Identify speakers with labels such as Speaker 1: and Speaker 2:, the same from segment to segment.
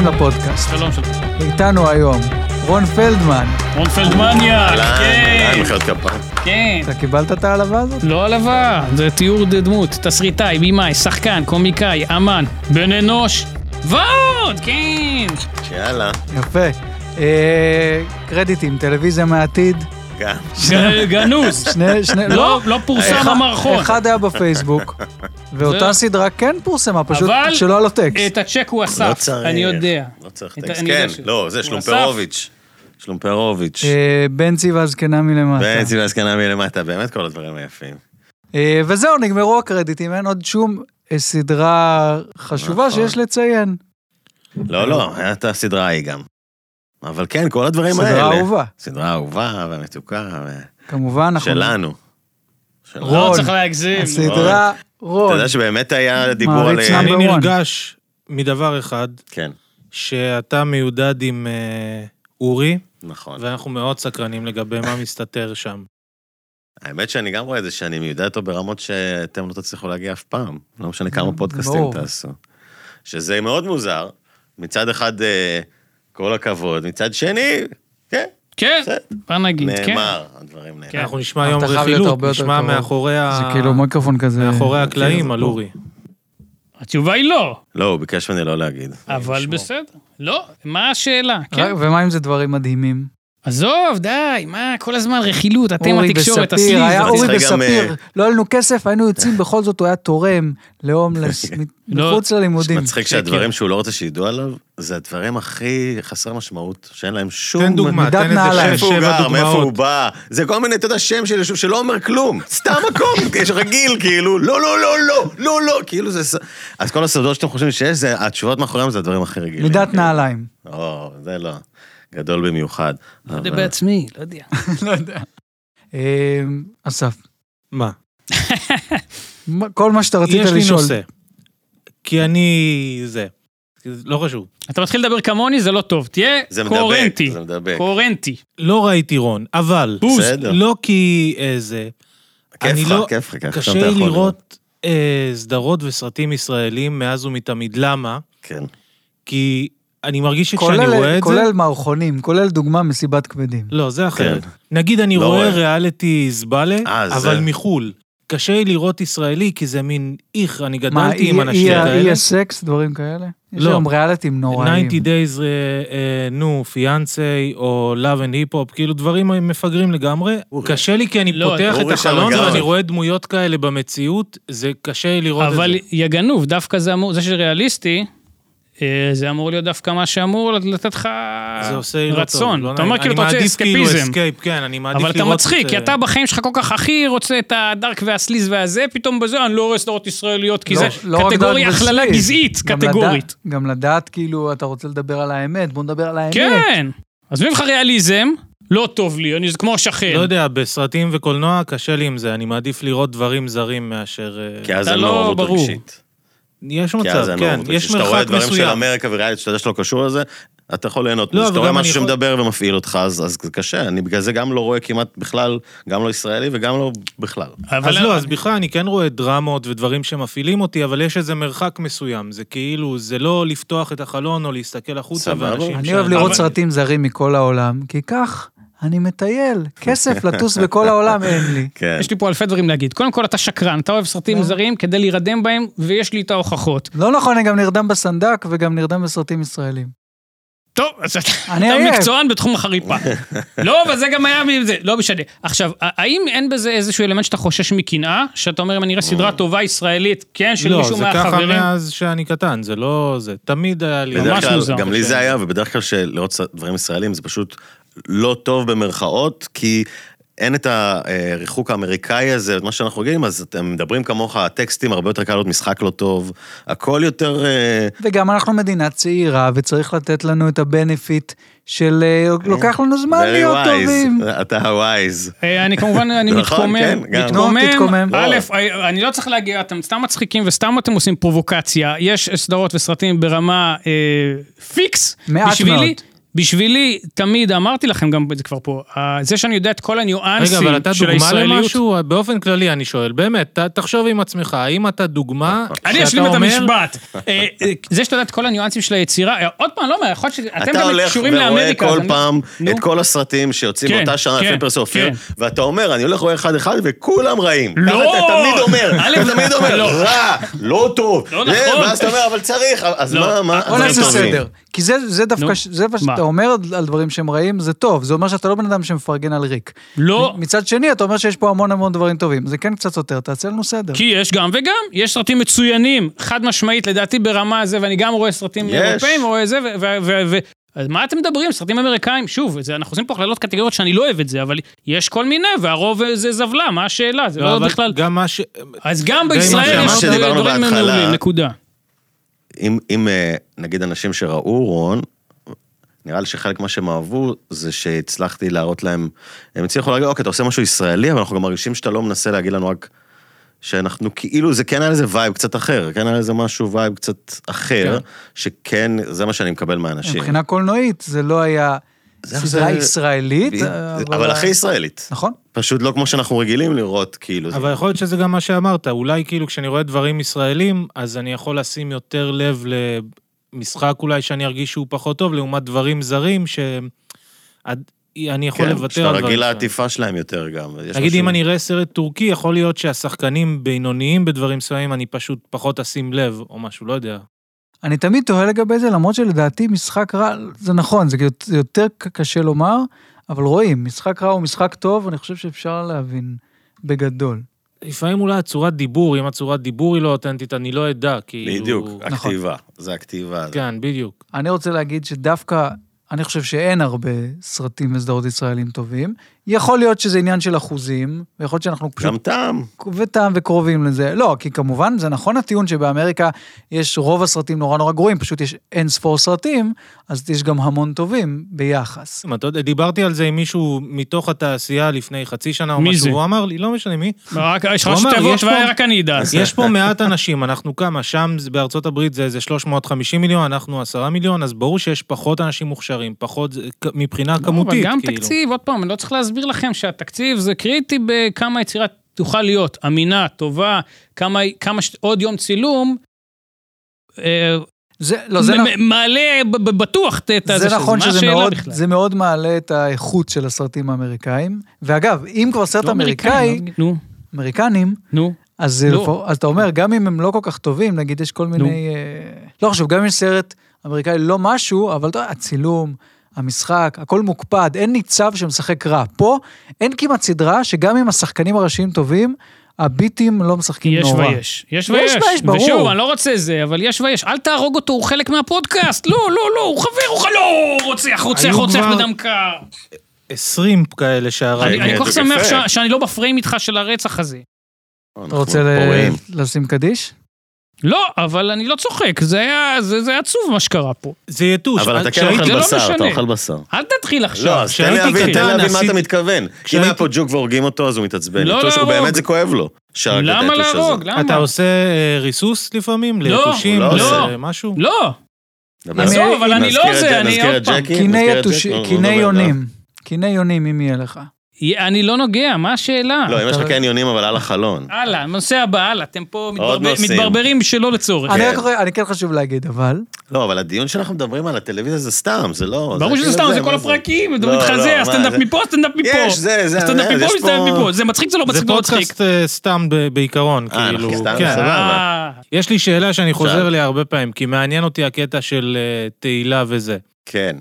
Speaker 1: הפודקאסט.
Speaker 2: שלום, שלום.
Speaker 1: איתנו היום רון פלדמן.
Speaker 2: רון פלדמניה,
Speaker 3: אהלן,
Speaker 2: כן,
Speaker 3: מחיאות כפיים.
Speaker 2: כן.
Speaker 1: אתה קיבלת את ההעלבה הזאת?
Speaker 2: לא עלבה, זה תיאור דמות, תסריטאי, בימאי, שחקן, קומיקאי, אמן, בן אנוש, ועוד, כן.
Speaker 3: יאללה,
Speaker 1: יפה. אה, קרדיטים, טלוויזיה מהעתיד.
Speaker 3: גם.
Speaker 2: ג- גנוז.
Speaker 1: שני, שני,
Speaker 2: לא, לא פורסם המערכון.
Speaker 1: אחד היה בפייסבוק, ואותה
Speaker 2: זה-
Speaker 1: סדרה כן פורסמה, פשוט
Speaker 2: אבל-
Speaker 1: שלא על הטקסט.
Speaker 2: את הצ'ק הוא
Speaker 3: לא
Speaker 2: אסף,
Speaker 3: צריך.
Speaker 2: אני יודע.
Speaker 3: לא צריך
Speaker 2: את-
Speaker 3: טקסט.
Speaker 2: אני
Speaker 3: כן,
Speaker 2: יודע ש-
Speaker 3: לא, זה
Speaker 2: הוא
Speaker 3: שלומפרוביץ'. שלומפרוביץ'.
Speaker 1: אה, בן ציווה הזקנה מלמטה.
Speaker 3: בעצם להזקנה מלמטה, באמת כל הדברים היפים.
Speaker 1: אה, וזהו, נגמרו הקרדיטים, אין עוד שום אה, סדרה חשובה
Speaker 3: נכון.
Speaker 1: שיש לציין.
Speaker 3: לא, לא, הייתה הסדרה ההיא גם. אבל כן, כל הדברים האלה.
Speaker 1: סדרה אהובה,
Speaker 3: סדרה אהובה והמתוקה, ו-
Speaker 1: כמובן, אנחנו...
Speaker 3: שלנו. שלנו.
Speaker 2: לא
Speaker 1: רון.
Speaker 2: צריך להגזים.
Speaker 1: הסדרה
Speaker 3: אתה
Speaker 1: רון.
Speaker 3: יודע שבאמת היה דיבור על...
Speaker 1: מעריץ
Speaker 3: אה,
Speaker 1: נאמבר
Speaker 4: אני
Speaker 1: וואן.
Speaker 4: נרגש מדבר אחד,
Speaker 3: כן,
Speaker 4: שאתה מיודד עם אה, אורי,
Speaker 3: נכון.
Speaker 4: ואנחנו מאוד סקרנים לגבי מה מסתתר שם.
Speaker 3: האמת שאני גם רואה את זה שאני מיודע אותו ברמות שאתם לא תצליחו להגיע אף פעם. לא משנה כמה פודקאסטים
Speaker 1: ברור.
Speaker 3: תעשו. שזה מאוד מוזר. מצד אחד, אה, כל הכבוד, מצד שני, כן,
Speaker 2: כן,
Speaker 3: בסדר.
Speaker 2: מה נגיד, כן.
Speaker 3: נאמר, הדברים
Speaker 2: כן.
Speaker 3: נאמר.
Speaker 4: אנחנו נשמע היום
Speaker 1: אתה חייב להיות
Speaker 4: רכילות,
Speaker 1: הרבה יותר
Speaker 4: נשמע
Speaker 1: קרוב.
Speaker 4: מאחורי ה-
Speaker 1: זה כאילו מיקרופון כזה.
Speaker 4: מאחורי
Speaker 3: זה
Speaker 4: הקלעים
Speaker 3: פה.
Speaker 4: על אורי.
Speaker 2: התשובה היא לא,
Speaker 3: לא, הוא ביקש ממני לא להגיד.
Speaker 2: אבל בסדר. לא, מה השאלה? כן.
Speaker 1: רק- ומה אם זה דברים מדהימים?
Speaker 2: עזוב, די, מה, כל הזמן רכילות, אתם
Speaker 1: אורי
Speaker 2: התקשורת, הסליז.
Speaker 1: בספיר, היה
Speaker 2: הזה.
Speaker 1: אורי
Speaker 3: צריך גם,
Speaker 1: בספיר,
Speaker 3: אה,
Speaker 1: לא היה לנו כסף, היינו יוצאים בכל זאת, הוא היה תורם להומלס, מ-
Speaker 2: לא.
Speaker 1: מחוץ ללימודים.
Speaker 3: מצחיק שהדברים שהוא לא רוצה שידעו עליו, זה הדברים הכי חסרי משמעות, שאין להם שום...
Speaker 4: תן דוגמה,
Speaker 1: מידת
Speaker 4: תן
Speaker 1: נעליים.
Speaker 4: איזה
Speaker 3: איפה הוא
Speaker 4: שש, שבע
Speaker 3: גר, מאיפה הוא
Speaker 4: דוגמאות.
Speaker 3: בא, זה כל מיני, אתה יודע, שם של יישוב שלא אומר כלום, סתם מקום, יש רגיל, כאילו, לא, לא, לא, לא, לא, לא, כאילו זה... ס- אז כל הסודות שאתם חושבים שיש, זה- התשובות מאחוריהם זה הדברים הכי רגילים.
Speaker 1: מידת
Speaker 3: כאילו.
Speaker 1: נעליים.
Speaker 3: או, זה לא. גדול במיוחד.
Speaker 2: לא יודע
Speaker 3: אבל-
Speaker 2: בעצמי, לא יודע.
Speaker 1: לא יודע. אה, אסף,
Speaker 4: מה?
Speaker 1: מה- כל מה שאתה רצית
Speaker 4: יש לי
Speaker 1: לשאול.
Speaker 4: נושא. כי אני... זה. לא חשוב.
Speaker 2: אתה מתחיל לדבר כמוני, זה לא טוב. תהיה
Speaker 3: זה מדבק,
Speaker 2: קוהרנטי.
Speaker 3: זה מדבק.
Speaker 2: קוהרנטי.
Speaker 4: לא ראיתי רון, אבל...
Speaker 2: בוז.
Speaker 3: בסדר.
Speaker 4: לא כי אה, זה.
Speaker 3: כיף
Speaker 4: אני
Speaker 3: לך,
Speaker 4: לא-
Speaker 3: כיף לך, כיף לך,
Speaker 4: קשה
Speaker 3: שם אתה
Speaker 4: לי
Speaker 3: יכול
Speaker 4: לראות אה, סדרות וסרטים ישראלים מאז ומתמיד. למה?
Speaker 3: כן.
Speaker 4: כי אני מרגיש שכשאני
Speaker 1: כולל-
Speaker 4: רואה את זה...
Speaker 1: כולל מערכונים, כולל דוגמה מסיבת כבדים.
Speaker 4: לא, זה אחרת.
Speaker 3: כן.
Speaker 4: נגיד אני
Speaker 3: לא
Speaker 4: רואה
Speaker 3: רואה.
Speaker 4: ריאליטי זבלה,
Speaker 3: אה, זה-
Speaker 4: אבל מחו"ל. קשה לי לראות ישראלי, כי זה מין איך, אני
Speaker 1: מה,
Speaker 4: גדלתי לא עם אנשים
Speaker 1: אי
Speaker 4: כאלה.
Speaker 1: הסקס, דברים כאלה? יש
Speaker 4: לא.
Speaker 1: היום ריאליטים
Speaker 4: 90
Speaker 1: נוראים. לא-
Speaker 4: Days, אה, אה, נו, פיאנסי, או Love and Hip Hop, כאילו דברים מפגרים לגמרי. קשה לי כי אני
Speaker 2: לא,
Speaker 4: פותח את
Speaker 3: אורי שם
Speaker 4: החלון
Speaker 3: גאון.
Speaker 4: ואני רואה דמויות כאלה במציאות, זה קשה לי לראות את זה.
Speaker 2: אבל יא גנוב, דווקא זה אמור, זה שריאליסטי, אה, זה אמור להיות דווקא מה שאמור לתת לך
Speaker 4: זה עושה לי לא טוב.
Speaker 2: רצון.
Speaker 4: לא
Speaker 2: אתה
Speaker 4: נעים.
Speaker 2: אומר כאילו
Speaker 4: אני
Speaker 2: אתה רוצה
Speaker 4: מעדיף כאילו
Speaker 2: אסקפיזם.
Speaker 4: אסקייפ, כן, אני מעדיף
Speaker 2: אבל
Speaker 4: לראות את
Speaker 2: אתה
Speaker 4: זה.
Speaker 2: מצחיק, כי אתה בחיים שלך כל כך הכי רוצה את הדארק והסליז והזה, פתאום בזה אני לא רואה סדרות ישראליות, כי
Speaker 1: לא-
Speaker 2: זה
Speaker 1: לא רק
Speaker 2: קטגוריה
Speaker 1: דעת
Speaker 2: הכללה
Speaker 1: וסליז.
Speaker 2: גזעית,
Speaker 1: גם
Speaker 2: קטגורית.
Speaker 1: לדעת- גם לדעת, כאילו, אתה רוצה לדבר על האמת, בוא נדבר על האמת.
Speaker 2: כן. עזבי לך ריאליזם, לא טוב לי, אני זה כמו השכן.
Speaker 3: כן.
Speaker 4: לא יודע, בסרטים וקולנוע קשה לי עם זה, אני מעדיף לראות דברים זרים מאשר... אה,
Speaker 3: כי אז
Speaker 2: אתה
Speaker 3: זה
Speaker 2: לא
Speaker 3: מעורבות
Speaker 2: ברור.
Speaker 3: רגשית.
Speaker 4: יש
Speaker 3: כי אז
Speaker 4: מצב,
Speaker 3: אין
Speaker 4: כן,
Speaker 3: מעורבות רגשית.
Speaker 4: יש
Speaker 3: כשאתה רואה
Speaker 4: מרחק
Speaker 3: דברים של
Speaker 4: מסוים.
Speaker 3: אמריקה וריאלית שאתה יודע שלא קשור לזה, אתה יכול ליהנות
Speaker 4: לא,
Speaker 3: מזה.
Speaker 4: אבל
Speaker 3: כשאתה רואה
Speaker 4: גם
Speaker 3: משהו
Speaker 4: אני יכול-
Speaker 3: שמדבר ומפעיל אותך, אז אז זה קשה. אני בגלל זה גם לא רואה כמעט בכלל, גם לא ישראלי וגם לא בכלל.
Speaker 4: אז
Speaker 2: אבל
Speaker 4: לא, אז בכלל אני כן רואה דרמות ודברים שמפעילים אותי, אבל יש איזה מרחק מסוים. זה כאילו, זה לא לפתוח את החלון או להסתכל החוצה
Speaker 3: סבבה.
Speaker 4: ואנשים...
Speaker 1: אני
Speaker 4: שם-
Speaker 1: אוהב לראות
Speaker 4: אבל-
Speaker 1: סרטים זרים מכל העולם, כי כך אני מטייל. כסף לטוס בכל העולם אין לי.
Speaker 3: כן.
Speaker 2: יש לי פה אלפי דברים להגיד. קודם כל, אתה שקרן, אתה אוהב
Speaker 4: לא.
Speaker 2: סרטים זרים כדי להירדם בהם, ויש לי את ההוכחות.
Speaker 1: לא נכון, אני גם נרדם בסנדק וגם נרדם בסרטים ישראלים.
Speaker 2: טוב, אז אתה
Speaker 1: אני
Speaker 2: אתה
Speaker 1: עייף.
Speaker 2: מקצוען בתחום החריפה. לא, אבל זה גם היה מזה, לא משנה. עכשיו, ה- האם אין בזה איזשהו אלמנט שאתה חושש מקנאה? שאתה אומר, אם אני אראה סדרה טובה ישראלית, כן, של
Speaker 4: לא,
Speaker 2: מישהו
Speaker 4: זה ככה
Speaker 2: מהחברים?
Speaker 4: מאז שאני קטן, זה לא... זה תמיד היה לי...
Speaker 3: בדרך
Speaker 2: ממש
Speaker 3: כלל,
Speaker 2: מוזר.
Speaker 3: גם לי זה היה, ובדרך כלל שלראות דברים ישראלים זה פשוט לא טוב במרכאות, כי אין את הריחוק האמריקאי הזה, את מה שאנחנו רגילים, אז אתם מדברים כמוך, הטקסטים הרבה יותר קל להיות משחק לא טוב, הכל יותר... אה,
Speaker 1: וגם אנחנו מדינה צעירה, וצריך לתת לנו את הבנפיט של אה, לוקח לנו זמן
Speaker 3: very
Speaker 1: להיות
Speaker 3: wise.
Speaker 1: טובים.
Speaker 3: אתה הווייז.
Speaker 2: אה, אני כמובן, אני
Speaker 3: נכון,
Speaker 2: מתקומם,
Speaker 3: כן, גם.
Speaker 1: נו,
Speaker 2: מתקומם,
Speaker 1: תתקומם.
Speaker 2: א', אני לא צריך להגיע, אתם סתם מצחיקים וסתם אתם עושים פרובוקציה, יש סדרות וסרטים ברמה אה, פיקס,
Speaker 1: מעט
Speaker 2: בשבילי,
Speaker 1: מאוד.
Speaker 2: בשבילי, תמיד אמרתי לכם גם את זה כבר פה, ה- זה שאני יודע את כל
Speaker 4: רגע,
Speaker 2: הניואנסים
Speaker 4: אבל אתה
Speaker 2: של
Speaker 4: דוגמה
Speaker 2: הישראליות...
Speaker 4: למשהו? באופן כללי אני שואל, באמת, ת- תחשוב עם עצמך, האם אתה דוגמה
Speaker 2: אני
Speaker 4: שאתה
Speaker 2: אשלים את
Speaker 4: אומר-
Speaker 2: המשפט. אה, אה, זה שאתה יודע את כל הניואנסים של היצירה, אה, עוד פעם, לא אומר, יכול להיות שאתם
Speaker 3: אתה
Speaker 2: גם
Speaker 3: הולך
Speaker 2: קשורים
Speaker 3: ורואה
Speaker 2: לאמריקה. אז
Speaker 3: כל
Speaker 2: אני-
Speaker 3: פעם
Speaker 2: נו.
Speaker 3: את כל הסרטים שיוצאים
Speaker 2: כן,
Speaker 3: באותה שנה לפני
Speaker 2: כן,
Speaker 3: פרסי אופיר,
Speaker 2: כן.
Speaker 3: ואתה אומר, אני הולך ורואה אחד-אחד וכולם רעים.
Speaker 2: לא!
Speaker 3: ככה אתה תמיד אומר,
Speaker 2: א',
Speaker 3: אתה תמיד אומר,
Speaker 2: לא.
Speaker 3: רע, לא טוב.
Speaker 2: לא
Speaker 3: זה,
Speaker 2: נכון.
Speaker 3: ואז אתה אומר, אבל צריך, אז
Speaker 2: לא.
Speaker 3: מה, מה,
Speaker 2: בוא
Speaker 1: בוא
Speaker 3: אז
Speaker 1: נעשה
Speaker 3: הם טובים.
Speaker 1: סדר. כי זה, זה דווקא,
Speaker 2: נו,
Speaker 1: ש- זה מה
Speaker 2: מה?
Speaker 1: שאתה אומר על דברים שהם רעים, זה טוב. זה אומר שאתה לא בן אדם שמפרגן על ריק.
Speaker 2: לא,
Speaker 1: מצד שני, אתה אומר שיש פה המון המון דברים טובים. זה כן קצת סותר, תעשה לנו סדר.
Speaker 2: כי יש גם וגם, יש סרטים מצוינים, חד משמעית, לדעתי ברמה זה, ואני גם רואה סרטים
Speaker 3: יש.
Speaker 2: אירופאים, רואה זה, ו... ו- ו- ו- אז מה אתם מדברים? סרטים אמריקאים? שוב, זה, אנחנו עושים פה הכללות קטגוריות שאני לא אוהב את זה, אבל יש כל מיני, והרוב אה, זה זבלה, מה השאלה? זה
Speaker 4: לא,
Speaker 2: לא
Speaker 4: אבל
Speaker 2: בכלל...
Speaker 4: גם מה ש...
Speaker 2: אז גם
Speaker 4: מה
Speaker 2: בישראל יש
Speaker 3: שאמרת. שדיברנו
Speaker 2: דברים
Speaker 3: בהתחלה.
Speaker 2: מעולים, נקודה.
Speaker 3: אם, אם אה, נגיד אנשים שראו רון, נראה לי שחלק מה שהם אהבו זה שהצלחתי להראות להם, הם הצליחו להגיד, אוקיי, אתה עושה משהו ישראלי, אבל אנחנו גם מרגישים שאתה לא מנסה להגיד לנו רק שאנחנו כאילו, זה כן היה לזה וייב קצת אחר, כן היה לזה משהו וייב קצת אחר,
Speaker 2: כן.
Speaker 3: שכן, זה מה שאני מקבל מהאנשים.
Speaker 1: מבחינה קולנועית, זה לא היה
Speaker 3: זה-
Speaker 1: סדרה
Speaker 3: זה-
Speaker 1: ישראלית,
Speaker 4: אה,
Speaker 3: אבל הכי ישראלית.
Speaker 1: נכון.
Speaker 3: פשוט לא כמו שאנחנו רגילים לראות, כאילו. זה-
Speaker 4: אבל יכול להיות שזה גם מה שאמרת, אולי כאילו כשאני רואה דברים ישראלים, אז אני יכול לשים יותר לב למשחק אולי שאני ארגיש שהוא פחות טוב, לעומת דברים זרים שאני יכול
Speaker 3: כן,
Speaker 4: לוותר
Speaker 3: שאתה
Speaker 4: על דברים
Speaker 3: רגיל
Speaker 4: זרים.
Speaker 3: לעטיפה שלהם יותר גם. ויש
Speaker 4: נגיד
Speaker 3: משהו-
Speaker 4: אם אני אראה סרט טורקי, יכול להיות שהשחקנים בינוניים בדברים מסוימים, אני פשוט פחות אשים לב, או משהו, לא יודע.
Speaker 1: אני תמיד תוהה לגבי זה, למרות שלדעתי משחק רע, זה נכון, זה יות- זה יותר ק- קשה לומר, אבל רואים, משחק רע הוא משחק טוב, אני חושב שאפשר להבין בגדול.
Speaker 4: לפעמים אולי הצורת דיבור, אם הצורת דיבור היא לא אותנטית, אני לא אדע, כאילו...
Speaker 3: בדיוק,
Speaker 1: נכון.
Speaker 3: הכתיבה. זה הכתיבה. זה-
Speaker 4: כן, בדיוק.
Speaker 1: אני רוצה להגיד שדווקא, אני חושב שאין הרבה סרטים וסדרות ישראלים טובים. יכול להיות שזה עניין של אחוזים, ויכול להיות שאנחנו פשוט
Speaker 3: גם טעם.
Speaker 1: וטעם וקרובים לזה. לא, כי כמובן, זה נכון הטיעון שבאמריקה יש רוב הסרטים נורא נורא גרועים, פשוט יש אין ספור סרטים, אז יש גם המון טובים ביחס.
Speaker 4: אתה יודע, דיברתי על זה עם מישהו מתוך התעשייה לפני חצי שנה או
Speaker 2: מי
Speaker 4: משהו,
Speaker 2: זה?
Speaker 4: הוא אמר לי, לא משנה מי,
Speaker 2: רק- יש לך
Speaker 4: הוא אמר,
Speaker 2: שתי תיבות
Speaker 4: יש פה-
Speaker 2: ורק אני אדע.
Speaker 4: יש פה מעט אנשים, אנחנו כמה, שם זה- בארצות הברית זה איזה 350 מיליון, אנחנו 10 מיליון, אז ברור שיש פחות אנשים מוכשרים, פחות זה- כ- מבחינה כמותית,
Speaker 2: לא, אבל גם
Speaker 4: כאילו.
Speaker 2: תקציב, עוד פעם, אני לא צריך להסביר לכם שהתקציב זה קריטי בכמה יצירה תוכל להיות, אמינה, טובה, כמה, כמה ש... עוד יום צילום. אה,
Speaker 1: זה, לא, זה,
Speaker 2: מ-
Speaker 1: נ...
Speaker 2: מ- מעלה ב- ב- בטוח את ה-
Speaker 1: זה
Speaker 2: של
Speaker 1: נכון
Speaker 2: מה
Speaker 1: שזה
Speaker 2: השאלה
Speaker 1: מאוד,
Speaker 2: בכלל?
Speaker 1: זה מאוד מעלה את האיכות של הסרטים האמריקאים. ואגב, אם כבר סרט
Speaker 2: לא
Speaker 1: אמריקאי,
Speaker 2: לא- נו,
Speaker 1: אמריקנים,
Speaker 2: נו.
Speaker 1: אז, זה
Speaker 2: לא.
Speaker 1: לפ- אז אתה אומר, גם אם הם לא כל כך טובים, נגיד יש כל מיני... אה, לא חשוב, גם אם יש סרט אמריקאי לא משהו, אבל אתה יודע, הצילום, המשחק, הכל מוקפד, אין ניצב שמשחק רע. פה אין כמעט סדרה שגם אם השחקנים הראשיים טובים, הביטים לא משחקים
Speaker 2: יש
Speaker 1: נורא.
Speaker 2: ויש, יש
Speaker 1: יש
Speaker 2: ויש,
Speaker 1: ויש, ברור.
Speaker 2: ושוב, אני לא רוצה זה, אבל יש ויש, אל תהרוג אותו, הוא חלק מהפודקאסט, לא, לא, לא, הוא חבר, הוא חלק, לא, רוצח, רוצח,
Speaker 4: היו
Speaker 2: רוצח
Speaker 4: כבר-
Speaker 2: בדם קר.
Speaker 4: 20 כאלה שהרגנו.
Speaker 2: אני אני כל כך
Speaker 3: בדיוק,
Speaker 2: שמח
Speaker 3: אה, כן, יפה.
Speaker 2: ש- שאני לא בפריים איתך של הרצח הזה.
Speaker 1: אתה רוצה ל-
Speaker 3: אנחנו פורעים.
Speaker 1: לשים קדיש?
Speaker 2: לא, אבל אני לא צוחק, זה היה, זה, זה היה עצוב מה שקרה פה.
Speaker 4: זה יתוש.
Speaker 3: אבל אתה כן
Speaker 4: כשהייתי-
Speaker 2: זה
Speaker 3: אוכל
Speaker 2: לא
Speaker 3: בשר, אתה
Speaker 2: משנה.
Speaker 3: אוכל בשר.
Speaker 2: אל תתחיל עכשיו.
Speaker 3: לא, אז תן
Speaker 4: כשהייתי
Speaker 3: להבין,
Speaker 4: קטן,
Speaker 3: תן להבין מה
Speaker 4: עשיתי-
Speaker 3: אתה מתכוון. אם
Speaker 4: כשהייתי-
Speaker 3: היה פה ג'וק והורגים אותו, אז הוא מתעצבן.
Speaker 2: לא
Speaker 3: יתוש, הוא
Speaker 2: להרוג.
Speaker 3: באמת זה כואב לו. שהרג את
Speaker 2: למה
Speaker 3: היתוש הזה.
Speaker 2: להרוג? למה?
Speaker 4: אתה עושה אה, ריסוס לפעמים?
Speaker 2: לא,
Speaker 4: ליתושים?
Speaker 3: לא
Speaker 4: לאיזה
Speaker 2: עושה.
Speaker 4: משהו?
Speaker 2: לא,
Speaker 3: נדבר.
Speaker 1: עזוב,
Speaker 3: נזכיר
Speaker 2: אבל אני
Speaker 3: את
Speaker 2: לא
Speaker 3: ג'ק-
Speaker 2: זה, אני
Speaker 3: נזכיר
Speaker 2: עוד
Speaker 3: את
Speaker 2: פעם.
Speaker 3: ג'קי?
Speaker 1: קיני
Speaker 3: נזכיר את
Speaker 1: יתוש-
Speaker 3: ג'ק? לא, לא
Speaker 1: קיני
Speaker 3: נדבר.
Speaker 1: יונים. קיני יונים, אם יהיה לך.
Speaker 2: אני לא נוגע, מה השאלה?
Speaker 3: לא, אם יש לך
Speaker 1: אתה-
Speaker 3: קניונים, אבל על החלון.
Speaker 2: הלאה, נושא הבא, הלאה, אתם פה מתברבר-
Speaker 3: נושאים.
Speaker 2: מתברברים שלא לצורך.
Speaker 1: אני רק רואה- אני כן חשוב להגיד, אבל...
Speaker 3: לא, אבל הדיון שאנחנו מדברים על הטלוויזיה זה סתם, זה לא...
Speaker 2: ברור שזה
Speaker 3: כאילו
Speaker 2: סתם, זה
Speaker 3: מה
Speaker 2: כל הפרקים, זה
Speaker 3: לא,
Speaker 2: מתחזה,
Speaker 3: לא,
Speaker 2: סטנדאפ
Speaker 3: מה, זה-
Speaker 2: מפה, סטנדאפ מפה.
Speaker 3: יש, זה, זה,
Speaker 2: סטנדאפ
Speaker 3: יש
Speaker 2: מפה,
Speaker 3: פה-
Speaker 2: סטנדאפ מפה. זה מצחיק, זה לא
Speaker 4: זה
Speaker 2: מצחיק, זה לא מצחיק.
Speaker 4: פודקאסט אה, סתם ב- בעיקרון,
Speaker 3: אה,
Speaker 4: כאילו.
Speaker 3: אנחנו סתם,
Speaker 4: כן.
Speaker 3: סבבה.
Speaker 2: אה,
Speaker 4: יש לי שאלה שאני חוזר
Speaker 3: שאל.
Speaker 4: אליה הרבה פעמים, כי מעניין אותי הקטע של אה, תהילה וזה.
Speaker 3: כן.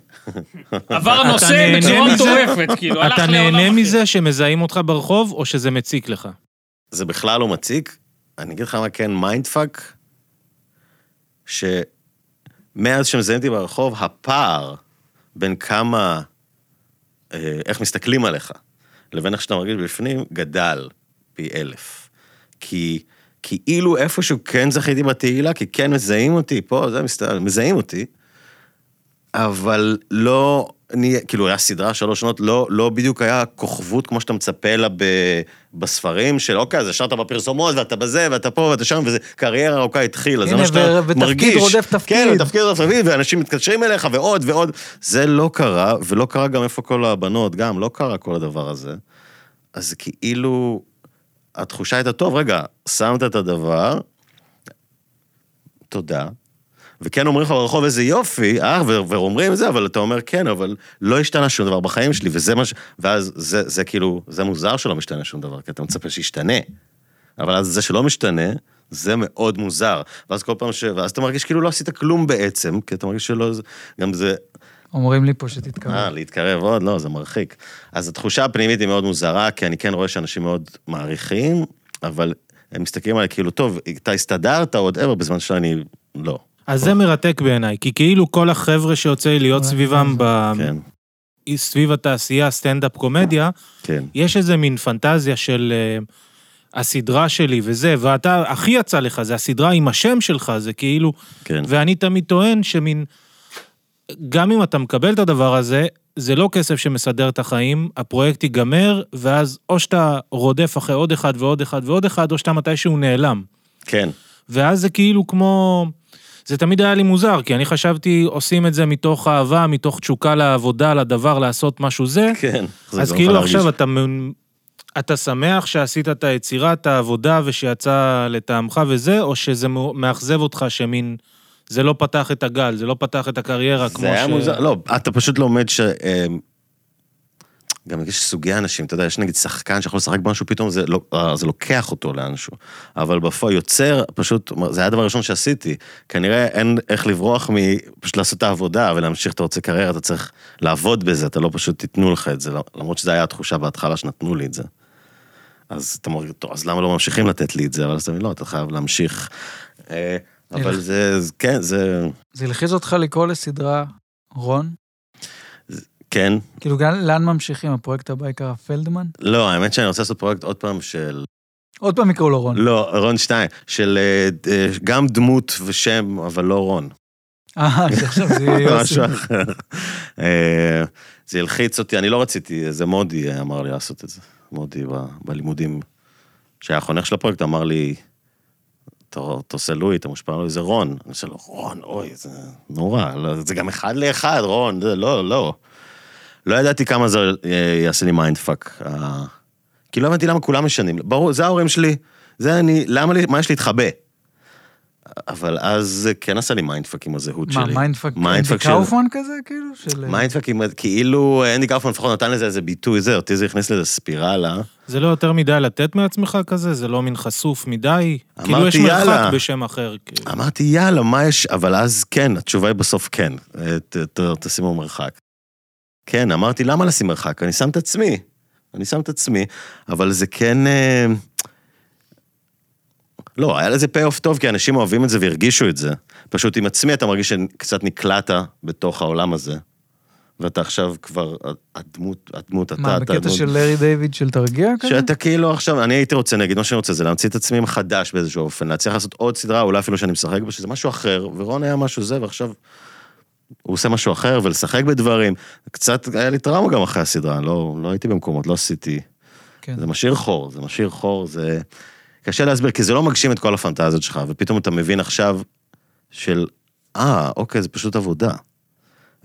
Speaker 2: עבר נושא
Speaker 4: נהנה
Speaker 2: בצורה
Speaker 4: מזה?
Speaker 2: מטורפת, כאילו, הלך
Speaker 4: אתה
Speaker 2: לעולם אחר.
Speaker 4: נהנה מזה שמזהים אותך ברחוב, או שזה מציק לך?
Speaker 3: זה בכלל לא מציק. אני אגיד לך מה כן מיינדפאק, שמאז שמזיינים אותי ברחוב, הפער בין כמה, אה, איך מסתכלים עליך, לבין איך שאתה מרגיש בפנים, גדל פי אלף. כי כאילו איפשהו כן זכיתי בתהילה, כי כן מזהים אותי, פה, זה מסתכל, מזהים אותי, אבל לא, אני, כאילו, היה סדרה שלוש שנות, לא, לא בדיוק היה כוכבות כמו שאתה מצפה לה ב, בספרים, של אוקיי, אז ישר אתה בפרסומות, ואתה בזה, ואתה פה, ואתה שם, וזה קריירה ארוכה התחילה, זה
Speaker 1: הנה,
Speaker 3: מה שאתה
Speaker 1: ו- ותפקיד
Speaker 3: מרגיש.
Speaker 1: רודף תפקיד.
Speaker 3: כן, ותפקיד רודף תפקיד, ואנשים מתקשרים אליך, ועוד ועוד. זה לא קרה, ולא קרה גם איפה כל הבנות, גם לא קרה כל הדבר הזה. אז כאילו, התחושה הייתה, טוב, רגע, שמת את הדבר, תודה. וכן אומרים לך ברחוב איזה יופי, אה, ו- ואומרים זה, אבל אתה אומר כן, אבל לא השתנה שום דבר בחיים שלי, וזה מה ש... ואז זה, זה כאילו, זה מוזר שלא משתנה שום דבר, כי אתה מצפה שישתנה. אבל אז זה שלא משתנה, זה מאוד מוזר. ואז כל פעם ש... ואז אתה מרגיש כאילו לא עשית כלום בעצם, כי אתה מרגיש שלא... זה- גם זה...
Speaker 1: אומרים לי פה שתתקרב.
Speaker 3: אה, להתקרב עוד? לא, זה מרחיק. אז התחושה הפנימית היא מאוד מוזרה, כי אני כן רואה שאנשים מאוד מעריכים, אבל הם מסתכלים עליי כאילו, טוב, אתה הסתדרת עוד ever, בזמן שאני לא.
Speaker 4: אז זה מרתק בעיניי, כי כאילו כל החבר'ה שיוצא לי להיות
Speaker 1: אולי
Speaker 4: סביבם, ב...
Speaker 3: כן,
Speaker 4: סביב התעשייה, סטנדאפ קומדיה,
Speaker 3: כן.
Speaker 4: יש איזה מין פנטזיה של אה, הסדרה שלי וזה, ואתה, הכי יצא לך, זה הסדרה עם השם שלך, זה כאילו...
Speaker 3: כן.
Speaker 4: ואני תמיד טוען שמין... גם אם אתה מקבל את הדבר הזה, זה לא כסף שמסדר את החיים, הפרויקט ייגמר, ואז או שאתה רודף אחרי עוד אחד ועוד אחד ועוד אחד, או שאתה מתישהו נעלם.
Speaker 3: כן,
Speaker 4: ואז זה כאילו כמו... זה תמיד היה לי מוזר, כי אני חשבתי, עושים את זה מתוך אהבה, מתוך תשוקה לעבודה, לדבר, לעשות משהו זה.
Speaker 3: כן. זה
Speaker 4: אז
Speaker 3: גורם
Speaker 4: כאילו
Speaker 3: לך להרגיש-
Speaker 4: עכשיו אתה, מ- אתה שמח שעשית את היצירה, את העבודה, ושיצא לטעמך וזה, או שזה מ- מאכזב אותך שמין... זה לא פתח את הגל, זה לא פתח את הקריירה כמו ש...
Speaker 3: זה היה מוזר, לא, אתה פשוט לומד ש... אמ, גם יש סוגי אנשים, אתה יודע, יש נגיד שחקן שיכול לשחק במשהו, פתאום זה, לא, אה, זה לוקח אותו לאנשהו. אבל בפועל יוצר, פשוט, זה היה הדבר הראשון שעשיתי. כנראה אין איך לברוח מ... פשוט לעשות את העבודה ולהמשיך, אתה רוצה קריירה, אתה צריך לעבוד בזה, אתה לא פשוט תיתנו לך את זה, לא- למרות שזו הייתה התחושה בהתחלה שנתנו לי את זה. אז אתה אומר, טוב, אז למה לא ממשיכים לתת לי את זה? אבל אז אתה אומר, לא, אתה חייב להמשיך. אה, אבל זה, זה- כן, זה,
Speaker 1: זה הלחיץ אותך לקרוא לסדרה רון?
Speaker 3: כן.
Speaker 1: כאילו, גם לאן ממשיכים? הפרויקט הבא יקרא פלדמן?
Speaker 3: לא, האמת שאני רוצה לעשות פרויקט עוד פעם של...
Speaker 1: עוד פעם יקראו לו רון.
Speaker 3: לא, רון שטיין, של אה, אה, גם דמות ושם, אבל לא רון.
Speaker 1: אה, שעכשיו זה יהיה יוסי.
Speaker 3: משהו אחר. אה, זה הלחיץ אותי, אני לא רציתי, זה מודי אמר לי לעשות את זה. מודי ב- בלימודים, שהיה החונך של הפרויקט, אמר לי, אתה אתה עושה לואי, אתה מושפע לואי, זה רון. אני עושה לו, רון, אוי, זה נורא, לא, זה גם אחד לאחד, רון, זה לא, לא. לא ידעתי כמה זה אה, יעשה לי מיינד פאק. אה, כי לא הבנתי למה כולם משנים. ברור, זה ההורים שלי, זה אני, למה לי, מה יש להתחבא? אבל אז זה כן עשה לי מיינדפאק עם הזהות
Speaker 1: מה,
Speaker 3: שלי.
Speaker 1: מיינדפאק?
Speaker 3: מיינדפאק
Speaker 1: אנדי
Speaker 3: של-
Speaker 1: קאופמן כזה, כאילו? של...
Speaker 3: מיינדפאק, עם- כאילו אנדי קאופמן לפחות נתן לזה איזה ביטוי, זה, אותי זה הכניס לזה ספירלה.
Speaker 4: זה לא יותר מדי לתת מעצמך כזה? זה לא מין חשוף מדי?
Speaker 3: אמרתי,
Speaker 4: כאילו יש מרחק
Speaker 3: "יאללה".
Speaker 4: בשם אחר. כאילו.
Speaker 3: אמרתי, יאללה, מה יש? אבל אז כן, התשובה היא בסוף כן. אה, ת- ת- תשימו מרחק. כן, אמרתי, למה לשים מרחק? אני שם את עצמי. אני שם את עצמי, אבל זה כן... אה, לא, היה לזה פי אוף טוב, כי אנשים אוהבים את זה והרגישו את זה. פשוט עם עצמי אתה מרגיש שקצת נקלעת בתוך העולם הזה. ואתה עכשיו כבר, אה, הדמות, הדמות, אתה,
Speaker 1: מה,
Speaker 3: אתה,
Speaker 1: בקטע
Speaker 3: הדמות.
Speaker 1: של לארי דיוויד של תרגיע כזה?
Speaker 3: שאתה כאילו עכשיו, אני הייתי רוצה, נגיד, מה שאני רוצה זה להמציא את עצמי מחדש באיזשהו אופן, להצליח לעשות עוד סדרה, אולי אפילו שאני משחק בה, שזה משהו אחר, ורון היה משהו זה, ועכשיו הוא עושה משהו אחר, ולשחק בדברים. קצת, היה לי טראומה גם אחרי הסדרה, לא, לא הייתי במקומות, לא עשיתי.
Speaker 1: כן.
Speaker 3: זה משאיר חור, זה משאיר חור, זה... קשה להסביר, כי זה לא מגשים את כל הפנטזיות שלך, ופתאום אתה מבין עכשיו של, אה, אוקיי, זה פשוט עבודה.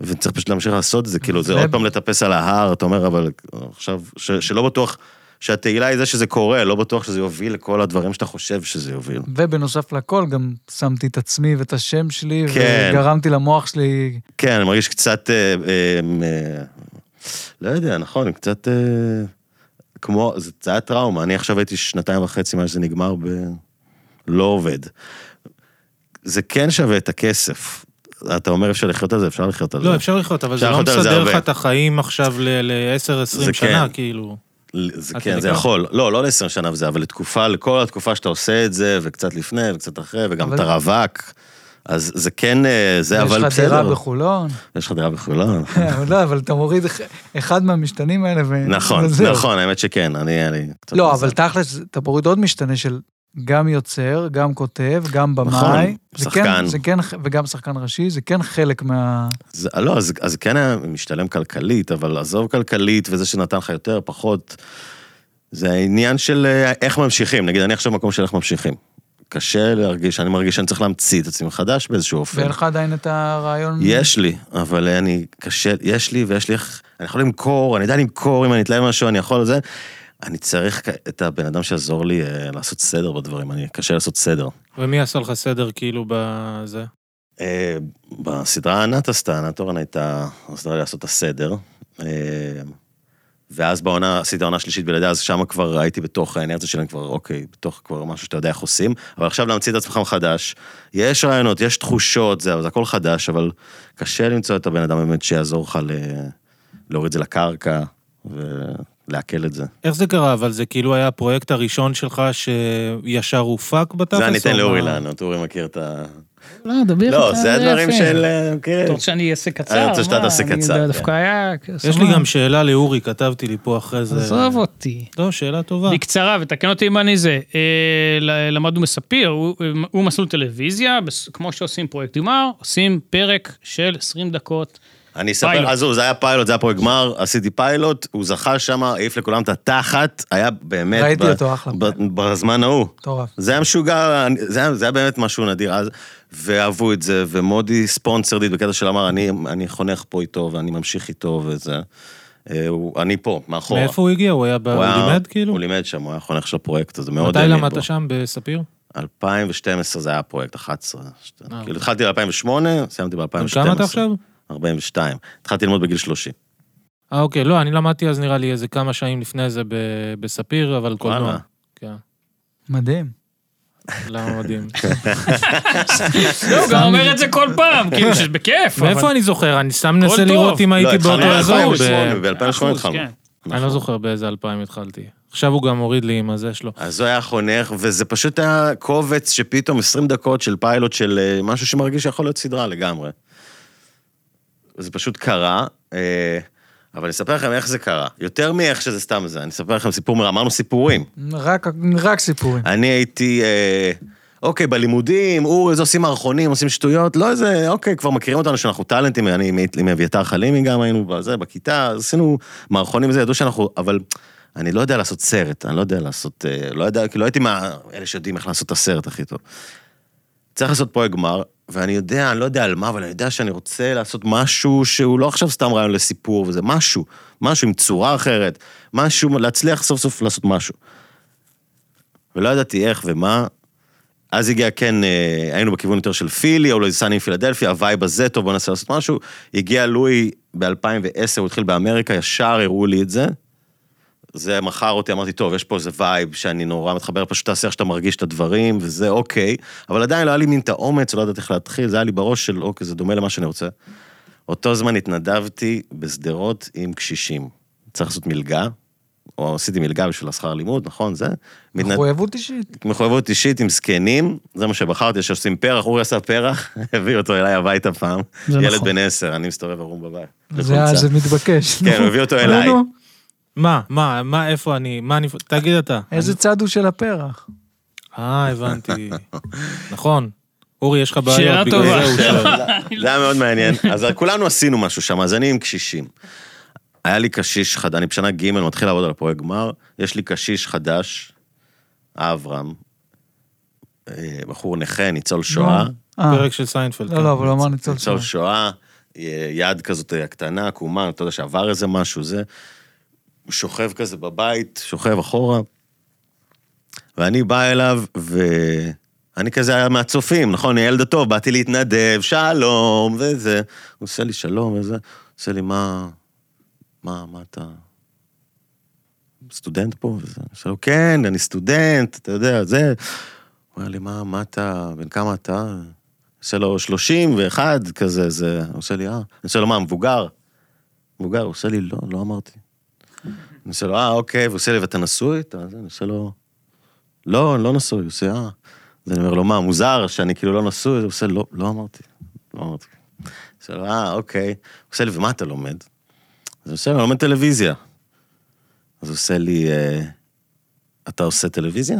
Speaker 3: וצריך פשוט להמשיך לעשות את זה, כאילו, זה
Speaker 1: זה-
Speaker 3: עוד פעם לטפס על ההר, אתה אומר, אבל עכשיו, ש- שלא בטוח, שהתהילה היא זה שזה קורה, לא בטוח שזה יוביל לכל הדברים שאתה חושב שזה יוביל.
Speaker 1: ובנוסף לכל, גם שמתי את עצמי ואת השם שלי,
Speaker 3: כן.
Speaker 1: וגרמתי למוח שלי...
Speaker 3: כן, אני מרגיש קצת, אה, אה, אה, לא יודע, נכון, קצת אה, כמו, זה זה היה טראומה. אני עכשיו הייתי שנתיים וחצי מאז שזה נגמר ב... לא עובד. זה כן שווה את הכסף. אתה אומר אפשר לחיות על זה, אפשר לחיות על זה.
Speaker 4: לא, אפשר לחיות, אבל זה
Speaker 3: אפשר
Speaker 4: לא
Speaker 3: לחיות על זה
Speaker 4: מסדר לך
Speaker 3: הרבה.
Speaker 4: את החיים עכשיו ל-10-20
Speaker 3: זה
Speaker 4: שנה,
Speaker 3: כן.
Speaker 4: כאילו.
Speaker 3: זה
Speaker 4: עד
Speaker 3: כן,
Speaker 4: כדי
Speaker 3: זה
Speaker 4: כך?
Speaker 3: יכול. לא, לא ל-20 שנה וזה, אבל לתקופה, לכל התקופה שאתה עושה את זה, וקצת לפני, וקצת אחרי, וגם
Speaker 1: אבל-
Speaker 3: אתה רווק. אז זה כן, אה, זה
Speaker 1: יש
Speaker 3: אבל
Speaker 1: לך דירה
Speaker 3: בסדר.
Speaker 1: בחולון.
Speaker 3: יש לך דירה בחולון.
Speaker 1: אבל לא, אבל אתה מוריד אח- אחד מהמשתנים האלה ו...
Speaker 3: נכון,
Speaker 1: וזהו.
Speaker 3: נכון, האמת שכן, אני, אני... קצת
Speaker 1: לא,
Speaker 3: מזל.
Speaker 1: אבל תכל'ס, אתה מוריד עוד משתנה של גם יוצר, גם כותב, גם במאי.
Speaker 3: נכון,
Speaker 1: זה
Speaker 3: שחקן.
Speaker 1: כן, זה כן, וגם שחקן ראשי, זה כן חלק מה...
Speaker 3: זה, לא, אז, אז כן היה משתלם כלכלית, אבל עזוב כלכלית וזה שנתן לך יותר, פחות, זה העניין של אה, איך ממשיכים. נגיד, אני עכשיו במקום של איך ממשיכים. קשה להרגיש, אני מרגיש שאני צריך להמציא את עצמי מחדש באיזשהו אופן.
Speaker 1: ואין לך עדיין את הרעיון...
Speaker 3: יש לי, אבל אה, אני קשה, יש לי ויש לי איך, אני יכול למכור, אני יודע למכור, אם אני אתלהב משהו, אני יכול זה. אני צריך כ- את הבן אדם שיעזור לי אה, לעשות סדר בדברים, אני קשה לעשות סדר.
Speaker 4: ומי עשה לך סדר כאילו בזה?
Speaker 3: אה, בסדרה ענת עשתה, ענת אורן הייתה עוזרה לי לעשות את הסדר. אה, ואז בעונה, עשיתי עונה שלישית בלעדי, אז שם כבר הייתי בתוך האנרציה שלהם, כבר אוקיי, בתוך כבר משהו שאתה יודע איך עושים. אבל עכשיו להמציא את עצמך מחדש, יש רעיונות, יש תחושות, זה, זה הכל חדש, אבל קשה למצוא את הבן אדם באמת שיעזור לך ל... להוריד את זה לקרקע ולעכל את זה.
Speaker 4: איך זה קרה? אבל זה כאילו היה הפרויקט הראשון שלך שישר הופק בתכלס?
Speaker 3: זה אני אתן
Speaker 4: או
Speaker 3: לאורי
Speaker 4: מה?
Speaker 3: לענות, אורי מכיר את ה...
Speaker 2: לא, דבר.
Speaker 3: לא,
Speaker 2: אתה
Speaker 3: זה הדברים
Speaker 2: יפה.
Speaker 3: של... אה, כן.
Speaker 2: אתה רוצה שאני אעשה קצר?
Speaker 3: אני רוצה שאתה
Speaker 2: מה,
Speaker 3: תעשה
Speaker 2: אני
Speaker 3: קצר,
Speaker 2: יודע,
Speaker 3: כן.
Speaker 2: דווקא היה...
Speaker 4: יש לי גם שאלה לאורי, כתבתי לי פה אחרי זה.
Speaker 2: עזוב אותי.
Speaker 4: לא, שאלה טובה.
Speaker 2: בקצרה, ותקן אותי אם אני זה. אה, ל- למדנו בספיר, הוא- הוא מסלול טלוויזיה, בס- כמו שעושים פרויקט גמר, עושים פרק של 20 דקות.
Speaker 3: אני אספר,
Speaker 2: פיילוט.
Speaker 3: עזוב, זה היה פיילוט, זה היה פרויקט גמר, עשיתי פיילוט, הוא זכה שם, העיף לכולם את התחת, היה באמת...
Speaker 1: ראיתי
Speaker 3: ב-
Speaker 1: אותו, אחלה.
Speaker 3: ב- בזמן ההוא.
Speaker 1: מטורף.
Speaker 3: זה היה משוגע, אני- זה היה, זה היה באמת משהו נדיר אז, ואהבו את זה, ומודי ספונסרדית בקטע של אמר, אני, אני חונך פה איתו, ואני ממשיך איתו, וזה... אה, הוא, אני פה, מאחורה.
Speaker 4: מאיפה הוא הגיע? הוא היה, ב- הוא
Speaker 3: היה-
Speaker 4: לימד כאילו?
Speaker 3: נכון. הוא לימד שם, הוא היה חונך של הפרויקט הזה, מאוד
Speaker 4: מתי
Speaker 3: האמין בו.
Speaker 4: למדת שם בספיר?
Speaker 3: 2012 זה היה הפרויקט, 11. כאילו התחלתי ב-2008, סיימתי
Speaker 4: בן
Speaker 3: ב-2012.
Speaker 4: אה, אוקיי. כמה אתה עכשיו?
Speaker 3: 42. התחלתי ללמוד בגיל 30.
Speaker 4: אה, אוקיי, לא, אני למדתי אז נראה לי איזה כמה שנים לפני זה ב- בספיר, אבל קולנוע.
Speaker 3: וואלה.
Speaker 4: כן,
Speaker 1: מדהים.
Speaker 4: למה מדהים.
Speaker 2: לא, הוא גם אומר את זה כל פעם, כאילו שבכיף. אבל-
Speaker 4: מאיפה אני זוכר? אני סתם מנסה
Speaker 2: טוב. לא
Speaker 4: לראות אם הייתי
Speaker 3: התחלנו
Speaker 4: באותו אזור.
Speaker 3: ב-2008,
Speaker 4: ב-
Speaker 3: ב-2008
Speaker 2: אחוז,
Speaker 3: התחלנו.
Speaker 2: כן.
Speaker 4: אני לא זוכר באיזה 2000 התחלתי. עכשיו הוא גם הוריד לי עם הזה שלו.
Speaker 3: אז הוא היה חונך, וזה פשוט היה קובץ שפתאום 20 דקות של פיילוט של אה, משהו שמרגיש שיכול להיות סדרה לגמרי. זה פשוט קרה, אה, אבל אני אספר לכם איך זה קרה. יותר מאיך שזה סתם זה, אני אספר לכם סיפור, מרע. אמרנו סיפורים.
Speaker 1: רק, רק סיפורים.
Speaker 3: אני הייתי, אה, אוקיי, בלימודים, אורי, זה עושים מערכונים, עושים שטויות, לא איזה, אוקיי, כבר מכירים אותנו שאנחנו טאלנטים, אני מ- עם אביתר חלימי גם היינו בזה, בכיתה, אז עשינו מערכונים וזה, ידעו שאנחנו, אבל אני לא יודע לעשות סרט, אני לא יודע לעשות, אה, לא יודע, כאילו הייתי מאלה שיודעים איך לעשות את הסרט הכי טוב. צריך לעשות פרויקט גמר, ואני יודע, אני לא יודע על מה, אבל אני יודע שאני רוצה לעשות משהו שהוא לא עכשיו סתם רעיון לסיפור וזה, משהו, משהו עם צורה אחרת, משהו, להצליח סוף סוף לעשות משהו. ולא ידעתי איך ומה. אז הגיע, כן, אה, היינו בכיוון יותר של פילי, או לאיזה סאני פילדלפי, הווייב הזה, טוב, בוא ננסה לעשות משהו. הגיע לואי ב-2010, הוא התחיל באמריקה, ישר הראו לי את זה. זה מכר אותי, אמרתי, טוב, יש פה איזה וייב שאני נורא מתחבר, פשוט תעשה איך שאתה מרגיש את הדברים, וזה אוקיי. אבל עדיין לא היה לי מין את האומץ, לא ידעתי איך להתחיל, זה היה לי בראש של, אוקיי, זה דומה למה שאני רוצה. אותו זמן התנדבתי בשדרות עם קשישים. צריך לעשות מלגה, או עשיתי מלגה בשביל השכר לימוד, נכון, זה? מתנד-
Speaker 1: מחויבות אישית.
Speaker 3: מחויבות אישית עם זקנים, זה מה שבחרתי, שעושים פרח, אורי עשה פרח, הביא אותו אליי הביתה פעם.
Speaker 2: זה
Speaker 3: ילד
Speaker 2: נכון.
Speaker 3: בן עשר, אני מסתובב ערום בבית.
Speaker 1: זה,
Speaker 3: בחולצה.
Speaker 1: זה מתבקש.
Speaker 3: כן,
Speaker 1: נו.
Speaker 3: הוא הביא אותו
Speaker 1: נו,
Speaker 3: אליי.
Speaker 1: נו.
Speaker 4: מה, מה, מה, איפה אני, מה אני, תגיד אתה.
Speaker 1: איזה צד הוא של הפרח?
Speaker 4: אה, הבנתי. נכון. אורי, יש לך בעיות.
Speaker 2: שאלה
Speaker 4: בגלל
Speaker 2: טובה.
Speaker 4: זה הוא
Speaker 3: כן,
Speaker 4: שואל.
Speaker 3: זה היה מאוד מעניין. אז כולנו עשינו משהו שם, אז אני עם קשישים. היה לי קשיש חדש, אני בשנה ג' מתחיל לעבוד על הפרויקט גמר, יש לי קשיש חדש, אברהם, אה, בחור נכה, ניצול שואה.
Speaker 1: אה,
Speaker 4: פרק של סיינפלד. כן.
Speaker 1: לא, לא, אבל הוא אמר ניצול
Speaker 3: ניצול
Speaker 1: שואה.
Speaker 3: שואה, אה, יד כזאת הקטנה, עקומה, אתה יודע שעבר איזה משהו, זה. הוא שוכב כזה בבית, שוכב אחורה, ואני בא אליו, ואני כזה היה מהצופים, נכון? הילד הטוב, באתי להתנדב, שלום, וזה. הוא עושה לי שלום וזה, עושה לי, מה, מה, מה אתה... סטודנט פה? וזה. אני עושה לו, כן, אני סטודנט, אתה יודע, זה. הוא אומר לי, מה, מה אתה, בן כמה אתה? עושה לו 31, כזה, זה... הוא עושה לי, אה. אני עושה לו, מה, מבוגר? מבוגר, הוא עושה לי, לא, לא אמרתי. אני עושה לו, אה, אוקיי, והוא עושה לי, ואתה נשוי? אתה זה, אני עושה לו, לא, אני לא נשוי. הוא עושה, אה. אז אני אומר לו, מה, מוזר שאני כאילו לא נשוי? אז הוא עושה, לא, לא אמרתי. לא אמרתי. אני עושה לו, אה, אוקיי. הוא עושה לי, ומה אתה לומד? אז אני עושה לו, אני לומד טלוויזיה. אז הוא עושה לי, אה, אתה עושה טלוויזיה?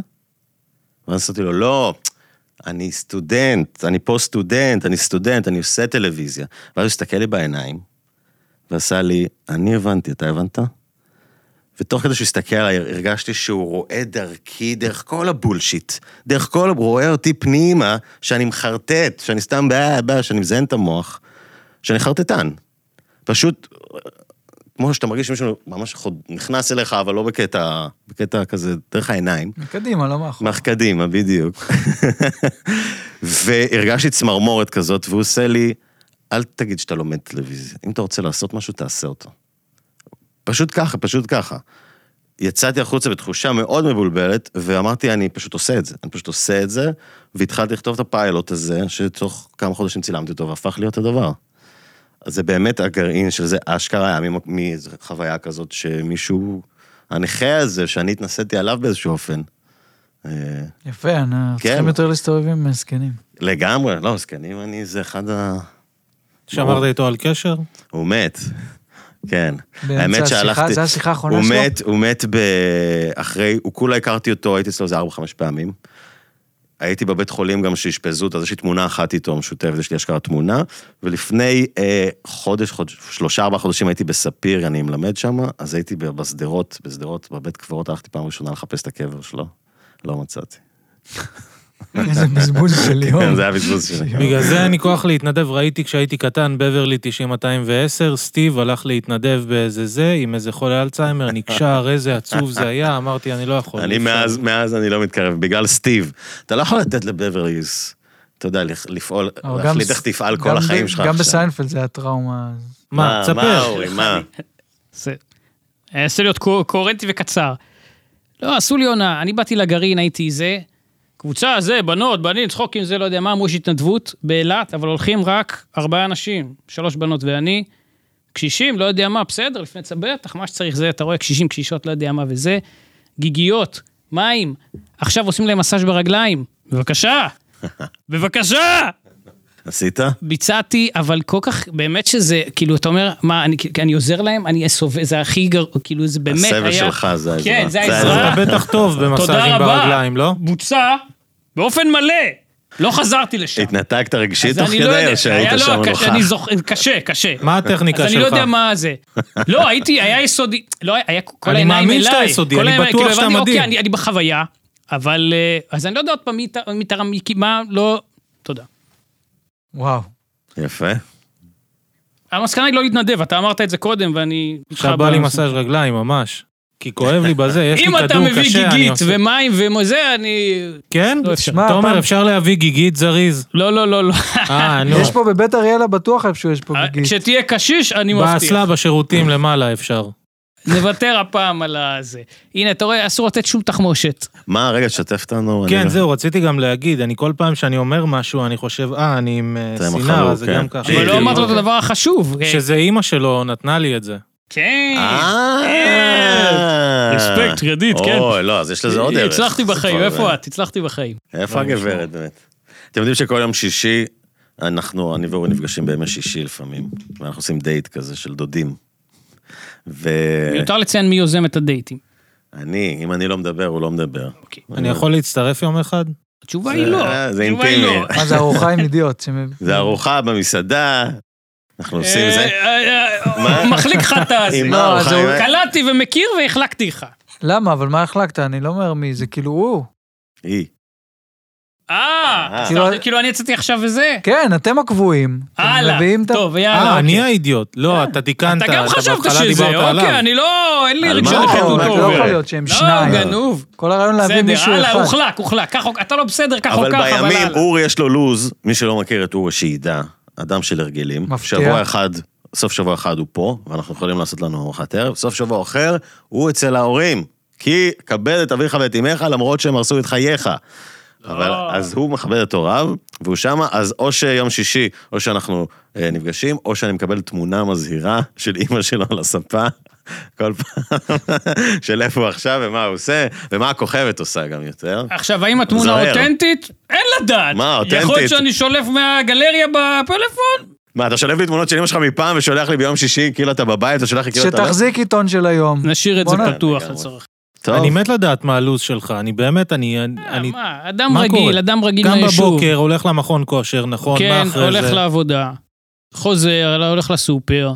Speaker 3: ואז עשיתי לו, לא, אני סטודנט, אני פה סטודנט, אני סטודנט, אני עושה טלוויזיה. ואז הוא הסתכל לי בעיניים, ועשה לי, אני הבנתי, אתה הבנת? ותוך כדי שהוא הסתכל עליי, הרגשתי שהוא רואה דרכי, דרך כל הבולשיט. דרך כל, הוא רואה אותי פנימה, שאני מחרטט, שאני סתם בעיה, בעיה, שאני מזיין את המוח, שאני חרטטן. פשוט, כמו שאתה מרגיש שמישהו ממש חוד, נכנס אליך, אבל לא בקטע, בקטע כזה, דרך העיניים.
Speaker 1: מקדימה, לא מאחור.
Speaker 3: מאח קדימה, אה, בדיוק. והרגשתי צמרמורת כזאת, והוא עושה לי, אל תגיד שאתה לומד טלוויזיה. אם אתה רוצה לעשות משהו, תעשה אותו. פשוט ככה, פשוט ככה. יצאתי החוצה בתחושה מאוד מבולבלת, ואמרתי, אני פשוט עושה את זה. אני פשוט עושה את זה, והתחלתי לכתוב את הפיילוט הזה, שתוך כמה חודשים צילמתי אותו, והפך להיות הדבר. אז זה באמת הגרעין של זה, אשכרה היה ממק- מאיזו חוויה כזאת שמישהו, הנכה הזה, שאני התנסיתי עליו באיזשהו אופן. אה,
Speaker 1: יפה, אנחנו
Speaker 3: כן.
Speaker 1: צריכים יותר להסתובב עם זקנים.
Speaker 3: לגמרי, לא, זקנים אני, זה אחד ה...
Speaker 4: שמרת איתו על קשר?
Speaker 3: הוא מת. כן.
Speaker 1: באמצע
Speaker 3: האמת
Speaker 1: השיחה,
Speaker 3: שהלכתי...
Speaker 1: זה השיחה האחרונה
Speaker 3: הוא
Speaker 1: שלו?
Speaker 3: מת, הוא מת ב... אחרי... הוא כולה הכרתי אותו, הייתי אצלו איזה 4-5 פעמים. הייתי בבית חולים גם שאשפזו אותו, אז יש לי תמונה אחת איתו משותפת, יש לי אשכרה תמונה. ולפני אה, חודש, חודש, שלושה, ארבעה חודשים הייתי בספיר, אני מלמד שם, אז הייתי ב- בשדרות, בשדרות, בבית קברות, הלכתי פעם ראשונה לחפש את הקבר שלו, לא מצאתי.
Speaker 1: איזה בזבוז של יום.
Speaker 3: כן, זה היה בזבוז שלי.
Speaker 4: בגלל זה אין לי כוח להתנדב, ראיתי כשהייתי קטן, בברלי 90-210, סטיב הלך להתנדב באיזה זה, עם איזה חולה אלצהיימר, נקשר, איזה עצוב זה היה, אמרתי, אני לא יכול.
Speaker 3: אני
Speaker 4: אי אפשר."
Speaker 3: מאז, מאז אני לא מתקרב, בגלל סטיב. אתה לא יכול לתת לבברליס, אתה יודע, לפ- לפעול,
Speaker 1: אבל גם
Speaker 3: להחליט
Speaker 1: ס-
Speaker 3: איך תפעל
Speaker 1: גם
Speaker 3: כל
Speaker 1: ב-
Speaker 3: החיים שלך
Speaker 1: גם
Speaker 3: עכשיו.
Speaker 1: בסיינפלד זה הטראומה.
Speaker 4: מה,
Speaker 3: מה,
Speaker 4: תספר.
Speaker 3: אורי, מה?
Speaker 2: זה... אני אנסה להיות קו- קוהרנטי וקצר. לא, עשו לי עונה, אני באתי לגרעין, הייתי זה, קבוצה, זה, בנות, בנים, צחוקים, זה, לא יודע מה, אמרו יש התנדבות באילת, אבל הולכים רק ארבעה אנשים, שלוש בנות ואני, קשישים, לא יודע מה, בסדר, לפני צבטח, מה שצריך זה, אתה רואה קשישים, קשישות, לא יודע מה וזה, גיגיות, מים, עכשיו עושים להם מסאז' ברגליים, בבקשה, בבקשה!
Speaker 3: עשית?
Speaker 2: ביצעתי, אבל כל כך, באמת שזה, כאילו, אתה אומר, מה, אני, כי אני עוזר להם? אני סובל, זה הכי גרוע, כאילו, זה באמת היה...
Speaker 3: הסבל שלך זה העזרה.
Speaker 2: כן, זה
Speaker 3: זה
Speaker 2: העזרה.
Speaker 4: אתה בטח טוב
Speaker 2: תודה
Speaker 4: במסאז'ים
Speaker 2: רבה.
Speaker 4: ברגליים, לא?
Speaker 2: בוצע באופן מלא. לא חזרתי לשם.
Speaker 3: התנתקת רגשית
Speaker 2: אז
Speaker 3: תוך
Speaker 2: אני לא
Speaker 3: כדי,
Speaker 2: יודע,
Speaker 3: או שהיית
Speaker 2: היה לא
Speaker 3: שם
Speaker 2: הקש-
Speaker 3: נוכח?
Speaker 2: אני זוכר, קשה, קשה.
Speaker 4: מה הטכניקה
Speaker 2: אז
Speaker 4: שלך?
Speaker 2: אני לא יודע מה זה. לא, הייתי, היה יסודי, לא, היה כל
Speaker 4: אני
Speaker 2: העיניים אליי.
Speaker 4: מאמין שאתה יסודי,
Speaker 2: כל
Speaker 4: אני
Speaker 2: העיניים,
Speaker 4: בטוח
Speaker 2: כאילו,
Speaker 4: שאתה
Speaker 2: הבנתי,
Speaker 4: מדהים.
Speaker 2: אוקיי, אני- אני בחוויה, אבל... אה, אז אני לא יודע עוד פעם מי ת- מי תרם, מי- מה, לא... תודה.
Speaker 1: וואו.
Speaker 3: יפה.
Speaker 2: המסקנה היא לא להתנדב, אתה אמרת את זה קודם, ואני... איתך
Speaker 4: עכשיו בא לי
Speaker 2: בנושא.
Speaker 4: מסאז' רגליים, ממש. כי כואב לי בזה, יש לי
Speaker 2: אם
Speaker 4: כדור קשה,
Speaker 2: אתה
Speaker 4: אני
Speaker 2: מביא גיגית
Speaker 4: עושה-
Speaker 2: ומים וזה, אני...
Speaker 4: כן?
Speaker 2: לא אפשר.
Speaker 1: מה,
Speaker 4: תומר,
Speaker 1: הפעם-
Speaker 4: אפשר להביא גיגית זריז?
Speaker 2: לא, לא, לא, לא.
Speaker 4: אה, נו.
Speaker 1: יש פה בבית אריאלה בטוח איפשהו יש פה
Speaker 2: אה,
Speaker 1: גיגית.
Speaker 2: כשתהיה קשיש, אני מבטיח.
Speaker 4: באסלה בשירותים למעלה אפשר.
Speaker 2: נוותר הפעם על הזה. הנה, אתה רואה, אסור לתת שום תחמושת.
Speaker 3: מה, רגע, תשתף אותנו. אני
Speaker 4: כן,
Speaker 3: לא-
Speaker 4: זהו, רציתי גם להגיד, אני כל פעם שאני אומר משהו, אני חושב, אה, אני עם אה,
Speaker 3: אתה עם
Speaker 4: סינר,
Speaker 3: החלוק,
Speaker 4: אז זה
Speaker 3: כן.
Speaker 4: גם ככה.
Speaker 2: אבל לא
Speaker 3: כן,
Speaker 2: אמרת לו את הדבר החשוב.
Speaker 4: שזה אימא שלו נתנה לי את זה.
Speaker 2: כן. כן.
Speaker 3: אה.
Speaker 2: רספקט, קרדיט, כן.
Speaker 3: אוי, לא, אז יש לזה עוד ערך.
Speaker 2: הצלחתי בחיים,
Speaker 3: זה כבר-
Speaker 2: איפה את? הצלחתי בחיים.
Speaker 3: איפה הגברת, באמת? אתם יודעים שכל יום שישי, אנחנו, אני ואורי נפגשים בימי שישי לפעמים, ואנחנו עושים דייט כזה של דודים. ו...
Speaker 2: מיותר לציין מי יוזם את הדייטים.
Speaker 3: אני, אם אני לא מדבר, הוא לא מדבר.
Speaker 2: אוקיי.
Speaker 4: אני יכול להצטרף יום אחד?
Speaker 2: התשובה
Speaker 3: זה- אה,
Speaker 2: היא לא.
Speaker 3: זה
Speaker 2: התשובה היא
Speaker 3: אינטימי.
Speaker 2: לא.
Speaker 1: מה זה ארוחה עם אידיוט?
Speaker 3: זה ארוחה במסעדה, אנחנו עושים זה.
Speaker 2: אה, אה, אה,
Speaker 3: מה?
Speaker 2: הוא מחליק לך את הזה.
Speaker 3: עם מה
Speaker 1: לא,
Speaker 3: ארוחה?
Speaker 1: זה-
Speaker 3: עם-
Speaker 2: קלעתי ומכיר והחלקתי לך.
Speaker 1: למה? אבל מה החלקת? אני לא אומר מי, זה כאילו הוא.
Speaker 3: היא.
Speaker 2: אה, אז אתה אומר, כאילו אני יצאתי עכשיו וזה.
Speaker 1: כן, אתם הקבועים. אתם
Speaker 2: הלאה,
Speaker 1: מביאים את ה-
Speaker 2: טוב, יאללה.
Speaker 4: אה,
Speaker 2: אוקיי.
Speaker 4: אני האידיוט. לא, אתה תיקנת,
Speaker 2: אתה גם חשבת
Speaker 4: בהתחלה
Speaker 2: שזה,
Speaker 4: דיברת
Speaker 2: אוקיי,
Speaker 4: עליו.
Speaker 2: אני לא, אין לי
Speaker 3: על מה?
Speaker 2: רגשי
Speaker 1: לא,
Speaker 3: שלכם
Speaker 2: נחיתות.
Speaker 1: זה לא
Speaker 3: גובר.
Speaker 1: יכול להיות שהם
Speaker 2: לא,
Speaker 1: שניים.
Speaker 2: גנוב.
Speaker 1: כל הרעיון להביא
Speaker 2: בסדר,
Speaker 1: מישהו
Speaker 2: הלאה,
Speaker 1: אחד.
Speaker 2: הוחלק, הוחלק. ככה, אתה לא בסדר, ככה או
Speaker 3: אבל
Speaker 2: ככה, אבל
Speaker 3: בימים,
Speaker 2: הלאה.
Speaker 3: אורי יש לו לו"ז, מי שלא מכיר את אורי, שידע, אדם של הרגלים.
Speaker 1: מפתיע.
Speaker 3: שבוע אחד, סוף שבוע אחד הוא פה, ואנחנו יכולים לעשות לנו ארוחת ערב, סוף שבוע אחר, הוא אצל ההורים. כי כבד את אביך ואת אמך, למרות שהם הרסו את חייך.
Speaker 2: לא.
Speaker 3: אבל אז הוא מכבד את הוריו, והוא שמה, אז או שיום שישי, או שאנחנו אה, נפגשים, או שאני מקבל תמונה מזהירה של אימא שלו על הספה, כל פעם, של איפה הוא עכשיו ומה הוא עושה, ומה הכוכבת עושה גם יותר.
Speaker 2: עכשיו, האם התמונה
Speaker 3: זהר.
Speaker 2: אותנטית? אין לדעת.
Speaker 3: מה,
Speaker 2: יכול להיות
Speaker 3: אותנטית?
Speaker 2: שאני שולף מהגלריה בפלאפון?
Speaker 3: מה, אתה שולף לי תמונות של אמא שלך מפעם ושולח לי ביום שישי, כאילו אתה בבית, אתה שולח לי כאילו אתה... לא-
Speaker 1: שתחזיק עיתון של היום.
Speaker 2: נשאיר את זה
Speaker 1: בוא'נה.
Speaker 2: פתוח
Speaker 3: לגמרי.
Speaker 2: לצורך.
Speaker 3: טוב.
Speaker 4: אני מת לדעת מה הלו"ז שלך, אני באמת, אני... אני
Speaker 2: אה, מה, אדם
Speaker 4: מה
Speaker 2: רגיל,
Speaker 4: קורה?
Speaker 2: אדם רגיל
Speaker 4: גם
Speaker 2: מהיישוב.
Speaker 4: בבוקר הולך למכון כושר, נכון? מה
Speaker 2: כן,
Speaker 4: אחרי
Speaker 2: הולך
Speaker 4: זה? כן.
Speaker 2: לעבודה, חוזר, הולך לסופר,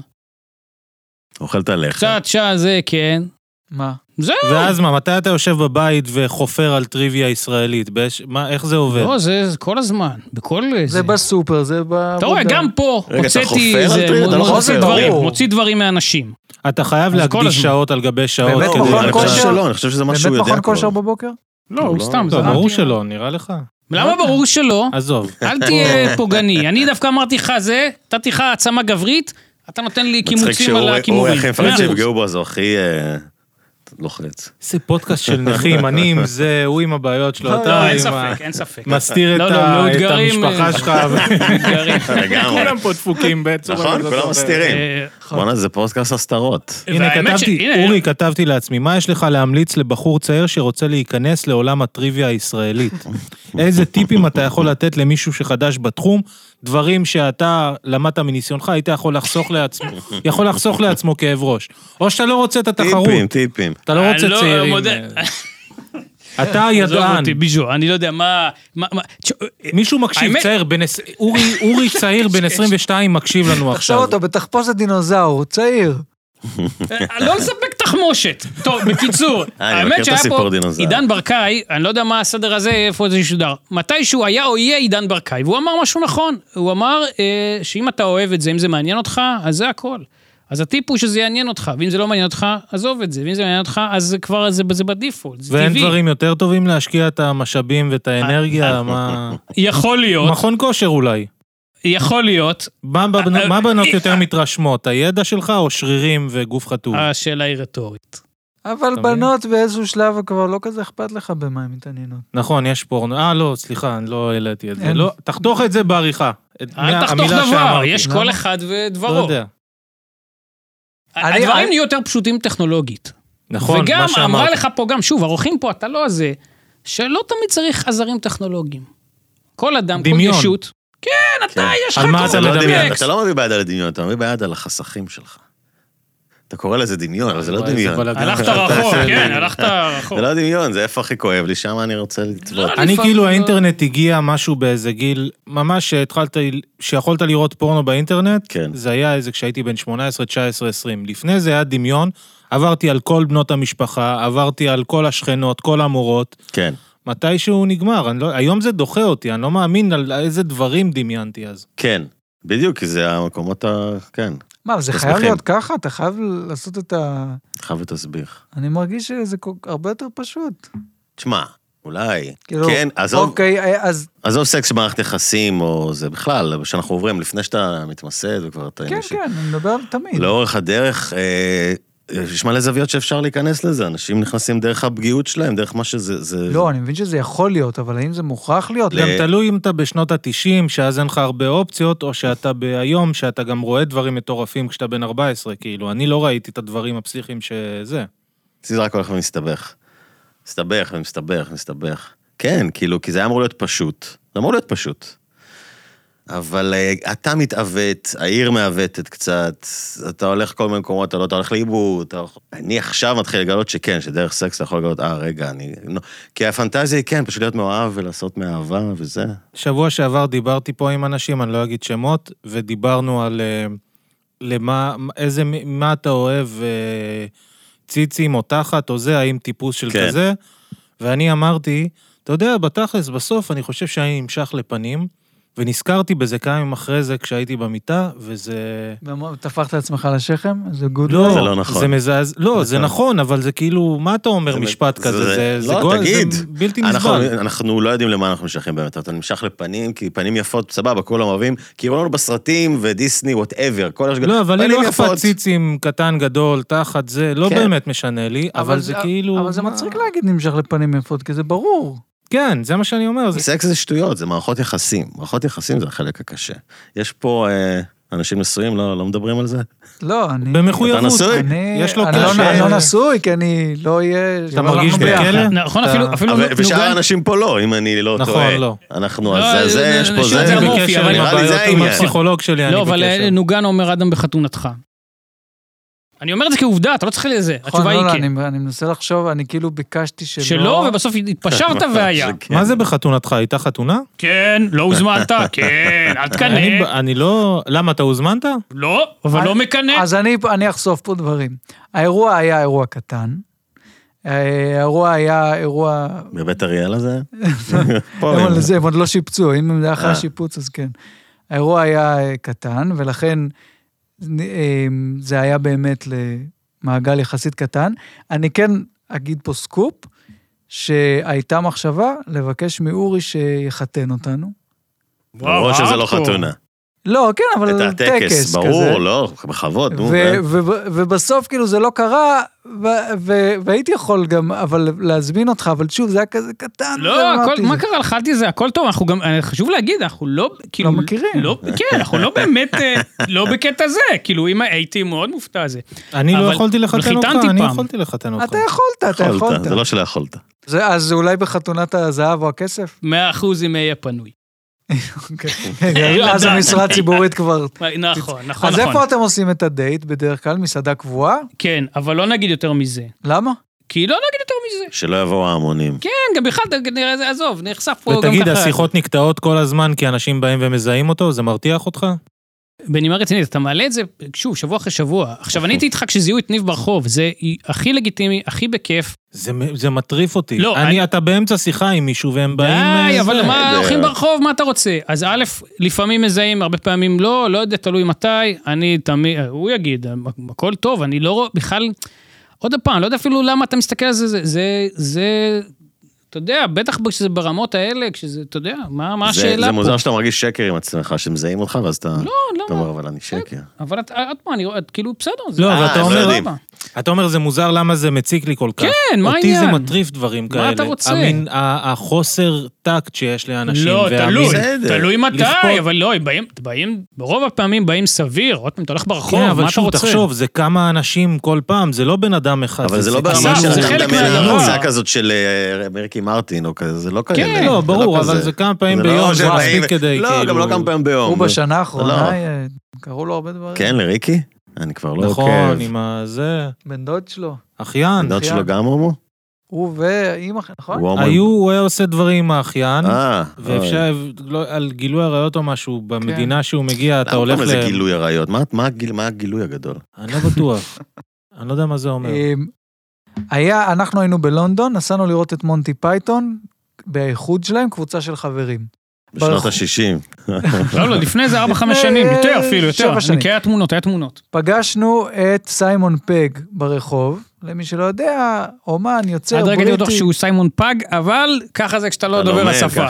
Speaker 3: אוכל את הלחם.
Speaker 2: קצת שעה זה, כן.
Speaker 1: מה?
Speaker 2: זהו.
Speaker 4: ואז מה, מתי אתה יושב בבית וחופר על טריוויה ישראלית? באיש- מה, איך זה עובד?
Speaker 2: לא, זה זה כל הזמן, בכל איזה...
Speaker 1: זה בסופר, זה בעבודה.
Speaker 2: אתה רואה, גם פה
Speaker 3: רגע, אתה
Speaker 2: הוצאתי
Speaker 3: חופר על
Speaker 2: איזה...
Speaker 3: טריוויה? אתה לא
Speaker 2: מוציא
Speaker 1: חופר.
Speaker 2: דברים,
Speaker 1: ברור.
Speaker 2: מוציא דברים מאנשים.
Speaker 4: אתה חייב
Speaker 2: אז כל
Speaker 4: להקדיש
Speaker 2: הזמן.
Speaker 4: שעות על גבי שעות
Speaker 1: באמת,
Speaker 4: כדי...
Speaker 1: מכון
Speaker 3: אני חושב
Speaker 1: כושר?
Speaker 3: שלא, אני חושב שזה משהו שהוא
Speaker 1: באמת
Speaker 3: יודע
Speaker 1: מכון כושר
Speaker 3: כבר.
Speaker 1: בבוקר?
Speaker 2: לא, הוא
Speaker 3: לא,
Speaker 2: סתם
Speaker 3: לא,
Speaker 4: לא,
Speaker 2: זרק.
Speaker 4: ברור שלא, לא. נראה לך.
Speaker 2: למה ברור שלא?
Speaker 4: עזוב.
Speaker 2: אל תהיה פוגעני. אני דווקא אמרתי לך זה, נתתי לך העצמה גברית, אתה נותן לי קימוצים על
Speaker 3: מצחיק שהוא
Speaker 2: הקימורים. כן.
Speaker 3: הכי
Speaker 2: מאה
Speaker 3: מפחד
Speaker 2: אחוז.
Speaker 3: שיפגעו בו, אז הוא הכי אה, לוחץ.
Speaker 4: איזה פודקאסט של נכים, אני עם זה, הוא עם הבעיות שלו,
Speaker 1: לא,
Speaker 4: אתה
Speaker 2: לא, אין
Speaker 4: עם ה...
Speaker 2: ספק, אין ספק.
Speaker 4: מסתיר
Speaker 2: לא,
Speaker 4: את
Speaker 2: לא,
Speaker 4: ה- את
Speaker 2: מאותגרים, אה,
Speaker 4: המשפחה שלך.
Speaker 2: מאותגרים.
Speaker 3: לגמרי.
Speaker 4: כולם פה דפוקים בצורה
Speaker 3: נכון,
Speaker 4: כזאת.
Speaker 3: כולם מסתירים.
Speaker 2: אה,
Speaker 3: בואנה, זה פודקאסט הסתרות.
Speaker 4: הנה,
Speaker 2: והאמת ש-
Speaker 4: כתבתי,
Speaker 2: הנה,
Speaker 4: אורי, כתבתי לעצמי, מה יש לך להמליץ לבחור צעיר שרוצה להיכנס לעולם הטריוויה הישראלית? איזה טיפים אתה יכול לתת למישהו שחדש בתחום? דברים שאתה למדת מניסיונך, היית יכול לחסוך לעצמו, יכול לחסוך לעצמו כאב ראש. או שאתה לא רוצה את התחרות,
Speaker 3: טיפים, טיפים.
Speaker 4: אתה לא
Speaker 2: אני
Speaker 4: רוצה
Speaker 2: לא
Speaker 4: צעירים.
Speaker 2: מודה.
Speaker 4: אה, אתה
Speaker 2: עזוב
Speaker 4: ידען.
Speaker 2: אותי, ביז'ו, אני לא יודע מה... מה- מה- תשמע,
Speaker 4: מישהו מקשיב,
Speaker 2: האמת-
Speaker 4: צעיר, בן עש- אורי- אורי צעיר בן 22 מקשיב לנו
Speaker 1: תחשוב
Speaker 4: עכשיו.
Speaker 1: אותו בתחפושת דינוזאור, צעיר.
Speaker 2: אה, לא לספק תחמושת. טוב, בקיצור,
Speaker 3: אה, אני
Speaker 2: האמת
Speaker 3: מכיר את
Speaker 2: שהיה
Speaker 3: הסיפור
Speaker 2: פה
Speaker 3: דינוזאור.
Speaker 2: עידן ברקאי, אני לא יודע מה הסדר הזה, איפה זה ישודר. מתישהו היה או יהיה עידן ברקאי, והוא אמר משהו נכון. הוא אמר אה, שאם אתה אוהב את זה, אם זה מעניין אותך, אז זה הכל. אז הטיפ הוא שזה יעניין אותך, ואם זה לא מעניין אותך, עזוב את זה, ואם זה מעניין אותך, אז זה כבר, זה, זה בדיפולט, זה
Speaker 4: ואין
Speaker 2: טבעי.
Speaker 4: דברים יותר טובים להשקיע את המשאבים ואת האנרגיה, מה...
Speaker 2: יכול להיות,
Speaker 4: מכון כושר אולי.
Speaker 2: יכול להיות,
Speaker 4: מה בבנ-
Speaker 2: אה,
Speaker 4: מה בנות
Speaker 2: אה,
Speaker 4: יותר מתרשמות, הידע שלך או שרירים וגוף חטוב?
Speaker 2: השאלה היא רטורית.
Speaker 1: אבל
Speaker 4: מבין?
Speaker 1: בנות באיזשהו שלב כבר לא כזה אכפת לך במה הן מתעניינות.
Speaker 4: נכון, יש פורנו. אה, לא, סליחה, אני לא העליתי את זה.
Speaker 1: אין.
Speaker 4: לא, תחתוך את זה בעריכה. את
Speaker 2: אל
Speaker 4: מה-
Speaker 2: תחתוך
Speaker 4: המילה
Speaker 2: דבר,
Speaker 4: שאמרתי.
Speaker 2: יש
Speaker 4: לא,
Speaker 2: כל אחד
Speaker 4: לא
Speaker 2: ודברו.
Speaker 4: יודע.
Speaker 1: אני-
Speaker 2: הדברים
Speaker 1: אני-
Speaker 2: נהיו יותר פשוטים טכנולוגית.
Speaker 4: נכון,
Speaker 2: וגם
Speaker 4: מה
Speaker 2: אמרה
Speaker 4: שאמרתי.
Speaker 2: לך פה גם, שוב, עורכים פה, אתה לא הזה, שלא תמיד צריך עזרים טכנולוגיים. כל אדם, כל
Speaker 4: דמיון.
Speaker 2: ישות. כן, אתה,
Speaker 3: כן.
Speaker 2: יש לך
Speaker 4: על מה
Speaker 2: כל
Speaker 4: אתה
Speaker 3: לא
Speaker 2: מיני
Speaker 4: מדמיין?
Speaker 3: דמיון,
Speaker 2: טקסט.
Speaker 3: אתה לא מביא ביד על הדמיון, אתה מביא ביד על החסכים שלך. אתה קורא לזה דמיון, אבל זה לא
Speaker 4: וואי, איזה
Speaker 3: דמיון.
Speaker 4: בלאגן.
Speaker 2: הלכת רחוק, כן, הלכת רחוק.
Speaker 3: זה לא דמיון, זה איפה הכי כואב לי, שם אני רוצה
Speaker 2: לא,
Speaker 3: לצבות.
Speaker 2: לא,
Speaker 4: אני
Speaker 2: לפעמים
Speaker 4: כאילו
Speaker 2: לא.
Speaker 4: האינטרנט הגיע משהו באיזה גיל, ממש שהתחלת, שיכולת לראות פורנו באינטרנט,
Speaker 3: כן.
Speaker 4: זה היה איזה כשהייתי בן 18, 19, 20. לפני זה היה דמיון, עברתי על כל בנות המשפחה, עברתי על כל השכנות, כל המורות,
Speaker 3: כן,
Speaker 4: מתישהו נגמר, אני לא, היום זה דוחה אותי, אני לא מאמין על איזה דברים דמיינתי אז.
Speaker 3: כן. בדיוק, כי זה המקומות ה... כן,
Speaker 1: מה, אבל זה
Speaker 3: אז
Speaker 1: חייב
Speaker 3: לכן.
Speaker 1: להיות ככה? אתה חייב לעשות את ה...
Speaker 3: חייב ותסביך.
Speaker 1: אני מרגיש שזה כל- הרבה יותר פשוט.
Speaker 3: תשמע, אולי.
Speaker 1: כאילו,
Speaker 3: כן, עזוב,
Speaker 1: אוקיי, אה, אז
Speaker 3: עזוב סקס במערכת יחסים, או זה בכלל, שאנחנו עוברים לפני שאתה מתמסד וכבר אתה... עם
Speaker 1: כן,
Speaker 3: מישהי.
Speaker 1: כן, אני מדבר על תמיד.
Speaker 4: לא,
Speaker 3: לאורך הדרך, אה, יש מלא זוויות שאפשר להיכנס לזה, אנשים נכנסים דרך הפגיעות שלהם, דרך מה שזה... זה-
Speaker 1: לא, אני מבין שזה יכול להיות, אבל האם זה מוכרח להיות?
Speaker 4: גם
Speaker 1: גם-
Speaker 4: תלוי אם אתה בשנות ה-90, שאז אין לך הרבה אופציות, או שאתה בהיום, שאתה גם רואה דברים מטורפים כשאתה בן 14, כאילו, אני לא ראיתי את הדברים הפסיכיים שזה.
Speaker 3: זה רק הולך ומסתבך. מסתבך ומסתבך ומסתבך. כן, כאילו, כי זה היה אמור להיות פשוט. זה אמור להיות פשוט. אבל אה, אתה מתעוות, העיר מעוותת קצת, אתה הולך כל מיני מקומות, אתה לא, אתה הולך לאיבוד, אתה... הולך- אני עכשיו מתחיל לגלות שכן, שדרך סקס אתה יכול לגלות, אה, רגע, אני... לא. כי הפנטזיה היא כן, פשוט להיות מאוהב ולעשות מאהבה וזה.
Speaker 4: שבוע שעבר דיברתי פה עם אנשים, אני לא אגיד שמות, ודיברנו על אה, למה, איזה, מה אתה אוהב, אה, ציצים או תחת או זה, האם טיפוס של
Speaker 3: כן.
Speaker 4: כזה, ואני אמרתי, אתה יודע, בתכלס, בסוף אני חושב שאני נמשך לפנים, ונזכרתי בזה כמה ימים אחרי זה כשהייתי במיטה, וזה...
Speaker 1: ומה, טפחת לעצמך על השכם? זה גוד
Speaker 4: לא,
Speaker 3: זה לא נכון.
Speaker 4: זה מזעז... לא, זה נכון, אבל זה כאילו, מה אתה אומר
Speaker 3: זה-
Speaker 4: משפט
Speaker 3: זה-
Speaker 4: כזה?
Speaker 3: זה-
Speaker 4: זה- זה
Speaker 3: לא,
Speaker 4: גול- זה
Speaker 3: תגיד.
Speaker 4: בלתי
Speaker 3: אנחנו,
Speaker 4: נסבל.
Speaker 3: אנחנו לא יודעים למה אנחנו נמשכים באמת, אתה נמשך לפנים, כי פנים יפות, סבבה, כולם אוהבים, כי ראו לנו בסרטים ודיסני, וואטאבר, כל השגרה.
Speaker 4: לא, אבל לי לא אכפת ציצים קטן, גדול, תחת זה, לא
Speaker 3: כן.
Speaker 4: באמת משנה לי, אבל זה כאילו...
Speaker 1: אבל זה
Speaker 4: מה-
Speaker 1: מצחיק להגיד נמשך לפנים יפות, כי זה ברור.
Speaker 4: כן, זה מה שאני אומר. זה-
Speaker 3: סקס זה שטויות, זה מערכות יחסים. מערכות יחסים זה החלק הקשה. יש פה אה, אנשים נשואים, לא, לא מדברים על זה?
Speaker 1: לא, אני...
Speaker 4: במחויבות.
Speaker 3: אתה נשוי?
Speaker 1: אני
Speaker 4: יש לו
Speaker 1: אני לא-
Speaker 4: קשר.
Speaker 1: אני לא נשוי, כי אני לא אהיה...
Speaker 4: אתה מרגיש
Speaker 1: אנחנו ביחד.
Speaker 4: בכלא?
Speaker 2: נכון,
Speaker 4: אתה-
Speaker 2: אפילו, אפילו
Speaker 3: אה, אבל-
Speaker 2: נוגן-
Speaker 3: ושאר האנשים פה לא, אם אני לא
Speaker 4: לא, נכון,
Speaker 3: טועה.
Speaker 4: לא. כן.
Speaker 3: אנחנו,
Speaker 2: לא,
Speaker 3: אז
Speaker 2: זה-
Speaker 3: זה, זה, יש פה
Speaker 2: אנשים
Speaker 3: זה.
Speaker 4: אני
Speaker 2: זה המורפי,
Speaker 4: בקשר
Speaker 2: אבל
Speaker 4: עם
Speaker 3: נראה לי זה
Speaker 4: הבעיות, עם
Speaker 3: העניין.
Speaker 2: אה,
Speaker 4: הפסיכולוג שלי, אני
Speaker 2: לא, אבל
Speaker 4: בקשר.
Speaker 2: נוגן אומר אדם בחתונתך. אני אומר את זה כעובדה, אתה לא צריך לזה.
Speaker 1: נכון,
Speaker 2: התשובה היא
Speaker 1: לא, לא,
Speaker 2: כן.
Speaker 1: אני, אני מנסה לחשוב, אני כאילו ביקשתי שלא...
Speaker 4: לא.
Speaker 2: שלא, ובסוף התפשרת והיה.
Speaker 3: כן.
Speaker 4: מה זה בחתונתך? הייתה חתונה?
Speaker 2: כן, לא הוזמנת, כן, אל
Speaker 4: אני ב-
Speaker 2: תקנא.
Speaker 4: אני לא... למה, אתה הוזמנת?
Speaker 2: לא, אבל
Speaker 1: אז-
Speaker 2: לא מקנא.
Speaker 1: אז אני, אני אחשוף פה דברים. האירוע היה אירוע קטן. אה, האירוע היה אירוע...
Speaker 3: בבית אריאלה זה?
Speaker 4: לא,
Speaker 3: פה,
Speaker 1: הם
Speaker 3: הנה.
Speaker 1: על זה, הם עוד לא שיפצו, אם זה היה אחרי
Speaker 3: אה.
Speaker 1: השיפוץ אז כן. האירוע היה אה, קטן, ולכן אה, זה היה באמת למעגל יחסית קטן. אני כן אגיד פה סקופ, שהייתה מחשבה לבקש מאורי שיחתן אותנו.
Speaker 2: וואו,
Speaker 3: ברור שזה לא
Speaker 2: הארדקור.
Speaker 3: חתונה.
Speaker 1: לא, כן, אבל
Speaker 3: את
Speaker 1: טקס כזה.
Speaker 3: הטקס, ברור, לא, בכבוד, נו.
Speaker 1: ו-
Speaker 3: אה.
Speaker 1: ו- ובסוף כאילו זה לא קרה, ו- ו- והייתי יכול גם, אבל להזמין אותך, אבל שוב, זה היה כזה קטן.
Speaker 2: לא,
Speaker 1: ואמרתי,
Speaker 2: הכל,
Speaker 1: זה-
Speaker 2: מה קרה לך? אל תזה, הכל טוב, אנחנו גם, אה, חשוב להגיד, אנחנו לא, כאילו,
Speaker 1: מכירים.
Speaker 2: לא, כן, אנחנו לא באמת, אה, לא בקטע זה, כאילו, אם הייתי מאוד מופתע זה.
Speaker 4: אני
Speaker 2: אבל-
Speaker 4: לא יכולתי לחתן
Speaker 2: אבל
Speaker 4: אותך,
Speaker 2: חיתנתי
Speaker 4: אני
Speaker 2: פעם.
Speaker 4: יכולתי לחתן אותך.
Speaker 1: אתה יכולת, אתה
Speaker 3: יכולת,
Speaker 1: יכולת.
Speaker 3: זה לא שלא יכולת.
Speaker 1: זה- אז זה אולי בחתונת הזהב או הכסף?
Speaker 2: 100% אם יהיה פנוי.
Speaker 1: כן, אז
Speaker 2: יודע.
Speaker 1: המשרה הציבורית כבר...
Speaker 2: נכון, לא, נכון,
Speaker 1: אז
Speaker 2: נכון.
Speaker 1: איפה אתם עושים את הדייט בדרך כלל? מסעדה קבועה?
Speaker 2: כן, אבל לא נגיד יותר מזה.
Speaker 1: למה?
Speaker 2: כי לא נגיד יותר מזה.
Speaker 3: שלא יבואו ההמונים.
Speaker 2: כן, גם בכלל, נראה זה, עזוב, נחשף פה גם ככה.
Speaker 4: ותגיד, השיחות נקטעות כל הזמן כי אנשים באים ומזהים אותו? זה מרתיח אותך?
Speaker 2: בנימה רצינית, אתה מעלה את זה, שוב, שבוע אחרי שבוע. עכשיו, אני הייתי איתך כשזיהו את ניב ברחוב, זה הכי לגיטימי, הכי בכיף.
Speaker 4: זה מ- זה מטריף אותי.
Speaker 2: לא,
Speaker 4: אני-
Speaker 2: אני-
Speaker 4: אתה באמצע שיחה עם מישהו והם באים...
Speaker 2: די,
Speaker 4: אה,
Speaker 2: אבל
Speaker 4: זה.
Speaker 2: מה,
Speaker 3: זה-
Speaker 2: הולכים ברחוב, מה אתה רוצה? אז א', לפעמים מזהים, הרבה פעמים לא, לא יודע, תלוי מתי. אני תמיד, הוא יגיד, הכל טוב, אני לא רואה, בכלל, עוד פעם, לא יודע אפילו למה אתה מסתכל על זה, זה, זה, זה, אתה יודע, בטח כשזה ברמות האלה, כשזה, אתה יודע, מה, מה
Speaker 3: זה-
Speaker 2: השאלה פה?
Speaker 3: זה מוזר שאתה מרגיש שקר עם עצמך, שמזהים אותך, ואז אתה
Speaker 2: לא,
Speaker 3: אתה אומר, אבל אני שקר.
Speaker 2: אבל את- עוד פעם, אני רואה, את כאילו, בסדר. זה-
Speaker 4: לא, אבל
Speaker 3: אה,
Speaker 4: אתה
Speaker 3: הם
Speaker 4: אומר-
Speaker 3: לא יודעים.
Speaker 4: אתה אומר, זה מוזר למה זה מציק לי כל כך.
Speaker 2: כן, מה
Speaker 4: אותי
Speaker 2: העניין?
Speaker 4: זה מטריף דברים
Speaker 2: מה
Speaker 4: כאלה.
Speaker 2: אתה רוצה?
Speaker 4: המין- ה- החוסר טקט שיש לאנשים.
Speaker 2: לא,
Speaker 4: והמין-
Speaker 2: תלוי,
Speaker 3: בסדר.
Speaker 2: תלוי
Speaker 4: לכפות.
Speaker 2: מתי, אבל לא, הם באים, באים, ברוב הפעמים באים סביר, עוד פעם, אתה הולך ברחוב,
Speaker 4: כן,
Speaker 2: מה אתה רוצה?
Speaker 4: אבל שוב, תחשוב, זה כמה אנשים כל פעם, זה לא בן אדם אחד.
Speaker 3: אבל זה לא
Speaker 4: כמה
Speaker 3: ברמה
Speaker 2: בסדר,
Speaker 3: של
Speaker 4: אנשים.
Speaker 2: זה
Speaker 3: אני
Speaker 2: חלק
Speaker 3: מדמיין על
Speaker 2: מהדבר.
Speaker 3: הרצאה כזאת של אה, מרקי מרטין או כזה, זה לא כאלה.
Speaker 2: כן,
Speaker 3: זה
Speaker 4: לא, ברור,
Speaker 3: כזה.
Speaker 4: אבל זה כמה פעמים
Speaker 3: זה לא
Speaker 4: ביום, זה
Speaker 3: שבאים-
Speaker 4: מספיק כדי,
Speaker 3: לא, גם
Speaker 4: כאילו-
Speaker 3: לא כמה פעמים ביום.
Speaker 1: הוא בשנה האחרונה,
Speaker 3: לא.
Speaker 1: אה, קראו לו הרבה דברים.
Speaker 3: כן, לריקי? אני כבר לא עוקב.
Speaker 4: נכון, עם ה... זה...
Speaker 1: בן דוד שלו.
Speaker 4: אחיין.
Speaker 3: הדוד
Speaker 1: אחיין.
Speaker 3: שלו גם הומו?
Speaker 1: הוא ואימא, נכון?
Speaker 3: הוא הומו.
Speaker 4: היו, הוא היה עושה דברים עם האחיין.
Speaker 3: אה. אוי.
Speaker 4: ואפשר, לא, על גילוי עריות או משהו,
Speaker 2: כן.
Speaker 4: במדינה שהוא מגיע, אתה
Speaker 3: למה
Speaker 4: הולך
Speaker 3: קוראים
Speaker 4: ל...
Speaker 3: לזה גילוי עריות? מה- מה הגיל- מה הגילוי הגדול?
Speaker 4: אני לא בטוח. אני לא יודע מה זה אומר.
Speaker 2: אה,
Speaker 1: אמ, היה, אנחנו היינו בלונדון, נסענו לראות את מונטי פייתון, באיחוד שלהם, קבוצה של חברים.
Speaker 3: בשנות
Speaker 1: ברחוב.
Speaker 3: ה-60.
Speaker 2: לא, לא, לפני זה 4-5 שנים,
Speaker 1: אה,
Speaker 2: יותר אפילו, יותר.
Speaker 1: שבע שנים.
Speaker 2: אני- כי היה תמונות, היה תמונות.
Speaker 1: פגשנו את סיימון פג ברחוב, למי שלא יודע, אומן, יוצר,
Speaker 2: עד רגע אני לא בטוח
Speaker 1: בריטי,
Speaker 2: שהוא סיימון פג, אבל ככה זה כשאתה לא דובר השפה.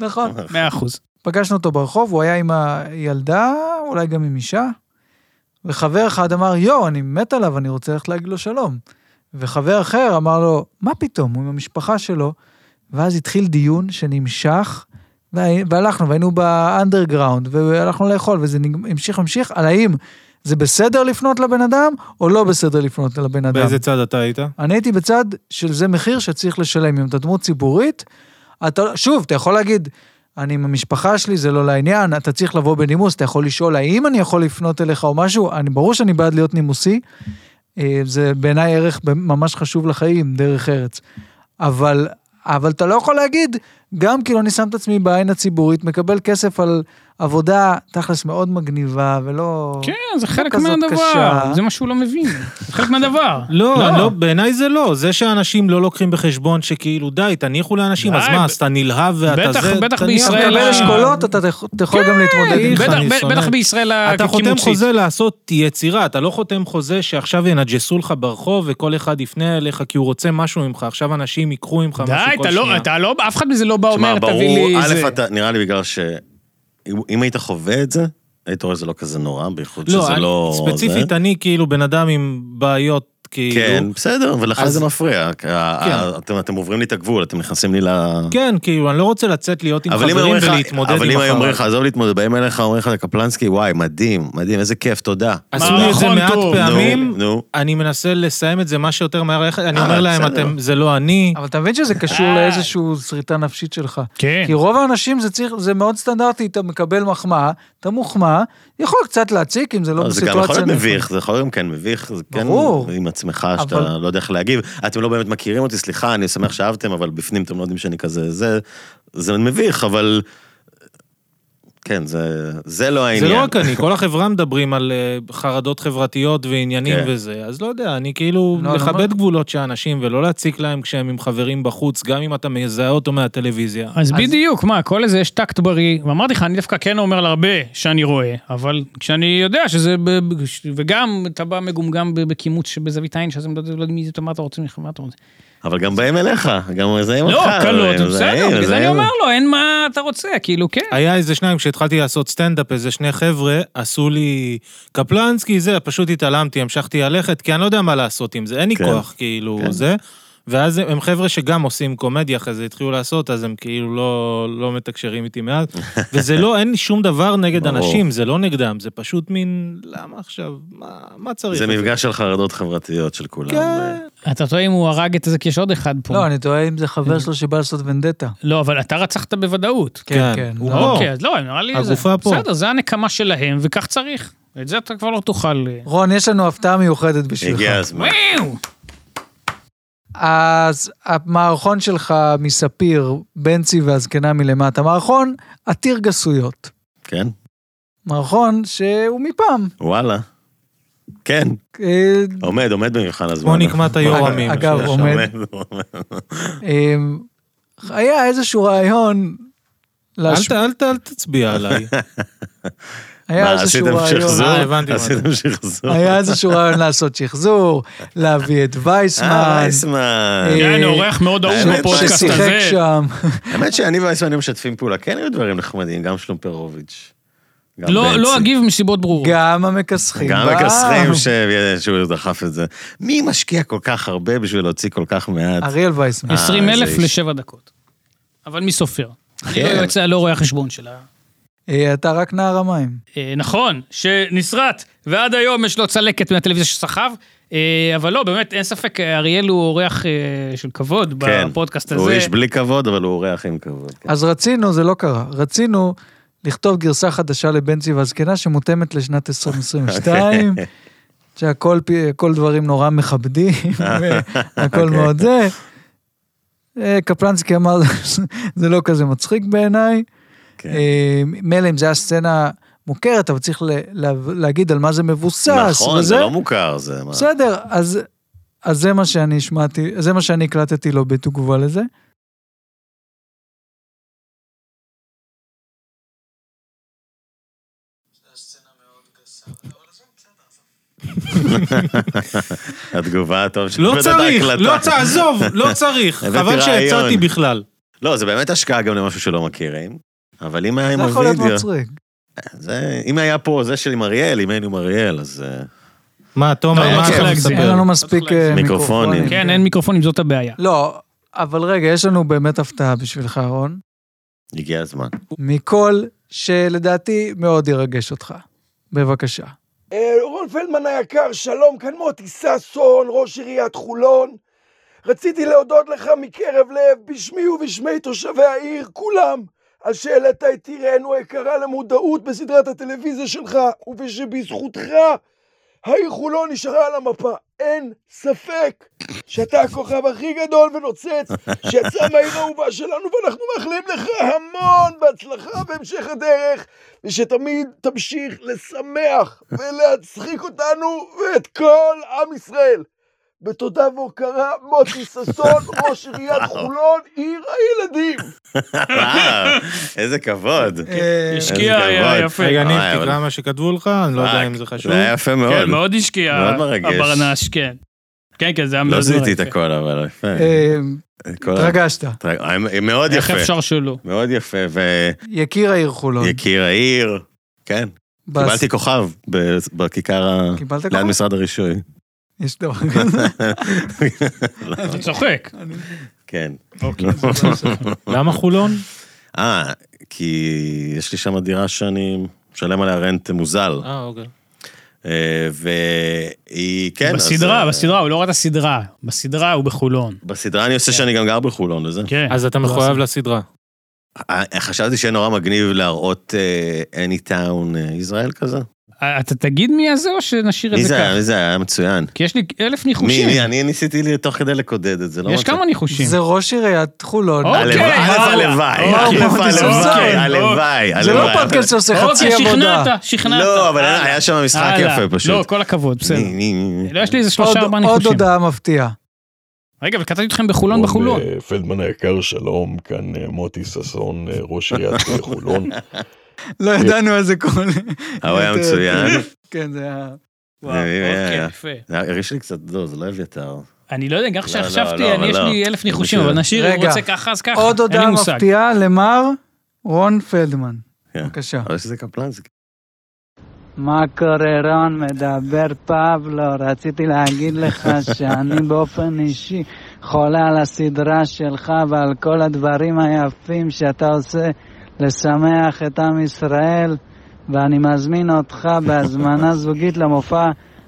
Speaker 1: נכון.
Speaker 2: 100%.
Speaker 1: פגשנו אותו ברחוב, הוא היה עם הילדה, אולי גם עם אישה, וחבר אחד אמר, יואו, אני מת עליו, אני רוצה ללכת להגיד לו שלום. וחבר אחר אמר לו, מה פתאום, הוא עם המשפחה שלו. ואז התחיל דיון שנמשך, והי- והלכנו, והיינו באנדרגראונד, והלכנו לאכול, וזה נג- המשיך, המשיך, על האם זה בסדר לפנות לבן אדם, או לא בסדר לפנות לבן אדם.
Speaker 4: באיזה צד אתה היית?
Speaker 1: אני הייתי בצד של זה מחיר שצריך לשלם. אם אתה דמות ציבורית, אתה, שוב, אתה יכול להגיד, אני עם המשפחה שלי, זה לא לעניין, אתה צריך לבוא בנימוס, אתה יכול לשאול האם אני יכול לפנות אליך או משהו, אני, ברור שאני בעד להיות נימוסי, אה, זה בעיניי ערך ממש חשוב לחיים, דרך ארץ. אבל, אבל אתה לא יכול להגיד, גם כאילו אני שם את עצמי בעין הציבורית, מקבל כסף על עבודה, תכלס מאוד מגניבה, ולא...
Speaker 4: לא.
Speaker 2: כן, זה חלק
Speaker 1: כזאת
Speaker 2: מהדבר,
Speaker 1: קשה.
Speaker 2: זה מה שהוא לא מבין. זה חלק מהדבר. אה,
Speaker 4: לא, אני לא, בעיניי זה לא. זה שאנשים לא לוקחים בחשבון שכאילו, די, תניחו לאנשים, אז
Speaker 2: די,
Speaker 4: מה,
Speaker 2: ב-
Speaker 4: אז אתה נלהב ואתה
Speaker 2: בטח-
Speaker 4: זה...
Speaker 2: בטח
Speaker 4: תניח-
Speaker 1: אתה
Speaker 2: בישראל
Speaker 1: מקבל
Speaker 2: ה- כן,
Speaker 1: אשכולות, אתה תכ- אתה יכול גם להתמודד עם
Speaker 4: איך
Speaker 2: בטח-
Speaker 4: אני
Speaker 2: בטח-
Speaker 4: שונא.
Speaker 2: בטח בישראל
Speaker 4: אתה חותם
Speaker 2: הקימוצית.
Speaker 4: חוזה לעשות יצירה, אתה לא חותם חוזה שעכשיו ינג'סו לך ברחוב וכל אחד יפנה אליך כי הוא רוצה משהו ממך, עכשיו אנשים ייקחו ממך משהו כל
Speaker 2: די,
Speaker 4: שנייה.
Speaker 2: אתה לא, אתה לא, אף אחד מזה לא בא
Speaker 3: תשמע,
Speaker 2: אומר, תביא
Speaker 3: ברור,
Speaker 2: לי
Speaker 3: א',
Speaker 2: זה.
Speaker 3: אתה- נראה לי בגלל ש... אם- אם היית חווה את זה, היית רואה שזה לא כזה נורא, בייחוד שזה
Speaker 4: אני-
Speaker 3: לא... זה.
Speaker 4: ספציפית, אני כאילו בן אדם עם בעיות כאילו.
Speaker 3: כן, בסדר, ולך
Speaker 4: אז-
Speaker 3: זה מפריע. ה- אתם אתם עוברים לי את הגבול, אתם נכנסים לי ל...
Speaker 4: כן, כאילו, אני לא רוצה לצאת להיות עם
Speaker 3: אבל אם
Speaker 4: חברים
Speaker 3: אומרים לך-
Speaker 4: ולהתמודד
Speaker 3: אבל
Speaker 4: עם
Speaker 3: אם היו אומרים לך,
Speaker 4: החרא.
Speaker 3: עזוב להתמודד, באים אליך, אומרים לך, קפלנסקי, וואי, מדהים, מדהים, איזה כיף, תודה.
Speaker 4: עשו לי את זה
Speaker 2: מערכון
Speaker 4: מעט
Speaker 2: טוב.
Speaker 3: נו,
Speaker 4: פעמים,
Speaker 3: נו.
Speaker 4: אני מנסה לסיים את זה מה שיותר מהר, איך- אני
Speaker 3: אה,
Speaker 4: אומר להם,
Speaker 3: בסדר.
Speaker 4: אתם, זה לא אני.
Speaker 1: אבל אתה מבין שזה קשור
Speaker 3: אה.
Speaker 1: לאיזושהי שריטה נפשית שלך.
Speaker 2: כן.
Speaker 1: כי רוב האנשים זה צריך, זה מאוד סטנדרטי, אתה מקבל מחמאה, אתה מוחמא, יכול קצת להציק אם זה לא
Speaker 3: לא, זה
Speaker 1: בסיטואציה.
Speaker 3: גם יכול להיות
Speaker 1: נכונה.
Speaker 3: מביך, זה יכול להיות גם כן מביך, זה כן
Speaker 1: ברור.
Speaker 3: עם עצמך, שאתה
Speaker 1: אבל-
Speaker 3: לא יודע איך להגיב. אתם לא באמת מכירים אותי, סליחה, אני שמח שאהבתם, אבל בפנים אתם לא יודעים שאני כזה, זה, זה מביך, אבל... כן, זה, זה לא
Speaker 4: זה
Speaker 3: העניין.
Speaker 4: לא רק אני, כל החברה מדברים על אה, חרדות חברתיות ועניינים
Speaker 3: כן.
Speaker 4: וזה, אז לא יודע, אני כאילו,
Speaker 1: לא, אני אומר-
Speaker 4: לכבד גבולות של האנשים ולא להציק להם כשהם עם חברים בחוץ, גם אם אתה מזהה אותו מהטלוויזיה.
Speaker 2: אז בדיוק, מה, כל איזה יש טקט בריא, ואמרתי לך, אני דווקא כן אומר להרבה שאני רואה, אבל כשאני יודע שזה, ב- ב- ש- וגם אתה בא מגומגם ב- בקימוץ שבזווית עין, שזה לא יודע לא יודע מי זה, מה אתה רוצה, מה אתה רוצה.
Speaker 3: אבל גם באים אליך, גם מזהים
Speaker 2: לא,
Speaker 3: אותך.
Speaker 2: קלות,
Speaker 3: מזהים,
Speaker 2: בסדר, בגלל זה אני
Speaker 3: מזהים.
Speaker 2: אומר לו, אין מה אתה רוצה, כאילו, כן.
Speaker 4: היה איזה שניים, כשהתחלתי לעשות סטנדאפ, איזה שני חבר'ה עשו לי קפלנסקי, זה, פשוט התעלמתי, המשכתי ללכת, כי אני לא יודע מה לעשות עם זה, אין לי
Speaker 3: כן.
Speaker 4: כוח, כאילו,
Speaker 3: כן.
Speaker 4: זה. ואז הם חבר'ה שגם עושים קומדיה, אחרי זה התחילו לעשות, אז הם כאילו לא, לא מתקשרים איתי מאז. וזה לא, אין לי שום דבר נגד
Speaker 3: ברור.
Speaker 4: אנשים, זה לא נגדם, זה פשוט מין, למה עכשיו, מה, מה צריך?
Speaker 3: זה
Speaker 4: את
Speaker 3: מפגש של חרדות חברתיות של כולם.
Speaker 4: כן.
Speaker 2: אתה טועה אם הוא הרג את זה, כי יש עוד אחד פה.
Speaker 1: לא, אני תוהה אם זה
Speaker 3: כן.
Speaker 1: חבר שלו שבא לעשות ונדטה.
Speaker 2: לא, אבל אתה רצחת בוודאות.
Speaker 1: כן, כן.
Speaker 4: הוא
Speaker 1: לא.
Speaker 4: פה.
Speaker 2: אוקיי, אז לא, נראה לי... זה-
Speaker 4: הגופה פה.
Speaker 2: בסדר, זה הנקמה שלהם, וכך צריך. את זה אתה כבר לא תוכל... אה,
Speaker 1: רון, יש לנו הפתעה מיוחדת בשבילך.
Speaker 3: אה, הגיע הזמן.
Speaker 2: וואו!
Speaker 1: אה, אז המערכון שלך מספיר, בנצי והזקנה מלמטה, מערכון עתיר גסויות.
Speaker 3: כן,
Speaker 1: מערכון שהוא מפעם.
Speaker 3: וואלה. כן,
Speaker 1: אה,
Speaker 3: עומד, עומד במבחן הזמן.
Speaker 4: כמו נקמת היורמים.
Speaker 1: אגב, אגב, עומד.
Speaker 3: עומד.
Speaker 1: אה, היה איזשהו רעיון,
Speaker 4: אל,
Speaker 1: להש-
Speaker 4: ת, אל, ת, אל תצביע עליי.
Speaker 1: היה
Speaker 3: מה,
Speaker 1: איזשהו
Speaker 3: עשיתם שחזור?
Speaker 1: רעיון,
Speaker 4: אה, הבנתי מה
Speaker 3: עשיתם שחזור.
Speaker 1: היה איזשהו רעיון לעשות שחזור, להביא את
Speaker 3: אה,
Speaker 1: וייסמן,
Speaker 3: וייסמן.
Speaker 1: אה,
Speaker 2: כן, אורח מאוד אהוב
Speaker 3: האמת
Speaker 2: בפודקאסט
Speaker 1: ששיחק
Speaker 2: הזה.
Speaker 1: שם.
Speaker 3: האמת שאני והייסמן היו משתפים פעולה, כן היו דברים נחמדים, גם שלומפרוביץ'. גם
Speaker 2: לא
Speaker 3: בנצי.
Speaker 2: לא אגיב מסיבות ברורות.
Speaker 1: גם המכסחים.
Speaker 3: גם
Speaker 1: בעם.
Speaker 3: מכסחים ש- שהוא דחף את זה. מי משקיע כל כך הרבה בשביל להוציא כל כך מעט?
Speaker 1: אריאל וייסמן.
Speaker 3: אה,
Speaker 2: 20 אלף
Speaker 3: איזה איש.
Speaker 2: לשבע דקות. אבל מי סופר? אני לא
Speaker 3: כן.
Speaker 2: יועץ, לא רואה החשבון שלה.
Speaker 1: אה, אתה רק נער המים.
Speaker 2: אה, נכון, שנסרט, ועד היום יש לו צלקת מהטלוויזיה שסחב, אה, אבל לא, באמת, אין ספק, אה, אריאל הוא אורח אה, של כבוד
Speaker 3: כן.
Speaker 2: בפודקאסט
Speaker 3: הוא
Speaker 2: הזה.
Speaker 3: איש בלי כבוד, אבל הוא אורח עם כבוד. כן.
Speaker 1: אז רצינו, זה לא קרה, רצינו לכתוב גרסה חדשה לבנצי והזקנה שמותאמת לשנת 2022, שהכל פי- הכל דברים נורא מכבדים, והכל
Speaker 3: אוקיי.
Speaker 1: מאוד זה. אה, קפלנסקי אמר, זה לא כזה מצחיק בעיניי.
Speaker 3: כן.
Speaker 1: אה, מילא אם זו הייתה סצנה מוכרת, אבל צריך ל- לה- להגיד על מה זה מבוסס.
Speaker 3: נכון,
Speaker 1: וזה.
Speaker 3: זה לא מוכר, זה... מה-
Speaker 1: בסדר, אז, אז זה מה שאני השמעתי, זה מה שאני הקלטתי לו בתגובה לזה.
Speaker 3: התגובה הטוב של
Speaker 4: לא
Speaker 3: עובד
Speaker 4: צריך,
Speaker 3: ההקלטה.
Speaker 4: לא צריך, עזוב, לא צריך.
Speaker 3: הבאתי
Speaker 4: חבל שיצאתי
Speaker 3: רעיון.
Speaker 4: בכלל.
Speaker 3: לא, זה באמת השקעה גם למשהו שלא מכירים, אבל אם היה עם
Speaker 1: זה יכול להיות
Speaker 3: הווידאו,
Speaker 1: מצחיק.
Speaker 3: זה- אם היה פה זה של עם אריאל, אם היינו עם אריאל, אז... אה,
Speaker 4: מה, תומר,
Speaker 2: לא
Speaker 4: מה
Speaker 2: צריך
Speaker 4: אתה
Speaker 2: להגזים.
Speaker 4: מספר?
Speaker 1: אין לנו מספיק
Speaker 2: צריך
Speaker 1: אה,
Speaker 3: מיקרופונים.
Speaker 1: מיקרופונים.
Speaker 2: כן, אין מיקרופונים, זאת הבעיה.
Speaker 1: לא, אבל רגע, יש לנו באמת הפתעה בשבילך, רון,
Speaker 3: הגיע הזמן.
Speaker 1: מכל שלדעתי מאוד ירגש אותך. בבקשה.
Speaker 5: אה, רון פלדמן היקר, שלום, כאן מוטי ששון, ראש עיריית חולון. רציתי להודות לך מקרב לב, בשמי ובשמי תושבי העיר, כולם, על שהעלית את עירנו היקרה למודעות בסדרת הטלוויזיה שלך, ובשבזכותך העיר חולון נשארה על המפה. אין ספק שאתה הכוכב הכי גדול ונוצץ שיצא מהעיר האהובה שלנו, ואנחנו מאחלים לך המון בהצלחה בהמשך הדרך, ושתמיד תמשיך לשמח ולהצחיק אותנו ואת כל עם ישראל. בתודה והוקרה, מוטי ששון, ראש עיריית חולון, עיר הילדים.
Speaker 3: וואו, איזה כבוד.
Speaker 1: אה,
Speaker 2: השקיע
Speaker 3: איזה גבוה.
Speaker 2: אה, יפה.
Speaker 4: רגע, ניב,
Speaker 3: אה, אבל-
Speaker 4: תקרא מה שכתבו לך, אני לא יודע אם זה חשוב.
Speaker 3: זה היה יפה
Speaker 2: כן,
Speaker 3: מאוד.
Speaker 2: מאוד השקיע,
Speaker 3: מאוד מרגש.
Speaker 2: הברנש, כן. כן, כן, זה היה מאוד
Speaker 3: לא זיהיתי את
Speaker 2: מרגש.
Speaker 3: הכל, אבל יפה.
Speaker 1: אה,
Speaker 3: כל ה-
Speaker 1: התרגשת.
Speaker 3: טרג- אה, מאוד
Speaker 2: איך
Speaker 3: יפה.
Speaker 2: אפשר שלא?
Speaker 3: מאוד יפה,
Speaker 1: יקיר העיר חולון.
Speaker 3: ויקיר העיר. כן,
Speaker 1: בס-
Speaker 3: קיבלתי כוכב ב- בכיכר ה...
Speaker 1: קיבלת
Speaker 3: ליד
Speaker 4: כן,
Speaker 1: כוכב?
Speaker 3: משרד הרישוי.
Speaker 1: יש דבר כזה.
Speaker 2: אתה צוחק.
Speaker 3: כן.
Speaker 2: אוקיי.
Speaker 4: למה חולון?
Speaker 3: אה, כי יש לי שם דירה שאני משלם עליה רנט מוזל.
Speaker 4: אה, אוקיי.
Speaker 3: אה, והיא, כן. אז,
Speaker 2: בסדרה,
Speaker 3: אה,
Speaker 2: בסדרה, הוא לא ראה את הסדרה. בסדרה הוא בחולון.
Speaker 3: בסדרה אני עושה שאני גם גר בחולון וזה.
Speaker 2: כן.
Speaker 4: אז אתה מחויב לסדרה.
Speaker 3: אה, חשבתי שיהיה נורא מגניב להראות אה, any town אה, ישראל כזה.
Speaker 2: אה, אתה תגיד מי הזה או שנשאיר את
Speaker 3: מי
Speaker 2: זה
Speaker 3: זה היה?
Speaker 2: ככה?
Speaker 3: מי זה היה? היה מצוין.
Speaker 2: כי יש לי אלף
Speaker 3: מי,
Speaker 2: ניחושים.
Speaker 3: מי, אני ניסיתי לי תוך כדי לקודד את זה, לא
Speaker 2: יש כמה ניחושים.
Speaker 1: זה ראש עיריית חולון.
Speaker 2: אוקיי.
Speaker 3: הלוואי,
Speaker 2: וואלה. וואו,
Speaker 3: הלוואי,
Speaker 2: לא
Speaker 3: הלוואי,
Speaker 1: אוקיי,
Speaker 3: הלוואי,
Speaker 1: אוקיי.
Speaker 3: הלוואי.
Speaker 1: זה לא
Speaker 3: הלוואי.
Speaker 1: פודקאסט שעושה חצי
Speaker 2: אוקיי,
Speaker 1: עבודה.
Speaker 2: שכנעת, שכנעת.
Speaker 3: לא, אבל
Speaker 2: הלאה.
Speaker 3: היה שם משחק
Speaker 2: הלאה.
Speaker 3: יפה פשוט.
Speaker 2: לא, כל הכבוד, בסדר.
Speaker 3: מי, מי, מי.
Speaker 2: לא, יש לי איזה שלושה
Speaker 1: עוד-
Speaker 2: ארבעה
Speaker 1: עוד
Speaker 2: ניחושים.
Speaker 1: הודעה מפתיעה.
Speaker 2: רגע, אבל קטעתי אתכם בחולון
Speaker 6: רון,
Speaker 2: בחולון.
Speaker 6: אה, פלדמן היקר, שלום, כאן אה, מוטי ששון, אה, ראש עיריית אה, חולון.
Speaker 1: לא ידענו איזה קול.
Speaker 3: אה, הוא היה מצוין.
Speaker 1: כן, זה היה...
Speaker 2: וואו,
Speaker 3: אה, אה,
Speaker 2: אוקיי,
Speaker 3: אה.
Speaker 2: יפה.
Speaker 3: זה היה- הרגיש לי קצת, לא, זה לא אביתר.
Speaker 2: אני לא יודע, גם
Speaker 3: לא,
Speaker 2: שחשבתי,
Speaker 3: לא,
Speaker 2: אני- יש
Speaker 3: אבל
Speaker 2: לי
Speaker 3: לא.
Speaker 2: אלף ניחושים,
Speaker 3: בסדר.
Speaker 2: אבל נשאיר, הוא
Speaker 1: רגע.
Speaker 2: רוצה ככה אז ככה,
Speaker 1: עוד
Speaker 2: אין לי
Speaker 1: הודעה
Speaker 2: מושג.
Speaker 1: מפתיעה למר רון פלדמן.
Speaker 3: כן.
Speaker 1: בבקשה.
Speaker 3: אבל שזה קפלן, זה
Speaker 7: מה קורה רון? מדבר פבלו. רציתי להגיד לך שאני באופן אישי חולה על הסדרה שלך ועל כל הדברים היפים שאתה עושה לשמח את עם ישראל, ואני מזמין אותך בהזמנה זוגית למופע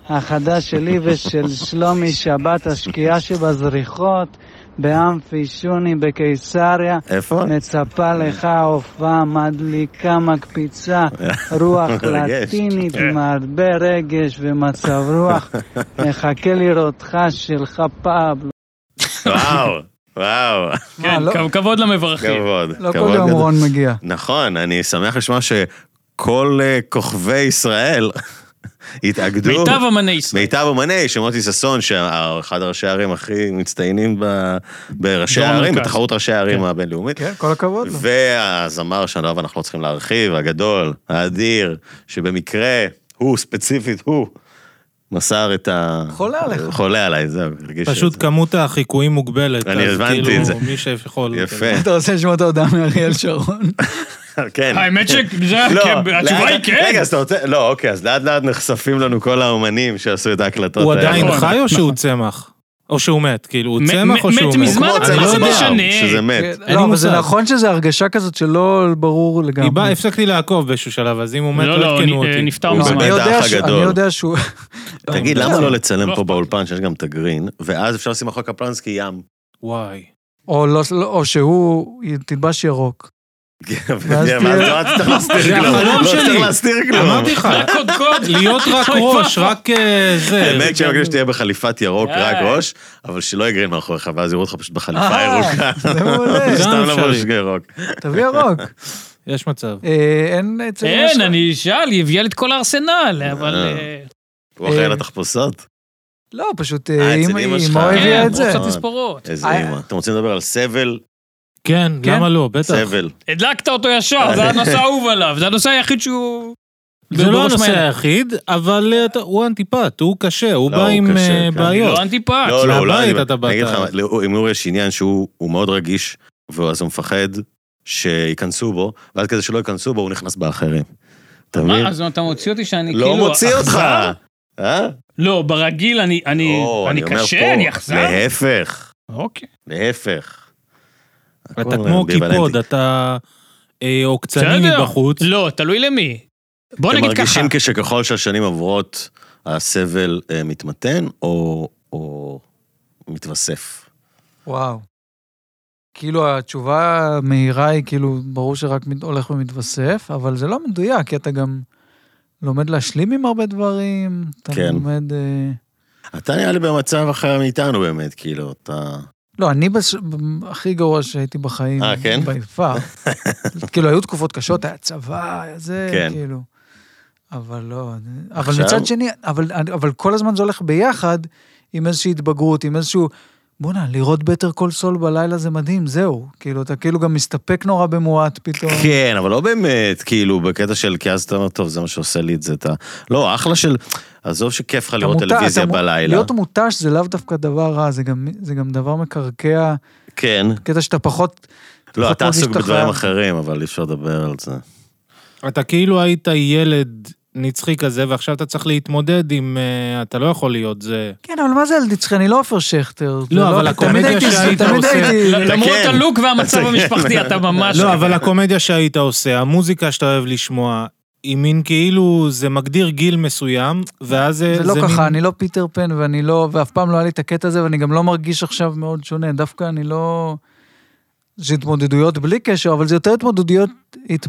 Speaker 7: החדש שלי ושל שלומי שבת השקיעה שבזריחות באמפי שוני בקיסריה.
Speaker 3: איפה?
Speaker 2: אה.
Speaker 7: מצפה לך הופעה מדליקה, מקפיצה, רוח
Speaker 3: מרגש.
Speaker 7: לטינית, עם הרבה רגש ומצב רוח. מחכה לראותך שלך פאבלו.
Speaker 3: וואו, וואו,
Speaker 1: אה,
Speaker 2: כן,
Speaker 1: לא-
Speaker 2: כב- כבוד למברכים.
Speaker 3: כבוד.
Speaker 1: לא כל
Speaker 3: כבוד
Speaker 1: יום
Speaker 3: גדול.
Speaker 1: רון מגיע.
Speaker 3: נכון, אני שמח לשמוע שכל אה, כוכבי ישראל התאגדו.
Speaker 2: מיטב אמני ישראל.
Speaker 3: מיטב אמני, שמוטי ששון, שאחד הראשי הערים הכי מצטיינים ב- בראשי
Speaker 2: דור
Speaker 3: הערים,
Speaker 2: המרכז.
Speaker 3: בתחרות ראשי הערים הבינלאומית.
Speaker 1: כן, כל הכבוד לו.
Speaker 3: והזמר שעליו אנחנו לא צריכים להרחיב, הגדול, האדיר, שבמקרה, הוא ספציפית, הוא, מסר את ה...
Speaker 1: חולה עליך.
Speaker 3: חולה עליי, זהו, הרגיש את
Speaker 4: פשוט
Speaker 3: זה.
Speaker 4: כמות החיקויים מוגבלת.
Speaker 3: אני
Speaker 4: אז
Speaker 3: הבנתי
Speaker 4: כאילו,
Speaker 3: את זה.
Speaker 4: מי שיכול.
Speaker 3: יפה,
Speaker 1: אתה רוצה לשמוע את ההודעה מאריאל שרון?
Speaker 3: כן.
Speaker 2: האמת שזה,
Speaker 3: לא,
Speaker 2: כן, התשובה
Speaker 3: לאט-
Speaker 2: היא כן.
Speaker 3: רגע, אז אתה רוצה... לא, אוקיי, אז לאט לאט נחשפים לנו כל האומנים שעשו את ההקלטות
Speaker 4: הוא
Speaker 3: האלה.
Speaker 4: עדיין
Speaker 2: נכון,
Speaker 4: חי או שהוא צמח? או שהוא מת, כאילו, הוא
Speaker 2: מת-
Speaker 4: צמח או
Speaker 2: מת
Speaker 4: שהוא מת?
Speaker 2: מזמן,
Speaker 3: הוא
Speaker 2: אבל
Speaker 3: כמו
Speaker 4: אני
Speaker 2: מה
Speaker 4: לא
Speaker 2: זה
Speaker 3: צמר,
Speaker 4: יודע.
Speaker 2: משנה?
Speaker 3: שזה מת.
Speaker 1: כן,
Speaker 4: אין לי
Speaker 1: לא, אבל זה
Speaker 4: מושג.
Speaker 1: נכון שזו הרגשה כזאת שלא ברור
Speaker 4: היא באה,
Speaker 1: לגמרי.
Speaker 4: הפסקתי לעקוב באיזשהו שלב, אז אם הוא מת,
Speaker 2: לא,
Speaker 4: לא
Speaker 2: לא,
Speaker 4: עדכנו
Speaker 2: נ- אה,
Speaker 4: אותי.
Speaker 2: נפטר
Speaker 1: לא,
Speaker 3: הוא
Speaker 2: מזמן.
Speaker 1: אני יודע
Speaker 3: האח
Speaker 1: ש-
Speaker 3: הגדול.
Speaker 1: אני יודע שהוא...
Speaker 3: תגיד,
Speaker 1: לא,
Speaker 3: למה
Speaker 1: לא.
Speaker 3: לא לצלם
Speaker 2: לא
Speaker 3: פה
Speaker 2: אכפת.
Speaker 3: באולפן, שיש גם את הגרין, ואז אפשר לשים אחרי קפלנסקי ים.
Speaker 4: וואי.
Speaker 1: או לא- לא- או שהוא תלבש ירוק.
Speaker 3: ואז
Speaker 1: תהיה-
Speaker 3: לא צריך להסתיר
Speaker 4: זה
Speaker 3: כלום.
Speaker 4: החלום
Speaker 3: לא
Speaker 4: שלי.
Speaker 3: צריך להסתיר כלום.
Speaker 4: אמרתי לך,
Speaker 2: רק קודקוד.
Speaker 4: להיות רק ראש, רק אה, זה.
Speaker 3: האמת שאני מבקש שתהיה בחליפת ירוק,
Speaker 2: די.
Speaker 3: רק ראש, אבל שלא יגרין מאחוריך, ואז יראו אותך פשוט בחליפה
Speaker 1: אה,
Speaker 3: ירוקה.
Speaker 1: זה מעולה.
Speaker 3: סתם
Speaker 4: גם
Speaker 3: לבוש
Speaker 4: אפשרי.
Speaker 3: ירוק.
Speaker 1: תביא ירוק.
Speaker 4: יש מצב.
Speaker 1: אה, אין אצל אמא
Speaker 2: אין,
Speaker 1: שלך?
Speaker 2: אני אשאל, היא הביאה לי את כל הארסנל, אבל...
Speaker 3: אה.
Speaker 2: אה,
Speaker 3: הוא אחראי לתחפושות?
Speaker 1: לא, פשוט
Speaker 3: אה,
Speaker 1: אה,
Speaker 3: אצל
Speaker 1: אמא-
Speaker 3: אמא שלך.
Speaker 1: אמו הביאה
Speaker 2: כן,
Speaker 1: את זה.
Speaker 2: רוצה תספורות.
Speaker 3: איזה
Speaker 1: אה.
Speaker 3: אימא. אתם רוצים לדבר על סבל?
Speaker 4: כן, למה לא, בטח.
Speaker 3: סבל.
Speaker 2: הדלקת אותו
Speaker 3: אה,
Speaker 2: ישר, זה הנושא האהוב עליו, זה הנושא היחיד שהוא...
Speaker 4: זה לא
Speaker 2: בראש
Speaker 4: הנושא
Speaker 2: מעייניו.
Speaker 4: היחיד, אבל אה, אתה- הוא אנטיפט, הוא קשה, הוא
Speaker 3: לא,
Speaker 4: בא
Speaker 3: הוא
Speaker 4: עם
Speaker 3: קשה,
Speaker 4: אה,
Speaker 3: כן.
Speaker 4: בעיות.
Speaker 2: לא אנטיפט.
Speaker 3: לא, לא, הוא לא...
Speaker 4: מהבית
Speaker 3: אני-
Speaker 4: אתה באת.
Speaker 3: אני אגיד לך, לא, עם אורי יש עניין שהוא הוא מאוד רגיש, ואז הוא מפחד שייכנסו בו, ואז כדי שלא ייכנסו בו, הוא נכנס באחרים. אתה מבין?
Speaker 2: מה, אז אתה מוציא אותי שאני
Speaker 3: לא
Speaker 2: כאילו...
Speaker 3: מוציא אותך.
Speaker 2: אכזר?
Speaker 3: אה?
Speaker 2: לא, ברגיל אני אני-
Speaker 3: או,
Speaker 2: אני
Speaker 3: לא, אומר פה,
Speaker 2: קשה, אני אכזר.
Speaker 3: להפך,
Speaker 2: אוקיי.
Speaker 3: להפך.
Speaker 4: אתה
Speaker 3: הכל
Speaker 4: כמו
Speaker 3: אמביוולנטי.
Speaker 4: קיפוד, אתה אה, עוקצני
Speaker 2: בסדר.
Speaker 4: מבחוץ.
Speaker 2: לא, תלוי למי. בוא
Speaker 3: אתם
Speaker 2: נגיד ככה.
Speaker 3: מרגישים שככל שהשנים עוברות, הסבל אה, מתמתן או- או מתווסף?
Speaker 1: וואו. כאילו התשובה המהירה היא כאילו, ברור שרק מת- הולך ומתווסף, אבל זה לא מדויק, כי אתה גם לומד להשלים עם הרבה דברים. אתה
Speaker 3: כן.
Speaker 1: לומד... אה,
Speaker 3: אתה נראה לי במצב אחר מאיתנו באמת, כאילו, אתה...
Speaker 1: לא, אני בש... ב- הכי גרוע שהייתי בחיים.
Speaker 3: אה, כן?
Speaker 1: ביפר. כאילו, היו תקופות קשות, היה צבא, היה זה,
Speaker 3: כן.
Speaker 1: כאילו. אבל לא, אבל
Speaker 3: עכשיו-
Speaker 1: מצד שני, אבל, אבל כל הזמן זה הולך ביחד עם איזושהי התבגרות, עם איזשהו, בואנה, לראות בטר כל סול בלילה זה מדהים, זהו. כאילו, אתה כאילו גם מסתפק נורא במועט פתאום.
Speaker 3: כן, אבל לא באמת, כאילו, בקטע של, כי אז אתה אומר, טוב, זה מה שעושה לי את זה, אתה... לא, אחלה של... עזוב שכיף לך
Speaker 1: אתה
Speaker 3: לראות
Speaker 1: מותש,
Speaker 3: טלוויזיה
Speaker 1: אתה מו-
Speaker 3: בלילה.
Speaker 1: להיות מותש זה לאו דווקא דבר רע, זה גם, זה גם דבר מקרקע,
Speaker 3: כן.
Speaker 1: קטע שאתה פחות...
Speaker 3: לא,
Speaker 1: פחות
Speaker 3: אתה
Speaker 1: מרגיש
Speaker 3: עסוק
Speaker 1: שאתה
Speaker 3: בדברים
Speaker 1: חייב.
Speaker 3: אחרים, אבל אי אפשר לדבר על זה.
Speaker 4: אתה כאילו היית ילד נצחי כזה, ועכשיו אתה צריך להתמודד עם... אה, אתה לא יכול להיות זה.
Speaker 1: כן, אבל מה זה על נצחי? אני לא עופר שכטר. זה
Speaker 4: לא, אבל
Speaker 1: תמיד
Speaker 4: הקומדיה
Speaker 1: הייתי-
Speaker 4: שהיית
Speaker 1: תמיד
Speaker 4: עושה-
Speaker 1: הייתי...
Speaker 2: למרות
Speaker 3: כן.
Speaker 2: הלוק והמצב
Speaker 3: אתה כן.
Speaker 2: המשפחתי, אתה ממש...
Speaker 4: לא, אבל הקומדיה שהיית עושה, המוזיקה שאתה אוהב לשמוע, היא מין כאילו, זה מגדיר גיל מסוים, ואז זה...
Speaker 1: זה לא
Speaker 4: מין-
Speaker 1: ככה, אני לא פיטר פן ואני לא, ואף פעם לא היה לי את הקטע הזה ואני גם לא מרגיש עכשיו מאוד שונה, דווקא אני לא... זה התמודדויות בלי קשר, אבל זה יותר התמודדויות,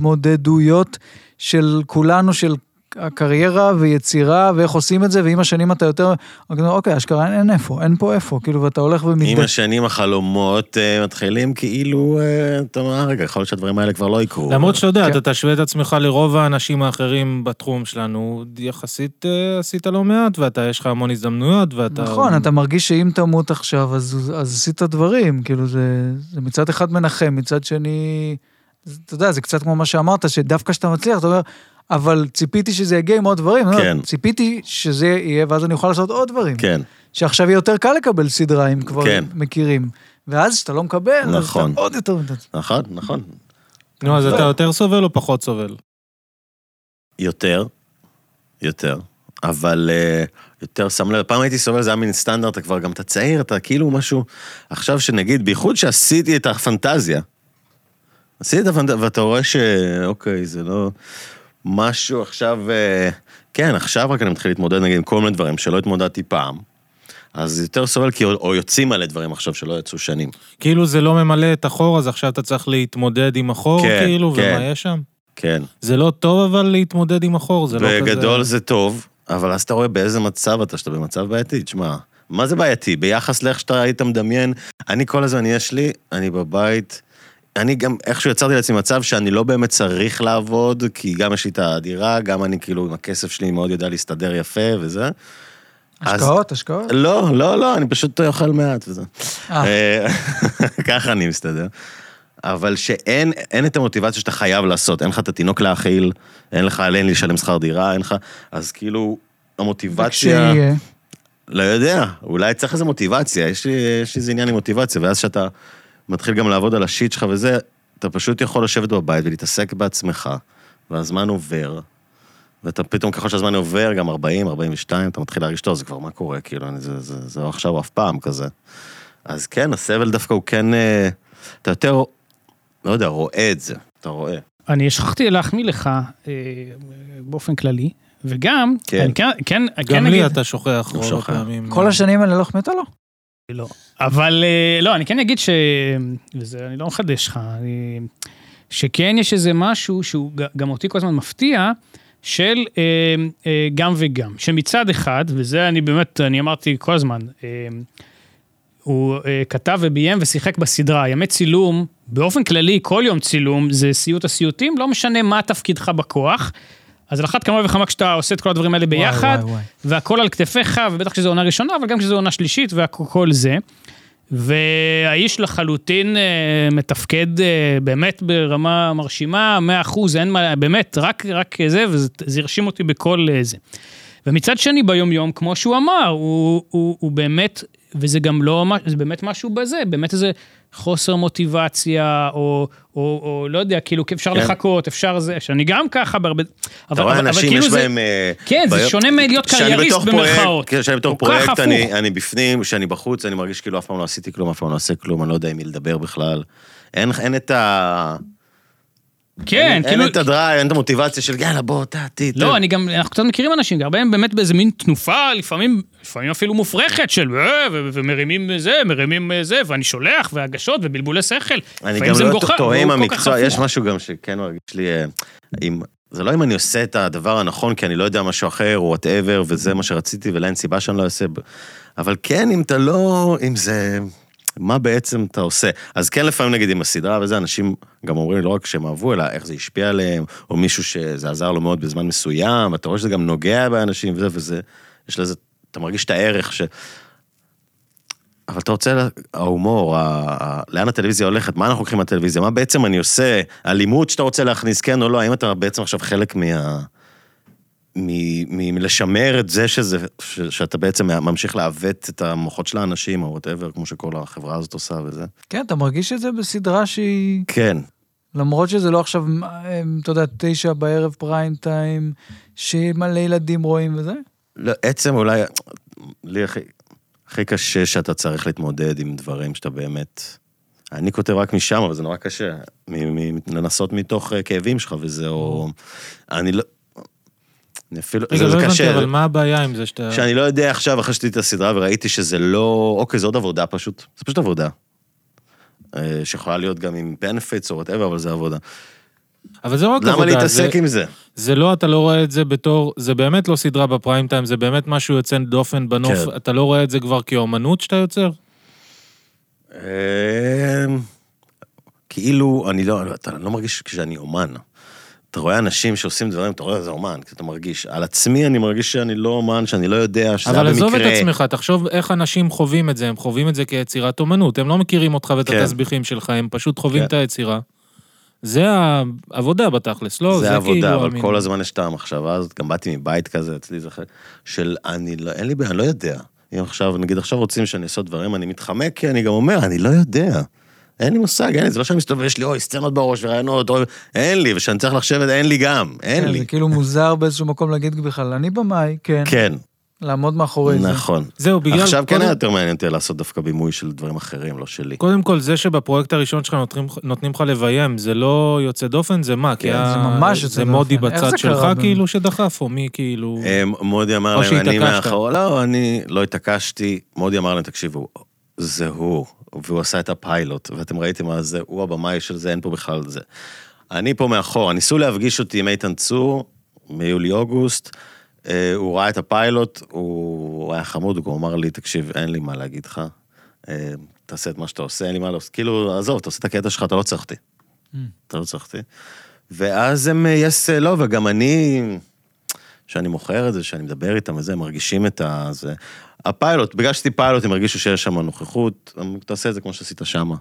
Speaker 1: התמודדויות של כולנו, של הקריירה ויצירה ואיך עושים את זה, ועם השנים אתה יותר, אוקיי, אשכרה אין, אין איפה, אין פה איפה, כאילו, ואתה הולך
Speaker 3: עם
Speaker 1: ומתדפק.
Speaker 3: השנים החלומות אה, מתחילים כאילו, אה, אתה אומר, רגע, יכול להיות שהדברים האלה כבר לא יקרו.
Speaker 4: למרות שאתה יודע,
Speaker 1: כן.
Speaker 4: אתה תשווה את עצמך לרוב האנשים האחרים בתחום שלנו, יחסית אה, עשית לא מעט, ואתה, יש לך המון הזדמנויות, ואתה...
Speaker 1: נכון, אתה מרגיש שאם תמות עכשיו, אז, אז עשית דברים, כאילו זה, זה מצד אחד מנחם, מצד שני, זה- אתה יודע, זה קצת כמו מה שאמרת, שדווקא כשאתה מצליח, אתה אומר, אבל ציפיתי שזה יגיע עם עוד דברים, אני אומר,
Speaker 3: כן.
Speaker 1: ציפיתי שזה יהיה, ואז אני אוכל לעשות עוד דברים.
Speaker 3: כן.
Speaker 1: שעכשיו יהיה יותר קל לקבל סדרה, אם כבר
Speaker 3: כן.
Speaker 1: מכירים. ואז כשאתה לא מקבל, אז
Speaker 3: נכון.
Speaker 1: אתה עוד יותר...
Speaker 3: נכון, נכון.
Speaker 4: נו, אז אתה יותר סובל או פחות סובל?
Speaker 3: יותר, יותר, אבל אה, יותר שם לב, פעם הייתי סובל, זה היה מין סטנדרט, אתה כבר גם אתה צעיר, אתה כאילו משהו, עכשיו שנגיד, בייחוד שעשיתי את הפנטזיה, עשיתי את הפנטזיה, ואתה רואה שאוקיי, זה לא משהו עכשיו, אה, כן, עכשיו רק אני מתחיל להתמודד נגיד עם כל מיני דברים שלא התמודדתי פעם. אז יותר סובל כי או או יוצאים מלא דברים עכשיו שלא יצאו שנים.
Speaker 4: כאילו זה לא ממלא את החור, אז עכשיו אתה צריך להתמודד עם החור,
Speaker 3: כן,
Speaker 4: כאילו,
Speaker 3: כן.
Speaker 4: ומה יש שם?
Speaker 3: כן.
Speaker 4: זה לא טוב אבל להתמודד עם החור, זה לא כזה...
Speaker 3: בגדול זה טוב, אבל אז אתה רואה באיזה מצב אתה, שאתה במצב בעייתי, תשמע, מה זה בעייתי? ביחס לאיך שאתה היית מדמיין, אני כל הזמן יש לי, אני בבית, אני גם איכשהו יצרתי לעצמי מצב שאני לא באמת צריך לעבוד, כי גם יש לי את הדירה, גם אני כאילו עם הכסף שלי מאוד יודע להסתדר יפה וזה. אז-
Speaker 1: השקעות, השקעות.
Speaker 3: לא, לא, לא, אני פשוט אוכל מעט וזה. אה, ככה אני מסתדר. אבל שאין אין את המוטיבציה שאתה חייב לעשות, אין לך את התינוק להאכיל, אין לך, אין לי לשלם שכר דירה, אין לך, אז כאילו, המוטיבציה,
Speaker 1: וכשיהיה,
Speaker 3: לא יודע, אולי צריך איזה מוטיבציה, יש לי, יש לי איזה עניין עם מוטיבציה, ואז שאתה מתחיל גם לעבוד על השיט שלך וזה, אתה פשוט יכול לשבת בבית ולהתעסק בעצמך, והזמן עובר, ואתה פתאום, ככל שהזמן עובר, גם 40, 42, אתה מתחיל להרגיש טוב, זה כבר מה קורה, כאילו, אני, זה, זה, זה לא עכשיו או אף פעם כזה. אז כן, הסבל דווקא הוא כן, אה, אתה יותר, לא יודע, רואה את זה, אתה רואה.
Speaker 2: אני שכחתי להחמיא לך אה, באופן כללי, וגם,
Speaker 3: כן.
Speaker 2: אני כן, כן, כן
Speaker 4: גם לי
Speaker 2: אגיד,
Speaker 4: אתה שוכח
Speaker 3: הוא
Speaker 4: רוב
Speaker 3: שוכח.
Speaker 4: הפעמים.
Speaker 1: כל השנים האלה לא החמאת לו?
Speaker 2: אבל אה, לא, אני כן אגיד ש... וזה, אני לא מחדש לך, אני... שכן יש איזה משהו שהוא ג- גם אותי כל הזמן מפתיע, של אה, אה, גם וגם. שמצד אחד, וזה אני באמת, אני אמרתי כל הזמן, אה, הוא אה, כתב וביים ושיחק בסדרה, ימי צילום, באופן כללי, כל יום צילום זה סיוט הסיוטים, לא משנה מה תפקידך בכוח. אז על אחת כמה וכמה כשאתה עושה את כל הדברים האלה ביחד,
Speaker 1: וואי, וואי, וואי.
Speaker 2: והכל על כתפיך, ובטח כשזו עונה ראשונה, אבל גם כשזו עונה שלישית וכל זה. והאיש לחלוטין אה, מתפקד אה, באמת ברמה מרשימה, 100 אחוז, אין מה, באמת, רק, רק זה, וזה זה הרשים אותי בכל אה, זה. ומצד שני, ביום-יום, כמו שהוא אמר, הוא, הוא, הוא באמת, וזה גם לא, מה- זה באמת משהו בזה, באמת איזה חוסר מוטיבציה, או, או, או לא יודע, כאילו, כי אפשר
Speaker 3: כן.
Speaker 2: לחכות, אפשר זה, שאני גם ככה בהרבה...
Speaker 3: אתה רואה אנשים, יש בהם... אה,
Speaker 2: כאילו כן, זה
Speaker 3: בעיות-
Speaker 2: שונה מלהיות
Speaker 3: כשאני
Speaker 2: קרייריסט
Speaker 3: בתוך פרויקט-
Speaker 2: במרכאות.
Speaker 3: כן, כשאני בתוך
Speaker 2: הוא ככה
Speaker 3: פרויקט,
Speaker 2: הפוך.
Speaker 3: אני, אני בפנים, כשאני בחוץ, אני מרגיש כאילו אף פעם לא עשיתי כלום, אף פעם לא עושה כלום, אני לא יודע עם מי לדבר בכלל. אין, אין את ה...
Speaker 2: כן,
Speaker 3: אין,
Speaker 2: כאילו...
Speaker 3: אין את כן. הדרייב, אין את המוטיבציה של יאללה, בוא, תה, תה.
Speaker 2: לא, אני גם, אנחנו קצת מכירים אנשים, הרבה הם באמת באיזה מין תנופה, לפעמים, לפעמים אפילו מופרכת של "אה, ו- ו- ומרימים זה, מרימים אה, זה, ואני שולח, והגשות, ובלבולי שכל.
Speaker 3: אני
Speaker 2: לפעמים
Speaker 3: גם
Speaker 2: זה
Speaker 3: לא
Speaker 2: מגוחך,
Speaker 3: טועה עם
Speaker 2: והוא כל כך
Speaker 3: המקצוע,
Speaker 2: הפוך.
Speaker 3: יש משהו גם שכן מרגיש לי, אה, אם, זה לא אם אני עושה את הדבר הנכון, כי אני לא יודע משהו אחר, או וואטאבר, וזה מה שרציתי, ואולי אין סיבה שאני לא אעשה, ב- אבל כן, אם אתה לא, אם זה, מה בעצם אתה עושה? אז כן, לפעמים נגיד עם הסדרה וזה, אנשים גם אומרים לא רק שהם אהבו, אלא איך זה השפיע עליהם, או מישהו שזה עזר לו מאוד בזמן מסוים, אתה רואה שזה גם נוגע באנשים וזה, וזה, יש לזה, אתה מרגיש את הערך ש... אבל אתה רוצה, לה- ההומור, ה- ה- לאן הטלוויזיה הולכת, מה אנחנו לוקחים מהטלוויזיה, מה בעצם אני עושה, הלימוד שאתה רוצה להכניס, כן או לא, האם אתה בעצם עכשיו חלק מה... מ- מ- מלשמר את זה שזה, ש- שאתה בעצם ממשיך לעוות את המוחות של האנשים, או וואטאבר, כמו שכל החברה הזאת עושה וזה.
Speaker 1: כן, אתה מרגיש את זה בסדרה שהיא...
Speaker 3: כן,
Speaker 1: למרות שזה לא עכשיו, אה, אתה יודע, תשע בערב פריים טיים, שמלא ילדים רואים וזה.
Speaker 3: לא, עצם אולי, לי הכי, הכי קשה שאתה צריך להתמודד עם דברים שאתה באמת... אני כותב רק משם, אבל זה נורא קשה. מ- מ- לנסות מתוך אה, כאבים שלך וזה, או... אני לא... אני אפילו...
Speaker 4: רגע,
Speaker 3: זה-
Speaker 4: לא
Speaker 3: זה
Speaker 4: הבנתי,
Speaker 3: קשה.
Speaker 4: אבל מה הבעיה עם זה שאתה...
Speaker 3: שאני לא יודע עכשיו, אחרי שראיתי את הסדרה וראיתי שזה לא... אוקיי, זה עוד עבודה פשוט. זה פשוט עבודה. אה, שיכולה להיות גם עם benefits או whatever, אבל זה עבודה.
Speaker 4: אבל זה לא רק עבודה.
Speaker 3: למה
Speaker 4: זה-
Speaker 3: להתעסק עם זה?
Speaker 4: זה לא, אתה לא רואה את זה בתור, זה באמת לא סדרה בפריים טיים, זה באמת משהו יוצא דופן בנוף,
Speaker 3: כן.
Speaker 4: אתה לא רואה את זה כבר כאומנות שאתה יוצר?
Speaker 3: אמ, כאילו, אני לא, אתה לא מרגיש כשאני אומן. אתה רואה אנשים שעושים דברים, אתה רואה איזה אומן, כי אתה מרגיש. על עצמי אני מרגיש שאני לא אומן, שאני לא יודע, שזה היה
Speaker 4: אבל
Speaker 3: במקרה.
Speaker 4: עזוב את עצמך, תחשוב איך אנשים חווים את זה, הם חווים את זה כיצירת אומנות, הם לא מכירים אותך ואת
Speaker 3: כן.
Speaker 4: התסביכים שלך, הם פשוט חווים
Speaker 3: כן.
Speaker 4: את היצירה. זה העבודה בתכלס, לא?
Speaker 3: זה
Speaker 4: כאילו
Speaker 3: עבודה, אבל
Speaker 4: המין-
Speaker 3: כל הזמן יש את המחשבה הזאת, גם באתי מבית כזה, אצלי זה אחר, של אני לא, אין לי בעיה, אני לא יודע. אם עכשיו, נגיד עכשיו רוצים שאני אעשה דברים, אני מתחמק, כי אני גם אומר, אני לא יודע. אין לי מושג, אין לי, זה לא שאני מסתובב, יש לי אוי, סצנות בראש ורעיונות, אוי, אין לי, ושאני צריך לחשב את זה, אין לי גם, אין
Speaker 1: כן,
Speaker 3: לי.
Speaker 1: זה כאילו מוזר באיזשהו מקום להגיד בכלל, אני במאי, כן,
Speaker 3: כן,
Speaker 1: לעמוד מאחורי זה.
Speaker 3: נכון.
Speaker 4: זהו, בגלל...
Speaker 3: עכשיו כן
Speaker 4: קודם-
Speaker 3: היה יותר מעניין אותי לעשות דווקא בימוי של דברים אחרים, לא שלי.
Speaker 4: קודם כל, זה שבפרויקט הראשון שלך נותנים, נותנים לך לביים, זה לא יוצא דופן, זה מה? כי
Speaker 3: כן,
Speaker 4: ה-
Speaker 1: זה ממש יוצא
Speaker 4: זה מודי
Speaker 1: דופן. איך
Speaker 4: בצד
Speaker 1: זה קרה,
Speaker 4: שלך,
Speaker 1: באמת?
Speaker 4: כאילו, שדחף, או מי כאילו...
Speaker 3: אה, מודי אמר
Speaker 4: או
Speaker 3: להם, אני
Speaker 4: שהתעקשת.
Speaker 3: מאחור, לא, אני לא התעקשתי. מודי אמר להם, תקשיבו, זה הוא, והוא עשה את הפיילוט, ואתם ראיתם מה זה, הוא הבמאי של זה, אין פה בכלל זה. אני פה מאחור, ניסו להפגיש אותי עם איתן צור, מיולי-אוגוסט, אה, הוא ראה את הפיילוט, הוא היה חמוד, הוא גם אמר לי, תקשיב, אין לי מה להגיד לך, אה, תעשה את מה שאתה עושה, אין לי מה לעשות, כאילו, עזוב, אתה עושה את הקטע שלך, אתה לא צריך אותי.
Speaker 4: Mm.
Speaker 3: אתה לא צריך אותי. ואז הם, אה, יש, אה, לא, וגם אני, שאני מוכר את זה, שאני מדבר איתם וזה, הם מרגישים את ה... זה. הפיילוט, בגלל שעשיתי פיילוט, הם הרגישו שיש שם נוכחות, אמרו, תעשה את זה כמו שעשית שמה.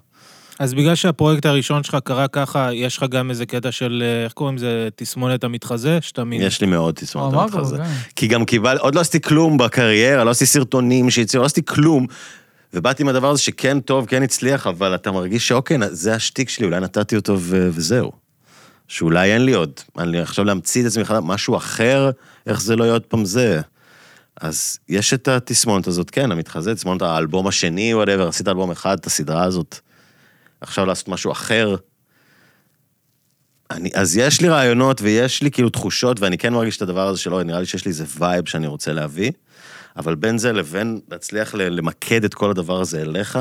Speaker 4: אז בגלל שהפרויקט הראשון שלך קרה ככה, יש לך גם איזה קטע של, אה, איך קוראים לזה, תסמונת המתחזה? שאתה מין...
Speaker 3: יש לי מאוד
Speaker 1: הוא
Speaker 3: תסמונת
Speaker 1: אמר
Speaker 3: אותך
Speaker 1: כבר,
Speaker 3: זה.
Speaker 1: כן.
Speaker 3: כי גם קיבל, עוד לא עשיתי כלום בקריירה, לא עשיתי סרטונים שהציעו, לא עשיתי כלום. ובאתי עם הדבר הזה שכן טוב, כן הצליח, אבל אתה מרגיש שאוקיי, זה השטיק שלי, אולי נתתי אותו ו- וזהו. שאולי אין לי עוד. אני עכשיו להמציא את עצמי מחדש, משהו אחר, איך זה לא יהיה עוד פעם זה. אז יש את התסמונת הזאת, כן, המתחזה, תסמונת האלבום השני, וואטאבר, עשית אלבום אחד, את הסדרה הזאת. עכשיו לעשות משהו אחר. אני, אז יש לי רעיונות ויש לי כאילו תחושות, ואני כן מרגיש את הדבר הזה שלא, נראה לי שיש לי איזה וייב שאני רוצה להביא, אבל בין זה לבין להצליח ל- למקד את כל הדבר הזה אליך,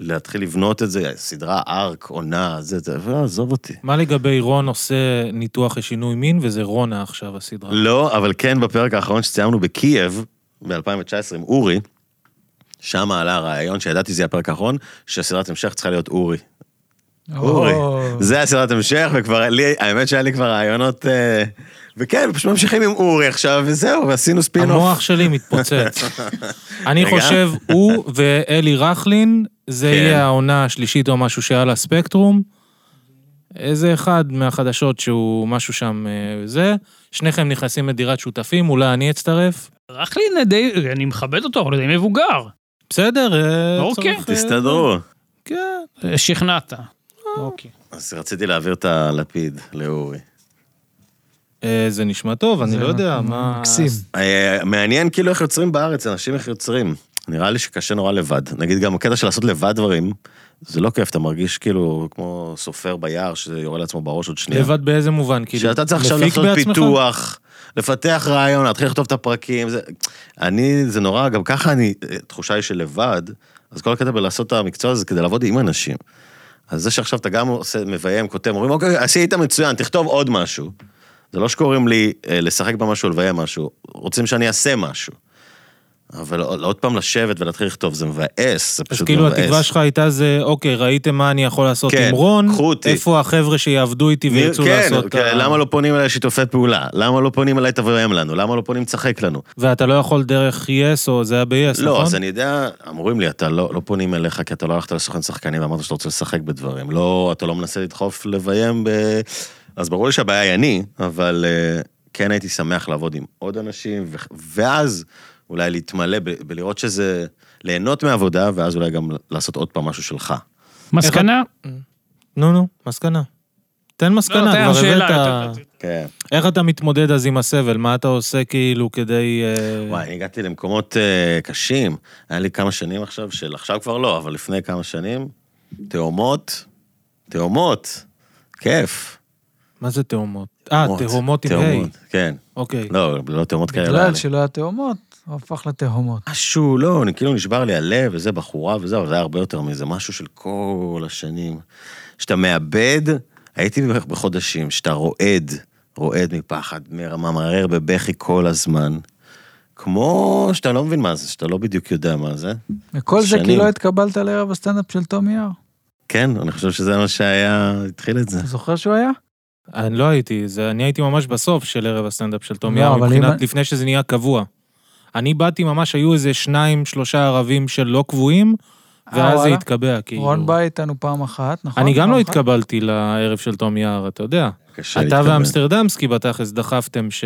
Speaker 3: להתחיל לבנות את זה, סדרה, ארק, עונה, זה, זה, לא, עזוב אותי.
Speaker 4: מה לגבי רון עושה ניתוח לשינוי מין, וזה רונה עכשיו הסדרה.
Speaker 3: לא, אבל כן בפרק האחרון שציימנו בקייב, ב-2019 עם אורי, שם עלה הרעיון, שידעתי שזה יהיה הפרק האחרון, שהסדרת המשך צריכה להיות אורי. אורי.
Speaker 1: או.
Speaker 3: זה הסדרת המשך, וכבר לי, האמת שהיה לי כבר רעיונות... אה, וכן, פשוט ממשיכים עם אורי עכשיו, וזהו, ועשינו ספין
Speaker 4: המוח שלי מתפוצץ. אני
Speaker 3: רגע.
Speaker 4: חושב, הוא ואלי רכלין, זה
Speaker 3: כן.
Speaker 4: יהיה העונה השלישית או משהו שהיה על הספקטרום. איזה אחד מהחדשות שהוא משהו שם אה, זה. שניכם נכנסים לדירת שותפים, אולי אני אצטרף.
Speaker 2: רכלין די, אני מכבד אותו, אבל הוא די מבוגר.
Speaker 4: בסדר, אה,
Speaker 2: אוקיי.
Speaker 4: צריך, אה,
Speaker 3: תסתדרו.
Speaker 4: כן.
Speaker 2: אה, שכנעת. אוקיי.
Speaker 3: אז רציתי להעביר את הלפיד לאורי.
Speaker 4: אה, זה נשמע טוב, אני
Speaker 1: זה
Speaker 4: לא יודע, מה...
Speaker 1: מקסים.
Speaker 3: אה, מעניין כאילו איך יוצרים בארץ, אנשים איך יוצרים. נראה לי שקשה נורא לבד. נגיד גם הקטע של לעשות לבד דברים, זה לא כיף, אתה מרגיש כאילו כמו סופר ביער שיורה לעצמו בראש עוד שנייה.
Speaker 4: לבד באיזה מובן? כאילו,
Speaker 3: כן. שאתה צריך עכשיו
Speaker 4: מפיק
Speaker 3: לעשות
Speaker 4: בעצמך?
Speaker 3: פיתוח, לפתח רעיון, להתחיל לכתוב את הפרקים. זה... אני, זה נורא, גם ככה אני, התחושה היא שלבד, אז כל הקטע בלעשות את המקצוע הזה זה כדי לעבוד עם אנשים. אז זה שעכשיו אתה גם עושה, מביים, כותב, אומרים, אוקיי, עשית מצוין, תכתוב עוד משהו. זה לא שקוראים לי אה, לשחק במשהו, לביים משהו, רוצים שאני אעשה משהו. אבל לא, עוד פעם לשבת ולהתחיל לכתוב, זה מבאס, זה
Speaker 4: אז
Speaker 3: פשוט
Speaker 4: כאילו
Speaker 3: מבאס.
Speaker 4: התקווה שלך הייתה זה, אוקיי, ראיתם מה אני יכול לעשות
Speaker 3: כן,
Speaker 4: עם רון,
Speaker 3: קחו אותי.
Speaker 4: איפה החבר'ה שיעבדו איתי
Speaker 3: מי-
Speaker 4: וירצו
Speaker 3: כן,
Speaker 4: לעשות...
Speaker 3: כן,
Speaker 4: ה-
Speaker 3: למה לא פונים אליי לשיתופי פעולה? למה לא פונים אליי תביים לנו? למה לא פונים תשחק לנו?
Speaker 4: ואתה לא יכול דרך יס, או זה היה ביס,
Speaker 3: לא,
Speaker 4: נכון?
Speaker 3: אז אני יודע, אמורים לי, אתה לא, לא פונים אליך כי אתה לא הלכת לסוכן שחקנים ואמרת שאתה רוצה לשחק בדברים. לא, אתה לא מנסה לדחוף לביים ב... אז ברור לי שהבעיה היא אני, אבל אה, כן הייתי שמח לעבוד עם עוד אנשים, ו... ואז אולי להתמלא ב... בלראות שזה... ליהנות מהעבודה, ואז אולי גם לעשות עוד פעם משהו שלך.
Speaker 2: מסקנה,
Speaker 4: נו, נו, מסקנה. תן
Speaker 2: לא,
Speaker 4: מסקנה,
Speaker 2: תן לנו
Speaker 4: כבר
Speaker 2: שאלה
Speaker 4: הבאת...
Speaker 2: יותר-
Speaker 3: כן.
Speaker 4: איך אתה מתמודד אז עם הסבל? מה אתה עושה כאילו כדי... אה,
Speaker 3: וואי, אני הגעתי למקומות אה, קשים. היה לי כמה שנים עכשיו, של עכשיו כבר לא, אבל לפני כמה שנים, תאומות, תאומות, כיף.
Speaker 4: מה זה תאומות? אה, תאומות עם היי.
Speaker 3: תאומות, כן.
Speaker 4: אוקיי.
Speaker 3: לא, לא תאומות כאלה. לא היה
Speaker 1: בגלל
Speaker 3: לי.
Speaker 1: שלא היה תאומות, הוא הפך לתהומות.
Speaker 3: משהו, לא, אני כאילו נשבר לי הלב, וזה בחורה וזה, אבל זה היה הרבה יותר מזה, משהו של כל השנים. שאתה מאבד, הייתי בערך בחודשים, שאתה רועד, רועד מפחד, ממרר בבכי כל הזמן. כמו שאתה לא מבין מה זה, שאתה לא בדיוק יודע מה זה.
Speaker 1: וכל זה כי
Speaker 3: שנים.
Speaker 1: לא התקבלת לערב הסטנדאפ של תום יער.
Speaker 3: כן, אני חושב שזה מה שהיה, התחיל את זה.
Speaker 1: אתה זוכר שהוא היה?
Speaker 4: אני לא הייתי, זה, אני הייתי ממש בסוף של ערב הסטנדאפ של תום
Speaker 1: לא,
Speaker 4: יער,
Speaker 1: אבל אם-
Speaker 4: מבחינת לפני שזה נהיה קבוע. אני באתי ממש, היו איזה שניים, שלושה ערבים של לא קבועים,
Speaker 1: אה,
Speaker 4: ואז זה
Speaker 1: וואלה.
Speaker 4: התקבע, כאילו.
Speaker 1: רון בא איתנו פעם אחת, נכון?
Speaker 4: אני גם
Speaker 1: פעם
Speaker 4: לא
Speaker 1: אחת?
Speaker 4: התקבלתי לערב של תום יער, אתה יודע.
Speaker 3: קשה
Speaker 4: אתה
Speaker 3: להתקבל.
Speaker 4: ואמסטרדמסקי בתכלס דחפתם ש...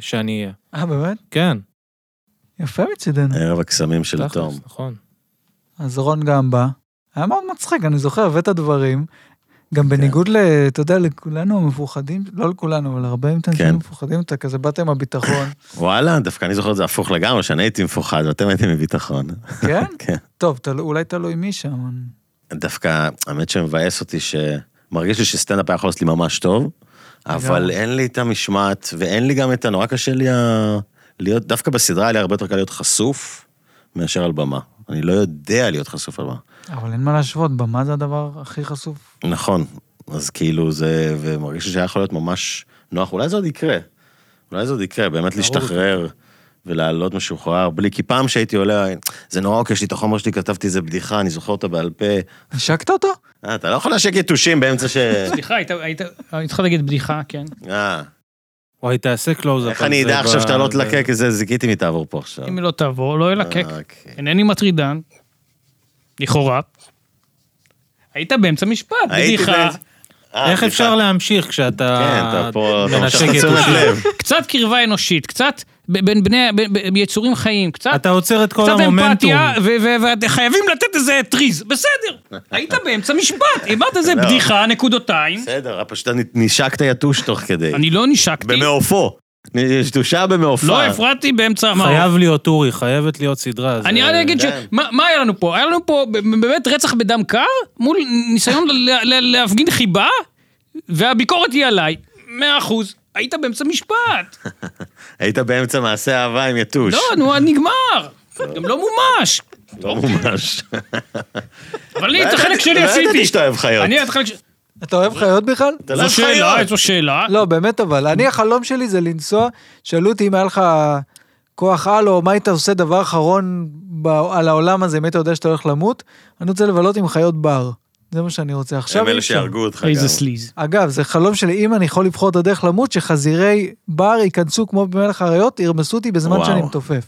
Speaker 4: שאני אהיה.
Speaker 1: אה, באמת?
Speaker 4: כן,
Speaker 1: יפה מצידנו.
Speaker 3: ערב הקסמים של תום.
Speaker 4: תכלס, נכון.
Speaker 1: אז רון גם בא. היה מאוד מצחיק, אני זוכר, הבאת דברים. גם בניגוד ל... אתה יודע, לכולנו המפוחדים, לא לכולנו, אבל הרבה מאיתנו
Speaker 3: כן.
Speaker 1: כן. מפוחדים, אתה כזה באת עם הביטחון.
Speaker 3: וואלה, דווקא אני זוכר את זה הפוך לגמרי, שאני הייתי מפוחד ואתם הייתם מביטחון.
Speaker 1: כן?
Speaker 3: כן.
Speaker 1: טוב, תל... אולי תלוי מי שם. אני-
Speaker 3: דווקא, האמת שמבאס אותי שמרגיש לי שסטנדאפ היה יכול לעשות לי ממש טוב, אבל
Speaker 1: לגמרי.
Speaker 3: אין לי את המשמעת, ואין לי גם את הנורא קשה לי ה... להיות, דווקא בסדרה היה לי הרבה יותר קל להיות חשוף מאשר על במה. אני לא יודע להיות חשוף על במה.
Speaker 1: אבל אין מה להשוות, במה זה הדבר הכי חשוף.
Speaker 3: נכון, אז כאילו זה, ומרגיש לי שהיה יכול להיות ממש נוח, אולי זה עוד יקרה. אולי זה עוד יקרה, באמת להשתחרר ולעלות משוחרר, בלי, כי פעם שהייתי עולה, זה נורא אוקיי, יש לי את החומר שלי, כתבתי איזה בדיחה, אני זוכר אותה בעל פה.
Speaker 1: השקת אותו?
Speaker 3: אה, אתה לא יכול להשק יתושים באמצע ש...
Speaker 2: סליחה, היית- היית היית צריך להגיד בדיחה, כן.
Speaker 3: אה,
Speaker 4: וואי, תעשה קלוזאפ.
Speaker 3: איך
Speaker 4: על
Speaker 3: אני
Speaker 4: זה
Speaker 3: אדע עכשיו
Speaker 4: ב- אה,
Speaker 3: שאתה לא
Speaker 4: ב-
Speaker 3: תלקק איזה זיקיתי מתעבור פה עכשיו.
Speaker 2: אם לא תבוא, לא ילקק.
Speaker 3: אה, אוקיי.
Speaker 2: אינני מטרידן, לכאורה. היית באמצע משפט,
Speaker 3: הייתי
Speaker 2: בדיחה.
Speaker 3: באמצע- אה,
Speaker 4: איך
Speaker 3: סליחה.
Speaker 4: אפשר להמשיך כשאתה...
Speaker 3: כן, אתה פה, אתה
Speaker 4: מנשק
Speaker 3: מושך את תשומת
Speaker 4: יתושים?
Speaker 3: לב.
Speaker 2: קצת קרבה אנושית, קצת ב- בין בני, ב- ב- ביצורים חיים, קצת...
Speaker 4: אתה עוצר את כל
Speaker 2: קצת
Speaker 4: המומנטום.
Speaker 2: אמפתיה, וחייבים לתת איזה טריז, בסדר. היית באמצע משפט, אמרת איזה
Speaker 3: לא.
Speaker 2: בדיחה, נקודותיים.
Speaker 3: בסדר, פשוט נשקת יתוש תוך כדי.
Speaker 2: אני לא נשקתי,
Speaker 3: במעופו. נשתושה במעופה.
Speaker 2: לא הפרעתי באמצע המערב.
Speaker 4: חייב להיות אורי, חייבת להיות סדרה. אה, זה-
Speaker 2: אני רק אגיד
Speaker 3: דם.
Speaker 2: שמה מה היה לנו פה? היה לנו פה ב- באמת רצח בדם קר, מול ניסיון ל- ל- להפגין חיבה, והביקורת היא עליי. מאה אחוז, היית באמצע משפט.
Speaker 3: היית באמצע מעשה אהבה עם יתוש.
Speaker 2: לא, נו, נגמר. גם לא מומש.
Speaker 3: לא ממש.
Speaker 2: אבל אני את החלק שלי
Speaker 3: לא ידעתי
Speaker 2: עשיתי.
Speaker 3: שאתה אוהב חיות.
Speaker 2: אני את החלק ש...
Speaker 1: אתה אוהב חיות בכלל?
Speaker 3: אתה לא
Speaker 2: זו
Speaker 3: אוהב
Speaker 2: שאלה,
Speaker 3: חיות.
Speaker 2: זו שאלה.
Speaker 1: לא, באמת אבל. אני, החלום שלי זה לנסוע, שאלו אותי אם היה לך כוח על, או מה היית עושה דבר אחרון ב- על העולם הזה, אם היית יודע שאתה הולך למות, אני רוצה לבלות עם חיות בר. זה מה שאני רוצה עכשיו.
Speaker 3: הם
Speaker 1: אי
Speaker 3: אלה
Speaker 1: אפשר.
Speaker 3: שהרגו אותך
Speaker 2: איזה
Speaker 3: גם.
Speaker 2: סליז.
Speaker 1: אגב, זה חלום שלי, אם אני יכול לבחור את הדרך למות, שחזירי בר ייכנסו כמו במלך האריות, ירמסו אותי בזמן
Speaker 3: וואו.
Speaker 1: שאני מתופף.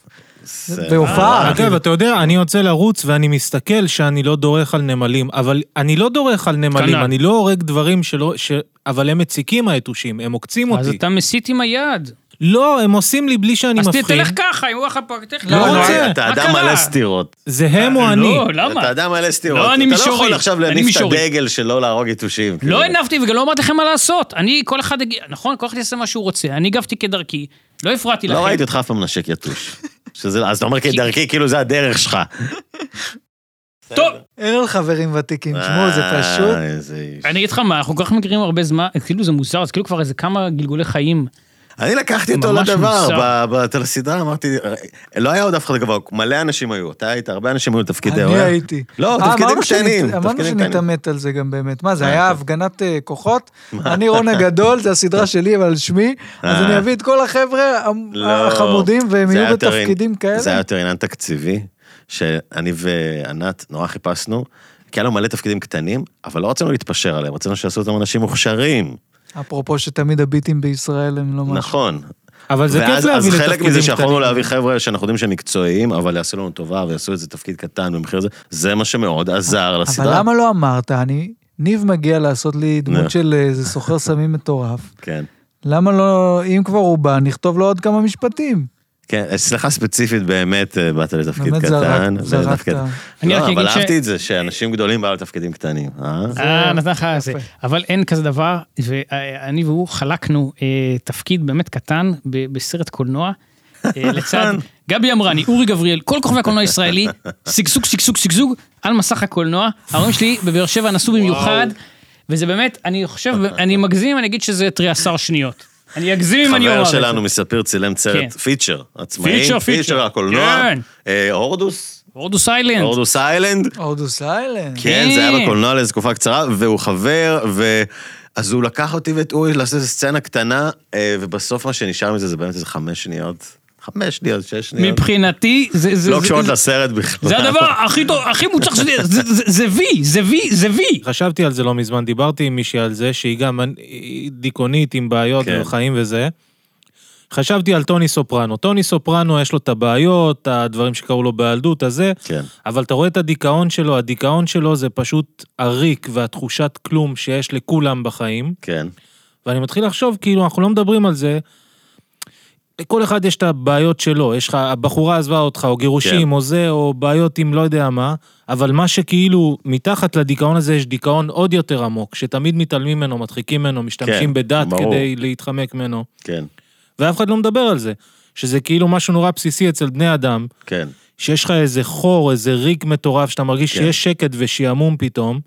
Speaker 3: זה-
Speaker 2: אה,
Speaker 1: בהופעה.
Speaker 2: אוקיי.
Speaker 4: אגב, אתה אוקיי, יודע, אני יוצא לרוץ ואני מסתכל שאני לא דורך על נמלים, אבל אני לא דורך על נמלים,
Speaker 2: קנה.
Speaker 4: אני לא הורג דברים שלא... ש- אבל הם מציקים היתושים, הם עוקצים
Speaker 2: אז
Speaker 4: אותי.
Speaker 2: אתה מסית עם היד.
Speaker 4: לא, הם עושים לי בלי שאני
Speaker 2: אז
Speaker 4: מבחין.
Speaker 2: תלך ככה, אם הוא אחר כך, תלך
Speaker 4: לא
Speaker 2: ככה.
Speaker 4: רוצה.
Speaker 3: אתה
Speaker 2: מה
Speaker 3: אדם
Speaker 2: קרה?
Speaker 3: מלא סתירות.
Speaker 4: זה הם או אני.
Speaker 2: לא, למה?
Speaker 3: אתה אדם מלא סתירות.
Speaker 2: לא, אני
Speaker 3: אתה לא
Speaker 2: מישורי.
Speaker 3: יכול עכשיו
Speaker 2: אני
Speaker 3: להניף את
Speaker 2: מישורי.
Speaker 3: הדגל של לא להרוג יתושים. כאילו.
Speaker 2: לא הנפתי וגם לא אמרתי לכם מה לעשות. אני, כל אחד, הגיע- נכון, כל אחד יעשה מה שהוא רוצה. אני הגבתי כדרכי, לא הפרעתי לכם.
Speaker 3: לא ראיתי אותך אף פעם נשק יתוש. שזה, אז אתה אומר כדרכי, כאילו זה הדרך שלך.
Speaker 2: טוב,
Speaker 1: אין על חברים ותיקים, תשמעו, זה
Speaker 3: אה,
Speaker 1: פשוט...
Speaker 3: איזה איש.
Speaker 2: אני אגיד לך מה, אנחנו כל כך מכירים הרבה זמן, כאילו זה מוזר, זה כאילו כבר איזה כמה גלגולי חיים.
Speaker 3: אני לקחתי אותו
Speaker 2: ממש
Speaker 3: לדבר,
Speaker 2: מוזר.
Speaker 3: ב- ב- לסדרה אמרתי, לא היה עוד אף אחד גבוה, מלא אנשים היו, אתה היית, הרבה אנשים היו בתפקידי
Speaker 1: אני
Speaker 3: אורח.
Speaker 1: הייתי.
Speaker 3: לא,
Speaker 1: אה,
Speaker 3: תפקידים
Speaker 1: אמרנו שנ-
Speaker 3: קטנים,
Speaker 1: אמרנו
Speaker 3: תפקידים קטנים. כן.
Speaker 1: שנתעמת על זה גם באמת. מה, זה היה הפגנת אה, כוחות? אני רון הגדול, זה הסדרה שלי, אבל על שמי. אז
Speaker 3: אה.
Speaker 1: אני אביא את כל החבר'ה המ-
Speaker 3: לא.
Speaker 1: החמודים, והם
Speaker 3: זה היה
Speaker 1: יהיו
Speaker 3: יותר
Speaker 1: בתפקידים
Speaker 3: עניין- זה היה
Speaker 1: כאלה.
Speaker 3: יותר עניין תקציבי, שאני וענת נורא חיפשנו, כי היה לו מלא תפקידים קטנים, אבל לא רצינו להתפשר עליהם, רצינו שיעשו אותם אנשים מוכשרים.
Speaker 1: אפרופו שתמיד הביטים בישראל הם לא משהו.
Speaker 3: נכון.
Speaker 4: אבל זה כיף
Speaker 3: ואז-
Speaker 4: להביא
Speaker 3: אז חלק
Speaker 4: לתפקידים
Speaker 3: מזה שיכולנו
Speaker 4: קטנים.
Speaker 3: להביא חבר'ה שאנחנו יודעים שהם מקצועיים, אבל יעשו לנו טובה ויעשו איזה תפקיד קטן במחיר זה, זה מה שמאוד עזר לסדרה.
Speaker 1: אבל למה לא אמרת? אני... ניב מגיע לעשות לי
Speaker 3: נו.
Speaker 1: דמות של אה, איזה סוחר סמים מטורף.
Speaker 3: כן.
Speaker 1: למה לא, אם כבר הוא בא, נכתוב לו עוד כמה משפטים.
Speaker 3: כן, אצלך ספציפית באמת אה, באת לתפקיד
Speaker 1: באמת
Speaker 3: קטן.
Speaker 1: זרק- זרקת.
Speaker 3: ולתפקיד-
Speaker 2: אני רק
Speaker 3: לא,
Speaker 2: אגיד
Speaker 3: אבל
Speaker 2: ש-
Speaker 3: אהבתי את זה, שאנשים גדולים באו לתפקידים קטנים, אה?
Speaker 2: אה, נתן לך זה. אבל אין כזה דבר, ואני והוא חלקנו אה, תפקיד באמת קטן ב- בסרט קולנוע. אה,
Speaker 3: נכון.
Speaker 2: לצד גבי אמרני, אורי גבריאל, כל כוכבי הקולנוע הישראלי, שגשוג, שגשוג, שגשוג, על מסך הקולנוע. ההורים שלי בבאר שבע נסעו במיוחד, וזה באמת, אני חושב, אני מגזים אם אני אגיד שזה תריעשר שניות. אני אגזים אם אני אומר
Speaker 3: חבר
Speaker 2: את זה.
Speaker 3: שלנו מספיר צילם
Speaker 2: כן.
Speaker 3: סרט פיצ'ר, עצמאי,
Speaker 2: פיצ'ר, פיצ'ר.
Speaker 3: הקולנוע,
Speaker 2: כן.
Speaker 3: אה, הורדוס,
Speaker 2: הורדוס איילנד.
Speaker 3: הורדוס איילנד,
Speaker 1: הורדוס איילנד.
Speaker 3: כן, זה
Speaker 2: כן.
Speaker 3: היה בקולנוע לאיזו תקופה קצרה, והוא חבר, ו... אז הוא לקח אותי ואת אורי לעשות איזו סצנה קטנה, אה, ובסוף מה שנשאר מזה זה באמת איזה חמש שניות, חמש שניות, שש שניות,
Speaker 2: מבחינתי, זה... זה-
Speaker 3: לא
Speaker 2: זה-
Speaker 3: קשורות
Speaker 2: זה-
Speaker 3: לסרט בכלל.
Speaker 2: זה הדבר הכי טוב, הכי מוצלח שזה, זה- זה- זה וי, זה וי, זה וי.
Speaker 4: חשבתי על זה לא מזמן, דיברתי עם מישהי על זה, שהיא גם היא דיכאונית עם בעיות
Speaker 3: כן.
Speaker 4: וחיים וזה. חשבתי על טוני סופרנו. טוני סופרנו, יש לו את הבעיות, הדברים שקרו לו בילדות, הזה,
Speaker 3: כן.
Speaker 4: אבל אתה רואה את הדיכאון שלו, הדיכאון שלו זה פשוט הריק והתחושת כלום שיש לכולם בחיים.
Speaker 3: כן,
Speaker 4: ואני מתחיל לחשוב, כאילו, אנחנו לא מדברים על זה. לכל אחד יש את הבעיות שלו, יש לך, הבחורה עזבה אותך, או גירושים,
Speaker 3: כן.
Speaker 4: או זה, או בעיות עם לא יודע מה, אבל מה שכאילו, מתחת לדיכאון הזה יש דיכאון עוד יותר עמוק, שתמיד מתעלמים ממנו, מדחיקים ממנו, משתמשים
Speaker 3: כן,
Speaker 4: בדת
Speaker 3: ברור.
Speaker 4: כדי להתחמק ממנו,
Speaker 3: כן,
Speaker 4: ואף אחד לא מדבר על זה, שזה כאילו משהו נורא בסיסי אצל בני אדם,
Speaker 3: כן.
Speaker 4: שיש לך איזה חור, איזה ריק מטורף, שאתה מרגיש
Speaker 3: כן.
Speaker 4: שיש שקט ושעמום פתאום,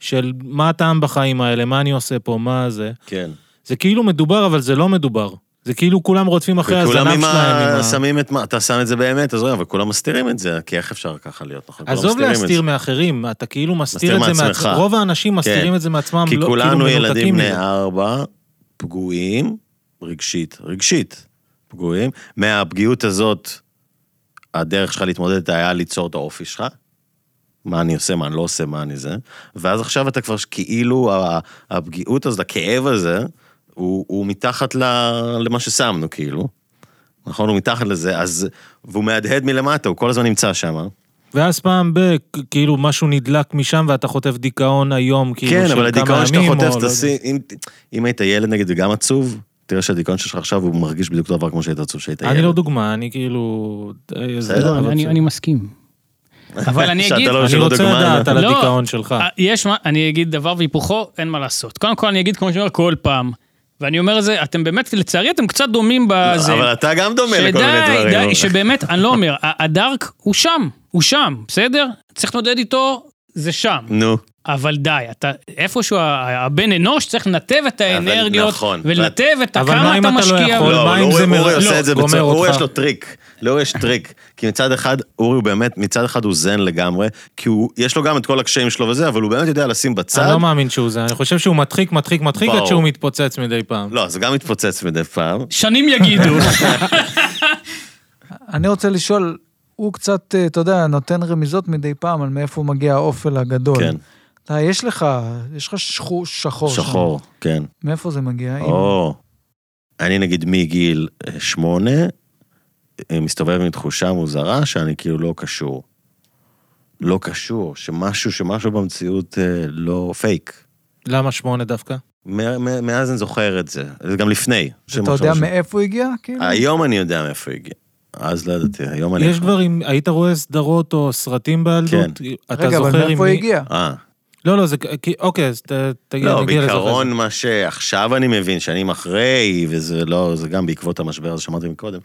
Speaker 4: של מה הטעם בחיים האלה, מה אני עושה פה, מה זה.
Speaker 3: כן.
Speaker 4: זה כאילו מדובר, אבל זה לא מדובר. זה כאילו כולם רודפים אחרי הזנב
Speaker 3: וכולם
Speaker 4: שלהם.
Speaker 3: עם
Speaker 4: עם
Speaker 3: ה...
Speaker 4: ה-
Speaker 3: שמים את מה, אתה שם את זה באמת, אז רואים, אבל כולם מסתירים את זה, כי איך אפשר ככה להיות, נכון? כולם
Speaker 4: עזוב
Speaker 3: מסתירים את
Speaker 4: להסתיר
Speaker 3: זה.
Speaker 4: מאחרים, אתה כאילו מסתיר
Speaker 3: מסתיר
Speaker 4: את זה
Speaker 3: מעצמך. כן.
Speaker 4: מעצמך. רוב האנשים מסתירים את זה מעצמם,
Speaker 3: כי
Speaker 4: לא-
Speaker 3: כולנו
Speaker 4: כאילו
Speaker 3: ילדים
Speaker 4: מנותקים
Speaker 3: בני
Speaker 4: מזה.
Speaker 3: ארבע, פגועים, רגשית, רגשית, פגועים. מהפגיעות הזאת, הדרך שלך להתמודד איתה היה ליצור את האופי שלך. מה אני עושה, מה אני לא עושה, מה אני זה. ואז עכשיו אתה כבר כאילו, ה- הפגיעות הזאת, הכאב הזה, הוא, הוא מתחת ל- למה ששמנו, כאילו. נכון? הוא מתחת לזה, אז... והוא מהדהד מלמטה, הוא כל הזמן נמצא שם.
Speaker 4: ואז פעם ב... כאילו משהו נדלק משם ואתה חוטף דיכאון היום, כאילו
Speaker 3: כן,
Speaker 4: של
Speaker 3: אבל
Speaker 4: כמה
Speaker 3: הדיכאון שאתה
Speaker 4: ימים, או
Speaker 3: חוטף,
Speaker 4: לא
Speaker 3: תעשי... אם- אם היית ילד נגיד וגם עצוב, תראה שהדיכאון שלך עכשיו הוא מרגיש בדיוק אותו דבר כמו שהיית עצוב שהיית
Speaker 4: יודע.
Speaker 3: ילד.
Speaker 4: אני לא דוגמה, אני כאילו... זה-
Speaker 3: בסדר,
Speaker 4: אבל
Speaker 2: אני- אני
Speaker 4: בסדר.
Speaker 2: אני מסכים. אבל אני
Speaker 3: שאתה
Speaker 2: אגיד,
Speaker 3: לא
Speaker 4: אני
Speaker 3: שלא
Speaker 4: רוצה
Speaker 3: דוגמה,
Speaker 4: לדעת
Speaker 3: אני-
Speaker 4: על
Speaker 2: לא.
Speaker 4: הדיכאון שלך.
Speaker 2: אה, יש מה, אני אגיד דבר והיפוכו, אין מה לעשות. קודם כל אני אגיד כמו שאני אומר כל פעם, ואני אומר את זה, אתם באמת, לצערי אתם קצת דומים בזה.
Speaker 3: לא, אבל אתה גם דומה לכל מיני
Speaker 2: שדי,
Speaker 3: דברים.
Speaker 2: די, שבאמת, אני לא אומר, ה- הדארק הוא שם, הוא שם, בסדר? צריך להתמודד איתו, זה שם.
Speaker 3: נו,
Speaker 2: אבל די, אתה איפשהו ה- ה- הבן אנוש צריך לנתב את האנרגיות,
Speaker 3: נכון,
Speaker 2: ולנתב את
Speaker 4: אבל מה
Speaker 2: כמה
Speaker 4: אם
Speaker 2: אתה
Speaker 4: אתה לא
Speaker 2: משקיע.
Speaker 4: יכול?
Speaker 3: לא,
Speaker 4: מה
Speaker 3: אבל
Speaker 4: אם
Speaker 3: אורי
Speaker 4: זה מ-
Speaker 3: אורי
Speaker 4: לא,
Speaker 3: עושה את זה
Speaker 4: גומר
Speaker 3: בצורה, אורי
Speaker 4: אותך.
Speaker 3: יש לו טריק. לאורי יש טריק. כי מצד אחד, אורי הוא באמת, מצד אחד הוא זן לגמרי, כי הוא, יש לו גם את כל הקשיים שלו וזה, אבל הוא באמת יודע לשים
Speaker 4: אני
Speaker 3: בצד.
Speaker 4: לא מאמין שהוא זה, אני חושב שהוא מדחיק, מדחיק, מדחיק,
Speaker 3: ברור.
Speaker 4: עד שהוא מתפוצץ מדי פעם.
Speaker 3: לא, זה גם מתפוצץ מדי פעם.
Speaker 2: שנים יגידו.
Speaker 1: אני רוצה לשאול, הוא קצת, אה, אתה יודע, נותן רמיזות מדי פעם על מאיפה מגיע האופל הגדול.
Speaker 3: כן.
Speaker 1: אתה, אה, יש לך, יש לך שחור, שחור. שם.
Speaker 3: שחור, כן.
Speaker 1: מאיפה זה מגיע? אם-
Speaker 3: או. אני נגיד מגיל אה, שמונה, אה, מסתובב עם תחושה מוזרה שאני כאילו לא קשור. לא קשור, שמשהו, שמשהו במציאות אה, לא פייק.
Speaker 4: למה שמונה דווקא?
Speaker 3: מ- מ- מאז אני זוכר את זה, זה גם לפני.
Speaker 1: אתה
Speaker 3: שמשהו-
Speaker 1: יודע
Speaker 3: משהו-
Speaker 1: מאיפה הוא הגיע? כאילו?
Speaker 3: היום אני יודע מאיפה הוא הגיע. אז לא ידעתי, היום אני...
Speaker 4: יש דברים, היית רואה סדרות או סרטים בילדות?
Speaker 3: כן.
Speaker 4: אתה
Speaker 1: רגע, אבל
Speaker 4: זוכר עם
Speaker 1: מאיפה הוא
Speaker 4: מי?
Speaker 1: הגיע?
Speaker 3: אה,
Speaker 4: לא, לא, זה... כ- כי- אוקיי, אז ת- תגיד,
Speaker 3: לא,
Speaker 4: נגיע לזה אחרי
Speaker 3: בעיקרון
Speaker 4: זה.
Speaker 3: מה שעכשיו אני מבין, שנים אחרי, וזה לא, זה גם בעקבות המשבר הזה שאמרתי מקודם.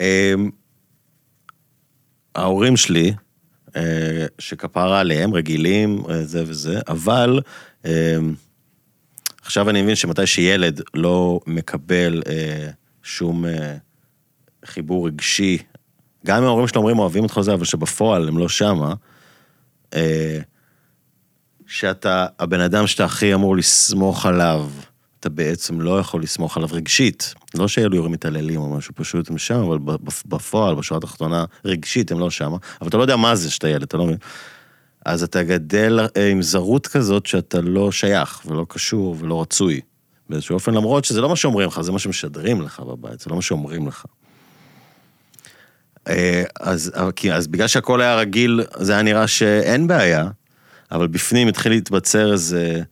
Speaker 3: אמ, ההורים שלי, אה, שכפרה עליהם, רגילים, אה, זה וזה, אבל אמ, עכשיו אני מבין שמתי שילד לא מקבל אה, שום אה, חיבור רגשי, גם אם ההורים שלו אומרים אוהבים אותך זה, אבל שבפועל הם לא שמה, אה, שאתה הבן אדם שאתה הכי אמור לסמוך עליו, אתה בעצם לא יכול לסמוך עליו רגשית. לא שאלו יורים מתעללים או משהו, פשוט הם שם, אבל בפ- בפועל, בשורה התחתונה, רגשית הם לא שם, אבל אתה לא יודע מה זה שאתה ילד, אתה לא מבין. אז אתה גדל אה, עם זרות כזאת שאתה לא שייך ולא קשור ולא רצוי. באיזשהו אופן, למרות שזה לא מה שאומרים לך, זה מה שמשדרים לך בבית, זה לא מה שאומרים לך. אה, אז, אבל- כי- אז בגלל שהכל היה רגיל, זה היה נראה שאין בעיה, אבל בפנים התחיל להתבצר איזה,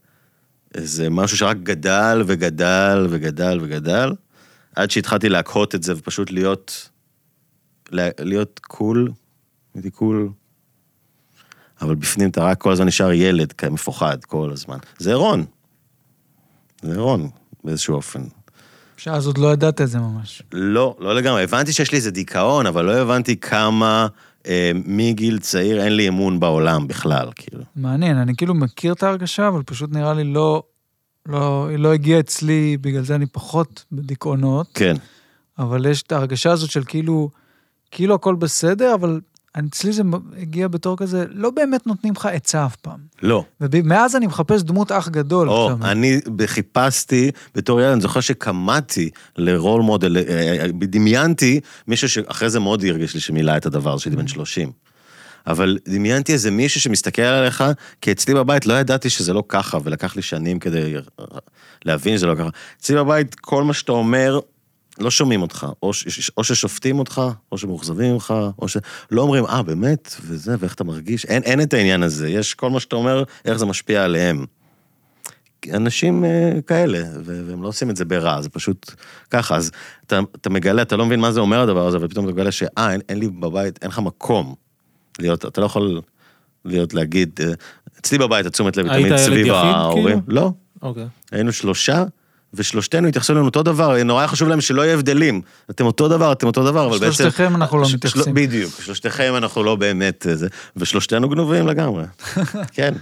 Speaker 3: איזה משהו שרק גדל וגדל וגדל וגדל, עד שהתחלתי להקהות את זה ופשוט להיות לה- להיות קול, הייתי קול, אבל בפנים אתה רק כל הזמן נשאר ילד, כ- מפוחד כל הזמן. זה רון. זה רון, באיזשהו אופן.
Speaker 1: שאז עוד לא ידעת את זה ממש.
Speaker 3: לא, לא לגמרי. הבנתי שיש לי איזה דיכאון, אבל לא הבנתי כמה אה, מגיל צעיר אין לי אמון בעולם בכלל, כאילו.
Speaker 1: מעניין, אני כאילו מכיר את ההרגשה, אבל פשוט נראה לי לא... לא, היא לא הגיעה אצלי, בגלל זה אני פחות בדיכאונות,
Speaker 3: כן.
Speaker 1: אבל יש את ההרגשה הזאת של כאילו, כאילו הכל בסדר, אבל אצלי זה הגיע בתור כזה, לא באמת נותנים לך עצה אף פעם.
Speaker 3: לא.
Speaker 1: ומאז אני מחפש דמות אח גדול.
Speaker 3: או,
Speaker 1: עכשיו.
Speaker 3: אני חיפשתי בתור ילד, אני זוכר שקמאתי לרול מודל, אה, אה, דמיינתי מישהו שאחרי זה מאוד הרגיש לי שמילא את הדבר שלי
Speaker 1: Mm.
Speaker 3: בן 30. אבל דמיינתי איזה מישהו שמסתכל עליך, כי אצלי בבית לא ידעתי שזה לא ככה, ולקח לי שנים כדי אה, להבין שזה לא ככה. אצלי בבית, כל מה שאתה אומר, לא שומעים אותך. או, ש, או ששופטים אותך, או שמאוכזבים ממך, או ש... לא אומרים, אה, באמת? וזה, ואיך אתה מרגיש? אין, אין את העניין הזה. יש כל מה שאתה אומר, איך זה משפיע עליהם. אנשים אה, כאלה, ו- והם לא עושים את זה ברע, זה פשוט ככה. אז אתה, אתה מגלה, אתה לא מבין מה זה אומר הדבר הזה, אבל פתאום אתה מגלה שאה, אין, אין לי בבית, אין לך מקום להיות, אתה לא יכול להיות, להגיד, אה, אצלי בבית התשומת לב היא
Speaker 4: היית
Speaker 3: תמיד
Speaker 4: ילד
Speaker 3: סביב
Speaker 4: יחיד,
Speaker 3: ההורים.
Speaker 4: כאילו?
Speaker 3: לא,
Speaker 4: אוקיי.
Speaker 3: היינו שלושה, ושלושתנו התייחסו אלינו אותו דבר, נורא היה חשוב להם שלא יהיה הבדלים. אתם אותו דבר, אתם אותו דבר, אבל בעצם...
Speaker 1: שלושתכם אנחנו לא
Speaker 3: של-
Speaker 1: מתייחסים.
Speaker 3: של- בדיוק, שלושתכם אנחנו לא באמת אה, זה, ושלושתנו גנובים לגמרי. כן,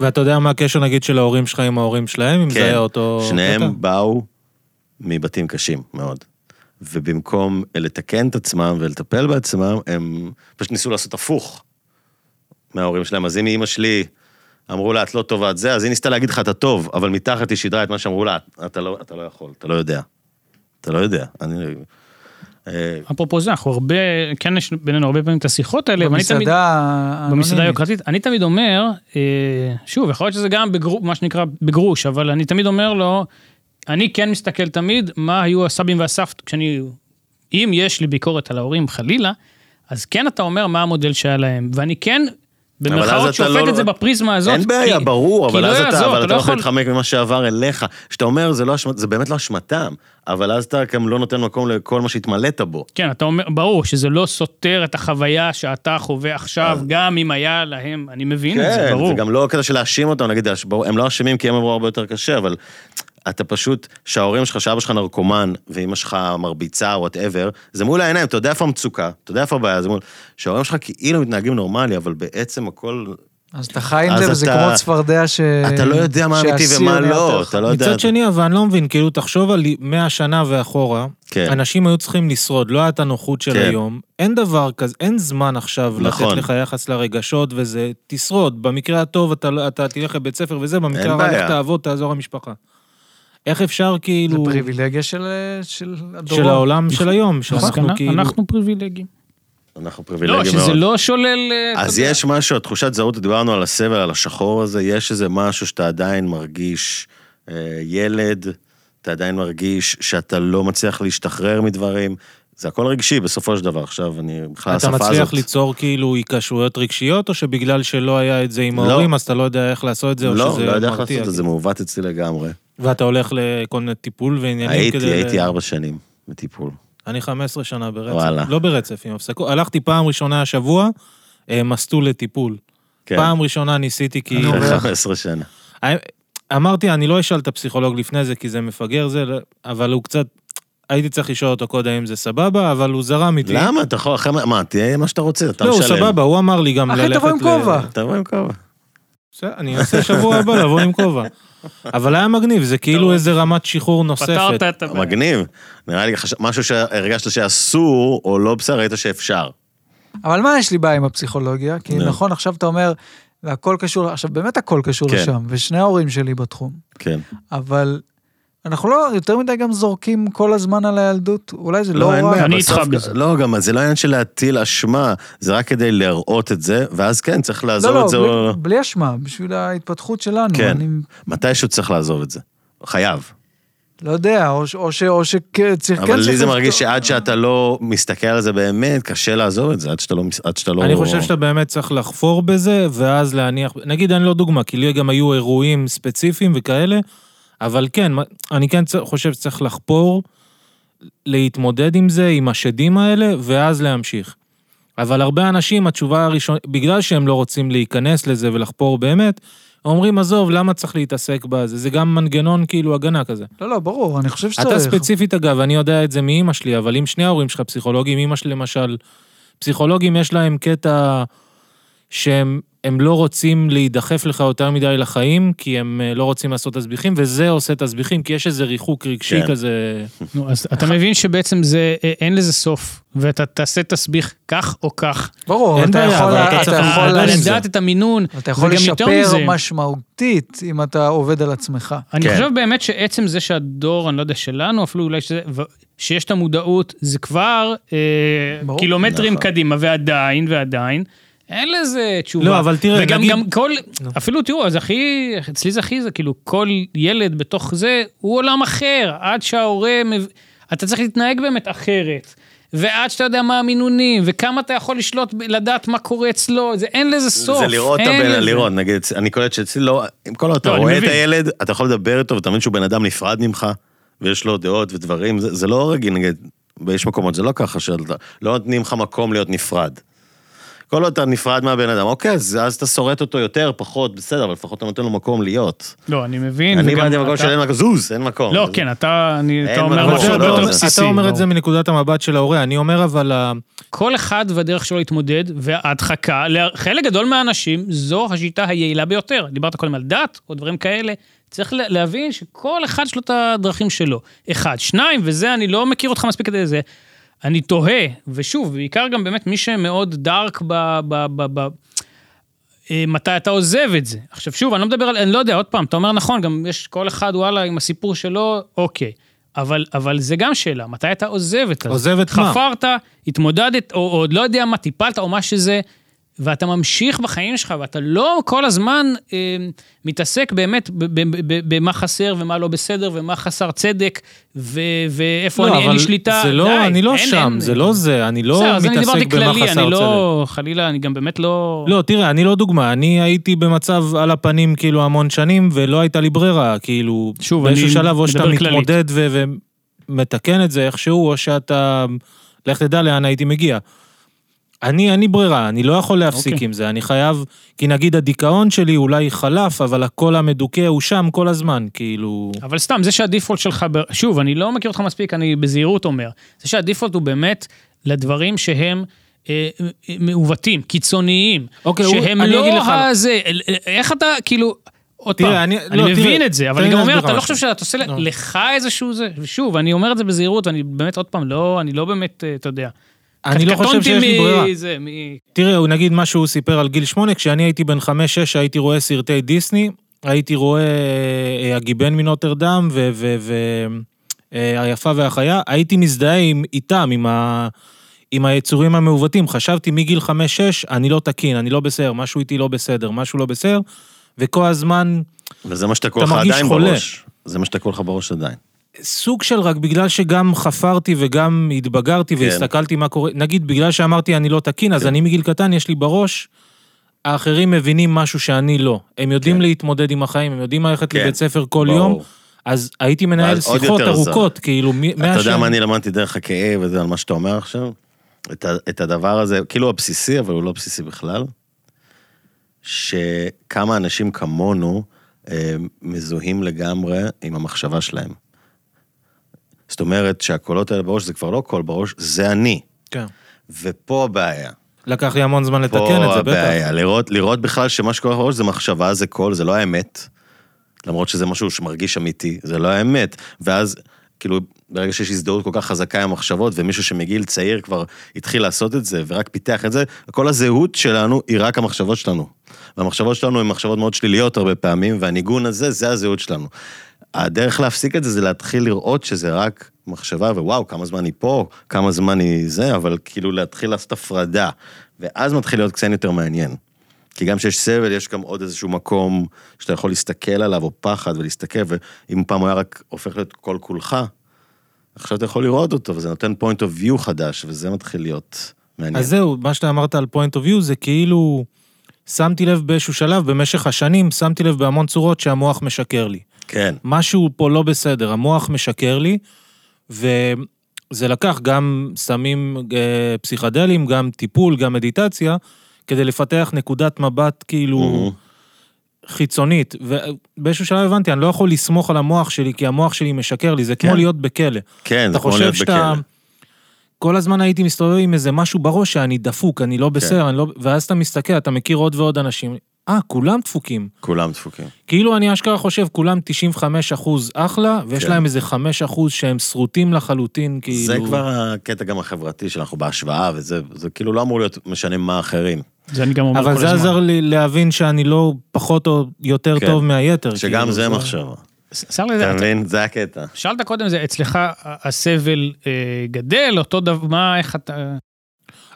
Speaker 4: ואתה יודע מה הקשר נגיד של ההורים שלך עם ההורים שלהם, אם זה
Speaker 3: כן.
Speaker 4: היה אותו... קטע?
Speaker 3: שניהם באו מבתים קשים מאוד. ובמקום לתקן את עצמם ולטפל בעצמם, הם פשוט ניסו לעשות הפוך מההורים שלהם. אז אם אימא שלי, אמרו לה, את לא טובה את זה, אז היא ניסתה להגיד לך, אתה טוב, אבל מתחת היא שידרה את מה שאמרו לה, אתה לא, אתה לא יכול, אתה לא יודע. אתה לא יודע. אני... אה,
Speaker 2: אפרופו זה, אנחנו הרבה, כן יש בינינו הרבה פעמים את השיחות האלה, ואני תמיד...
Speaker 1: במסעדה אה, לא
Speaker 2: במסעדה
Speaker 1: האנונימית.
Speaker 2: היוקרתית, אני תמיד אומר, אה, שוב, יכול להיות שזה גם בגרו, מה שנקרא בגרוש, אבל אני תמיד אומר לו, אני כן מסתכל תמיד מה היו הסבים והסבתות, כשאני, אם יש לי ביקורת על ההורים חלילה, אז כן אתה אומר מה המודל שהיה להם, ואני כן,
Speaker 3: אז
Speaker 2: במרכאות
Speaker 3: אתה
Speaker 2: שופט
Speaker 3: לא-
Speaker 2: את זה בפריזמה הזאת.
Speaker 3: אין בעיה,
Speaker 2: כי-
Speaker 3: ברור,
Speaker 2: כי
Speaker 3: אבל
Speaker 2: לא
Speaker 3: אז אתה,
Speaker 2: יעזור,
Speaker 3: אבל אתה לא יכול
Speaker 2: יכול-
Speaker 3: להתחמק ממה שעבר אליך. כשאתה אומר, זה לא אשמת, זה באמת לא אשמתם, אבל אז אתה גם לא נותן מקום לכל מה שהתמלאת בו.
Speaker 2: כן, אתה אומר, ברור שזה לא סותר את החוויה שאתה חווה עכשיו, גם אם היה להם, אני מבין את זה,
Speaker 3: אה. כן,
Speaker 2: ברור.
Speaker 3: זה גם לא קטע של להאשים אותם, נגיד, ברור, הם לא אשמים כי הם עברו הרבה יותר קשה, אבל אתה פשוט, שההורים שלך, שאבא שלך נרקומן, ואימא שלך מרביצה, וואטאבר, זה מול העיניים, אתה יודע איפה המצוקה, אתה יודע איפה הבעיה, זה מול... שההורים שלך כאילו מתנהגים נורמלי, אבל בעצם הכל...
Speaker 1: אז אתה חי עם
Speaker 3: אז
Speaker 1: זה, וזה
Speaker 3: אתה-
Speaker 1: כמו צפרדע ש...
Speaker 2: אה,
Speaker 3: אתה לא יודע מה אמיתי
Speaker 1: שהשיא
Speaker 3: ומה
Speaker 1: עולה יותר
Speaker 3: לא,
Speaker 1: לך.
Speaker 3: אתה לא יודע...
Speaker 4: מצד שני, אבל אני לא מבין, כאילו, תחשוב על 100 שנה ואחורה,
Speaker 3: כן.
Speaker 4: אנשים היו צריכים לשרוד, לא הייתה הנוחות של
Speaker 3: כן.
Speaker 4: היום, אין דבר כזה, אין זמן עכשיו לתת
Speaker 3: נכון.
Speaker 4: לך יחס לרגשות וזה, תשרוד, במקרה הטוב אתה לא- אתה תלך לבית ספר וזה,
Speaker 3: אין
Speaker 4: במקרה הרע
Speaker 3: בעיה.
Speaker 4: לך תעבוד, תעזור למשפחה. איך אפשר
Speaker 1: זה
Speaker 4: כאילו,
Speaker 1: פריבילגיה של של הדורות.
Speaker 4: של העולם של היום, שאנחנו
Speaker 2: מסקנה,
Speaker 4: כאילו,
Speaker 2: אנחנו פריבילגים.
Speaker 3: אנחנו
Speaker 2: לא,
Speaker 3: פריבילגים מאוד.
Speaker 2: שזה לא שולל... אה, אתה
Speaker 3: אז
Speaker 2: יודע.
Speaker 3: יש משהו, התחושת זהות, דיברנו על הסבל, על השחור הזה, יש איזה משהו שאתה עדיין מרגיש אה, ילד, אתה עדיין מרגיש שאתה לא מצליח להשתחרר מדברים. זה הכל רגשי בסופו של דבר, עכשיו אני בכלל
Speaker 4: אתה
Speaker 3: השפה
Speaker 4: מצליח
Speaker 3: הזאת.
Speaker 4: ליצור כאילו היקשרויות רגשיות, או שבגלל שלא היה את זה עם
Speaker 3: לא.
Speaker 4: ההורים, אז אתה לא יודע איך לעשות את זה, או
Speaker 3: לא,
Speaker 4: שזה
Speaker 3: לא יודע איך
Speaker 4: מרתיע? כאילו.
Speaker 3: לעשות את זה, זה מעוות אצלי לגמרי.
Speaker 4: ואתה הולך לכל מיני טיפול ועניינים
Speaker 3: הייתי,
Speaker 4: כדי... ל-
Speaker 3: הייתי ארבע שנים בטיפול.
Speaker 4: אני 15 שנה ברצף.
Speaker 3: וואלה.
Speaker 4: לא ברצף, עם הפסקות. הלכתי פעם ראשונה השבוע, אה, מסלול לטיפול.
Speaker 3: כן.
Speaker 4: פעם ראשונה ניסיתי כי...
Speaker 3: אחרי 15 שנה.
Speaker 4: אה, אמרתי, אני לא אשאל את הפסיכולוג לפני זה, כי זה מפגר זה, לא- אבל הוא קצת... הייתי צריך לשאול אותו קודם אם זה סבבה, אבל הוא זרם איתי.
Speaker 3: למה? אתה יכול, אחרי מה- מה, תהיה מה שאתה רוצה, אתה
Speaker 4: לא, הוא
Speaker 3: משלם.
Speaker 4: סבבה, הוא אמר לי גם ללכת
Speaker 1: אחי, תבוא עם
Speaker 4: ל-
Speaker 1: כובע.
Speaker 3: אתה רואה עם כובע.
Speaker 4: בסדר, אני אנסה שבוע הבא לבוא עם כובע. אבל היה מגניב, זה כאילו איזה רמת שחרור נוספת.
Speaker 2: פתרת את הבעיה.
Speaker 3: מגניב. נראה לי חש- משהו שהרגשת שאסור, או לא בסדר, ראית שאפשר.
Speaker 1: אבל מה יש לי בעיה עם הפסיכולוגיה? כי
Speaker 3: נו.
Speaker 1: נכון, עכשיו אתה אומר, והכל קשור, עכשיו באמת הכל קשור
Speaker 3: כן.
Speaker 1: לשם, ושני ההורים שלי בתחום,
Speaker 3: כן.
Speaker 1: אבל אנחנו לא יותר מדי גם זורקים כל הזמן על הילדות, אולי זה לא
Speaker 3: אין
Speaker 1: רע.
Speaker 3: בעיה,
Speaker 2: אני
Speaker 3: בסוף-
Speaker 2: איתך בזה.
Speaker 3: לא, גם זה לא עניין של להטיל אשמה, זה רק כדי להראות את זה, ואז כן, צריך לעזוב
Speaker 1: לא, לא,
Speaker 3: את זה.
Speaker 1: בלי-
Speaker 3: או-
Speaker 1: בלי אשמה, בשביל ההתפתחות שלנו.
Speaker 3: כן.
Speaker 1: אני
Speaker 3: מתישהו צריך לעזוב את זה. חייב.
Speaker 1: לא יודע, או ש- או ש- או שכן צריך...
Speaker 3: אבל לי
Speaker 1: כן, צריך
Speaker 3: זה
Speaker 1: לפתור-
Speaker 3: מרגיש שעד שאתה לא מסתכל על זה באמת, קשה לעזוב את זה, עד שאתה לא... מס- עד שאתה לא...
Speaker 4: אני חושב שאתה באמת צריך לחפור בזה, ואז להניח, נגיד אני לא דוגמה, כי לי גם היו אירועים ספציפיים וכאלה, אבל כן, מה- אני כן צ- חושב שצריך לחפור, להתמודד עם זה, עם השדים האלה, ואז להמשיך. אבל הרבה אנשים, התשובה הראשונה, בגלל שהם לא רוצים להיכנס לזה ולחפור באמת, אומרים, עזוב, למה צריך להתעסק בזה? זה גם מנגנון כאילו הגנה כזה.
Speaker 1: לא, לא, ברור, אני חושב שצריך.
Speaker 4: אתה ספציפית, אגב, אני יודע את זה מאימא שלי, אבל אם שני ההורים שלך פסיכולוגים, אימא שלי למשל, פסיכולוגים יש להם קטע שהם הם לא רוצים להידחף לך יותר מדי לחיים, כי הם אה, לא רוצים לעשות תסביכים, וזה עושה תסביכים, כי יש איזה ריחוק רגשי
Speaker 3: כן.
Speaker 4: כזה...
Speaker 2: נו, אז אתה מבין שבעצם זה, אה, אין לזה סוף, ואתה תעשה תסביך כך או כך.
Speaker 1: ברור,
Speaker 4: אין
Speaker 1: אתה
Speaker 4: בעיה,
Speaker 1: יכול...
Speaker 4: אבל אתה
Speaker 1: אתה
Speaker 4: צריך
Speaker 1: יכול...
Speaker 4: להתמודד עם זה.
Speaker 2: לדעת את המינון,
Speaker 1: אתה יכול
Speaker 2: וגם יותר
Speaker 1: לשפר
Speaker 2: מזה.
Speaker 1: משמעותית אם אתה עובד על עצמך.
Speaker 2: אני
Speaker 3: כן.
Speaker 2: חושב באמת שעצם זה שהדור, אני לא יודע, שלנו, אפילו אולי שזה, ו- שיש את המודעות, זה כבר אה,
Speaker 1: ברור.
Speaker 2: קילומטרים
Speaker 3: נכון.
Speaker 2: קדימה, ועדיין, ועדיין. אין לזה תשובה.
Speaker 4: לא, אבל תראה,
Speaker 2: וגם
Speaker 4: נגיד-
Speaker 2: גם כל, אפילו תראו, אז הכי, אצלי זה הכי, זה כאילו, כל ילד בתוך זה, הוא עולם אחר, עד שההורה, מב... אתה צריך להתנהג באמת אחרת. ועד שאתה יודע מה המינונים, וכמה אתה יכול לשלוט, ב- לדעת מה קורה אצלו, זה אין לזה סוף.
Speaker 3: זה לראות את
Speaker 2: אין
Speaker 3: הבן,
Speaker 2: לזה.
Speaker 3: לראות, נגיד, אני קולט שאצלי לא, עם כל אתה
Speaker 2: לא, אני
Speaker 3: רואה את
Speaker 2: מבין.
Speaker 3: הילד, אתה יכול לדבר איתו, ואתה מבין שהוא בן אדם נפרד ממך, ויש לו דעות ודברים, זה זה לא רגיל, נגיד, ויש מקומות, זה לא ככה, שאתה- לא נותנים לך מקום להיות נפרד. כל עוד אתה נפרד מהבן אדם, אוקיי, אז אז אתה שורט אותו יותר, פחות, בסדר, אבל לפחות אתה נותן לו מקום להיות.
Speaker 2: לא, אני מבין.
Speaker 3: אני
Speaker 2: וגם
Speaker 3: באתי במקום
Speaker 2: אתה-
Speaker 3: של אין מקום, זוז, אין מקום.
Speaker 2: לא,
Speaker 3: נכון, אז-
Speaker 2: כן, אתה, אני,
Speaker 3: אין
Speaker 2: אתה אומר
Speaker 3: מה
Speaker 4: אבל
Speaker 2: משהו
Speaker 4: זה
Speaker 3: לעשות,
Speaker 2: הרבה
Speaker 3: לא,
Speaker 4: אתה
Speaker 2: יותר
Speaker 4: אומר-
Speaker 2: לא, בסיסי. לא.
Speaker 4: אתה אומר את
Speaker 2: ברור.
Speaker 4: זה מנקודת המבט של ההורה, אני אומר אבל... ה-
Speaker 2: כל אחד והדרך שלו להתמודד, וההדחקה, לה- חלק גדול מהאנשים, זו השיטה היעילה ביותר. דיברת קודם על דת או דברים כאלה. צריך לה- להבין שכל אחד יש לו את הדרכים שלו. אחד. שניים, וזה, אני לא מכיר אותך מספיק כדי זה. אני תוהה, ושוב, בעיקר גם באמת מי שמאוד דארק ב... ב, ב, ב אה, מתי אתה עוזב את זה. עכשיו שוב, אני לא מדבר על, אני לא יודע, עוד פעם, אתה אומר נכון, גם יש כל אחד, וואלה, עם הסיפור שלו, אוקיי. אבל, אבל זה גם שאלה, מתי אתה עוזב את זה?
Speaker 4: עוזב את מה?
Speaker 2: חפרת, התמודדת, או, או עוד לא יודע מה, טיפלת, או מה שזה, ואתה ממשיך בחיים שלך, ואתה לא כל הזמן אה, מתעסק באמת ב- ב- ב- ב- במה חסר ומה לא בסדר, ומה חסר צדק, ו, ואיפה אני, לא, אין לי שליטה.
Speaker 4: לא, זה
Speaker 2: די,
Speaker 4: לא, אני לא
Speaker 2: אין-
Speaker 4: שם,
Speaker 2: אין-
Speaker 4: זה לא זה, אני לא
Speaker 2: בסדר, אז אני
Speaker 4: מתעסק
Speaker 2: דיברתי
Speaker 4: במה
Speaker 2: כללי,
Speaker 4: חסר
Speaker 2: אני
Speaker 4: צדק.
Speaker 2: לא, חלילה, אני גם באמת לא...
Speaker 4: לא, תראה, אני לא דוגמה, אני הייתי במצב על הפנים כאילו המון שנים, ולא הייתה לי ברירה, כאילו,
Speaker 2: שוב,
Speaker 4: באיזשהו
Speaker 2: אני
Speaker 4: שלב או שאתה
Speaker 2: מדבר כללית.
Speaker 4: מתמודד ו- ומתקן את זה איכשהו, או שאתה, לך תדע לאן הייתי מגיע. אני, אין לי ברירה, אני לא יכול להפסיק
Speaker 2: אוקיי.
Speaker 4: עם זה, אני חייב, כי נגיד הדיכאון שלי אולי חלף, אבל הקול המדוכא הוא שם כל הזמן, כאילו...
Speaker 2: אבל סתם, זה שהדיפולט שלך, ב- שוב, אני לא מכיר אותך מספיק, אני בזהירות אומר, זה שהדיפולט הוא באמת לדברים שהם... אה, אה, מעוותים, קיצוניים,
Speaker 4: אוקיי, הוא-
Speaker 2: שהם
Speaker 4: אני אגיד
Speaker 2: לא
Speaker 4: לך-
Speaker 2: הזה, אל- אל- איך אתה, כאילו, עוד
Speaker 4: תראה,
Speaker 2: פעם,
Speaker 4: אני-
Speaker 2: אני,
Speaker 4: לא, תראה,
Speaker 2: מבין את זה, אבל
Speaker 4: תן
Speaker 2: אני
Speaker 4: לי
Speaker 2: גם
Speaker 4: להסביר
Speaker 2: אומר,
Speaker 4: לך
Speaker 2: אתה לא
Speaker 4: משהו.
Speaker 2: חושב שאתה עושה
Speaker 4: לא.
Speaker 2: לך איזשהו זה, ושוב, אני אומר את זה בזהירות, אני באמת, עוד פעם, לא, אני לא באמת, אה, אתה יודע.
Speaker 4: אני לא חושב שיש לי ברירה.
Speaker 2: קטונתי מזה, מ-
Speaker 4: תראה, הוא נגיד מה שהוא סיפר על גיל שמונה, כשאני הייתי בן חמש-שש הייתי רואה סרטי דיסני, הייתי רואה אה, הגיבן מנוטרדם ו... ו, ו אה, היפה והחיה, הייתי מזדהה עם, איתם, עם, ה, עם היצורים המעוותים. חשבתי מגיל חמש-שש, אני לא תקין, אני לא בסדר, משהו איתי לא בסדר, משהו לא בסדר, וכל הזמן
Speaker 3: וזה מה שתקוע
Speaker 4: אתה
Speaker 3: לך
Speaker 4: מרגיש
Speaker 3: עדיין
Speaker 4: חולה.
Speaker 3: בראש. זה מה שתקוע לך בראש עדיין.
Speaker 4: סוג של רק בגלל שגם חפרתי וגם התבגרתי כן. והסתכלתי מה קורה, נגיד בגלל שאמרתי אני לא תקין,
Speaker 3: כן.
Speaker 4: אז אני מגיל קטן, יש לי בראש, האחרים מבינים משהו שאני לא. הם יודעים
Speaker 3: כן.
Speaker 4: להתמודד עם החיים, הם יודעים ללכת
Speaker 3: כן.
Speaker 4: לבית ספר כל
Speaker 3: ברור.
Speaker 4: יום, אז הייתי מנהל
Speaker 3: ואז עוד
Speaker 4: שיחות
Speaker 3: יותר זה.
Speaker 4: ארוכות, כאילו, מי-
Speaker 3: אתה יודע
Speaker 4: מהשם-
Speaker 3: מה אני למדתי דרך הכאב וזה על מה שאתה אומר עכשיו? את, ה- את הדבר הזה, כאילו הבסיסי, אבל הוא לא בסיסי בכלל, שכמה אנשים כמונו אה, מזוהים לגמרי עם המחשבה שלהם. זאת אומרת שהקולות האלה בראש זה כבר לא קול בראש, זה אני.
Speaker 4: כן.
Speaker 3: ופה הבעיה.
Speaker 4: לקח לי המון זמן לתקן
Speaker 3: פה
Speaker 4: את זה, בטח.
Speaker 3: הבעיה, לראות, לראות בכלל שמה שקורה לך בראש זה מחשבה, זה קול, זה לא האמת. למרות שזה משהו שמרגיש אמיתי, זה לא האמת. ואז, כאילו, ברגע שיש הזדהות כל כך חזקה עם המחשבות, ומישהו שמגיל צעיר כבר התחיל לעשות את זה, ורק פיתח את זה, כל הזהות שלנו היא רק המחשבות שלנו. והמחשבות שלנו הן מחשבות מאוד שליליות הרבה פעמים, והניגון הזה, זה הזהות שלנו. הדרך להפסיק את זה, זה להתחיל לראות שזה רק מחשבה, ווואו, כמה זמן היא פה, כמה זמן היא זה, אבל כאילו להתחיל לעשות הפרדה. ואז מתחיל להיות קצת יותר מעניין. כי גם כשיש סבל, יש גם עוד איזשהו מקום שאתה יכול להסתכל עליו, או פחד, ולהסתכל, ואם פעם הוא היה רק הופך להיות כל כולך, עכשיו אתה יכול לראות אותו, וזה נותן point of view חדש, וזה מתחיל להיות מעניין.
Speaker 4: אז זהו, מה שאתה אמרת על point of view זה כאילו, שמתי לב באיזשהו שלב, במשך השנים, שמתי לב בהמון צורות שהמוח משקר לי.
Speaker 3: כן.
Speaker 4: משהו פה לא בסדר, המוח משקר לי, ו... זה לקח גם סמים אה, פסיכדליים, גם טיפול, גם מדיטציה, כדי לפתח נקודת מבט כאילו חיצונית. ובאיזשהו שלב הבנתי, אני לא יכול לסמוך על המוח שלי, כי המוח שלי משקר לי, זה כמו
Speaker 3: כן.
Speaker 4: להיות בכלא.
Speaker 3: כן,
Speaker 4: אתה
Speaker 3: זה כמו
Speaker 4: חושב
Speaker 3: להיות
Speaker 4: שאתה...
Speaker 3: בכלא.
Speaker 4: כל הזמן הייתי מסתובב עם איזה משהו בראש שאני דפוק, אני
Speaker 3: כן.
Speaker 4: לא בסדר, אני לא... ואז אתה מסתכל, אתה מכיר עוד ועוד אנשים. אה, כולם דפוקים.
Speaker 3: כולם דפוקים.
Speaker 4: כאילו אני אשכרה חושב, כולם 95 אחוז אחלה, ויש
Speaker 3: כן.
Speaker 4: להם איזה 5 אחוז שהם שרוטים לחלוטין, כאילו...
Speaker 3: זה כבר הקטע גם החברתי שאנחנו בהשוואה, וזה זה כאילו לא אמור להיות משנה מה אחרים.
Speaker 2: זה אני גם אומר כל
Speaker 3: לא
Speaker 4: אבל
Speaker 2: הזמן.
Speaker 4: זה עזר לי להבין שאני לא פחות או יותר
Speaker 3: כן.
Speaker 4: טוב מהיתר.
Speaker 3: שגם
Speaker 4: כאילו,
Speaker 3: זה מחשבה.
Speaker 2: שר לזה,
Speaker 3: אתה
Speaker 2: אתה-
Speaker 3: מבין? זה הקטע.
Speaker 2: שאלת קודם, זה אצלך ה- הסבל אה, גדל, אותו דבר, מה, איך אתה...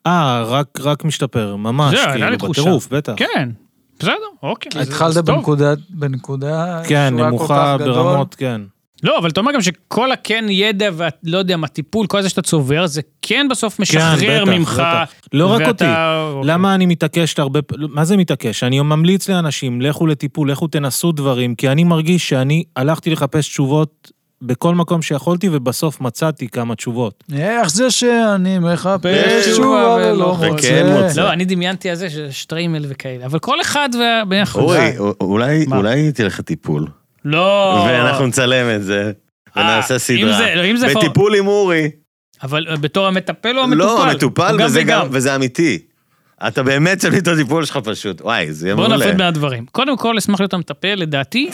Speaker 4: אה, רק- רק משתפר, ממש,
Speaker 2: זה, היה לי
Speaker 4: כאילו,
Speaker 2: תחושה.
Speaker 4: בטירוף, בטח.
Speaker 2: כן, בסדר, אוקיי.
Speaker 1: כי
Speaker 2: אז-
Speaker 1: התחלת
Speaker 2: אז טוב.
Speaker 1: בנקודה, בנקודה,
Speaker 4: כן,
Speaker 1: שהוא היה כל
Speaker 4: נמוכה
Speaker 1: כך גדול.
Speaker 4: ברמות, כן.
Speaker 2: לא, אבל אתה אומר גם שכל הכן ידע ולא יודע מה, טיפול, כל זה שאתה צובר, זה כן בסוף משחרר
Speaker 4: בטח,
Speaker 2: ממך.
Speaker 4: בטח. לא רק אותי.
Speaker 2: ואתה- אוקיי.
Speaker 4: למה אני מתעקש הרבה, פ- מה זה מתעקש? אני ממליץ לאנשים, לכו לטיפול, לכו תנסו דברים, כי אני מרגיש שאני הלכתי לחפש תשובות בכל מקום שיכולתי, ובסוף מצאתי כמה תשובות.
Speaker 1: אה, איך זה שאני מחפש
Speaker 2: תשובה
Speaker 1: תשובה
Speaker 4: לא
Speaker 2: ולא
Speaker 1: ולא
Speaker 2: וכן
Speaker 4: כן,
Speaker 1: מוצא.
Speaker 3: מוצא.
Speaker 2: לא, אני דמיינתי על זה ששטריימל וכאלה, אבל כל אחד וה... מאה אחוז.
Speaker 3: אורי, א- אולי-
Speaker 2: מה?
Speaker 3: אולי תלך לטיפול,
Speaker 2: לא.
Speaker 3: ואנחנו נצלם את זה,
Speaker 2: אה,
Speaker 3: ונעשה
Speaker 2: אם
Speaker 3: סדרה.
Speaker 2: זה- אם זה פר-
Speaker 3: בטיפול עם אורי.
Speaker 2: אבל אה, בתור המטפל או המטופל?
Speaker 3: לא, מטופל,
Speaker 2: הוא גם
Speaker 3: וזה
Speaker 2: וגם.
Speaker 3: גם- וזה אמיתי. אתה באמת שם לי את הטיפול שלך פשוט, וואי, זה יהיה
Speaker 2: בוא
Speaker 3: מעולה.
Speaker 2: נפריד מהדברים. קודם כל, אשמח להיות המטפל, לדעתי.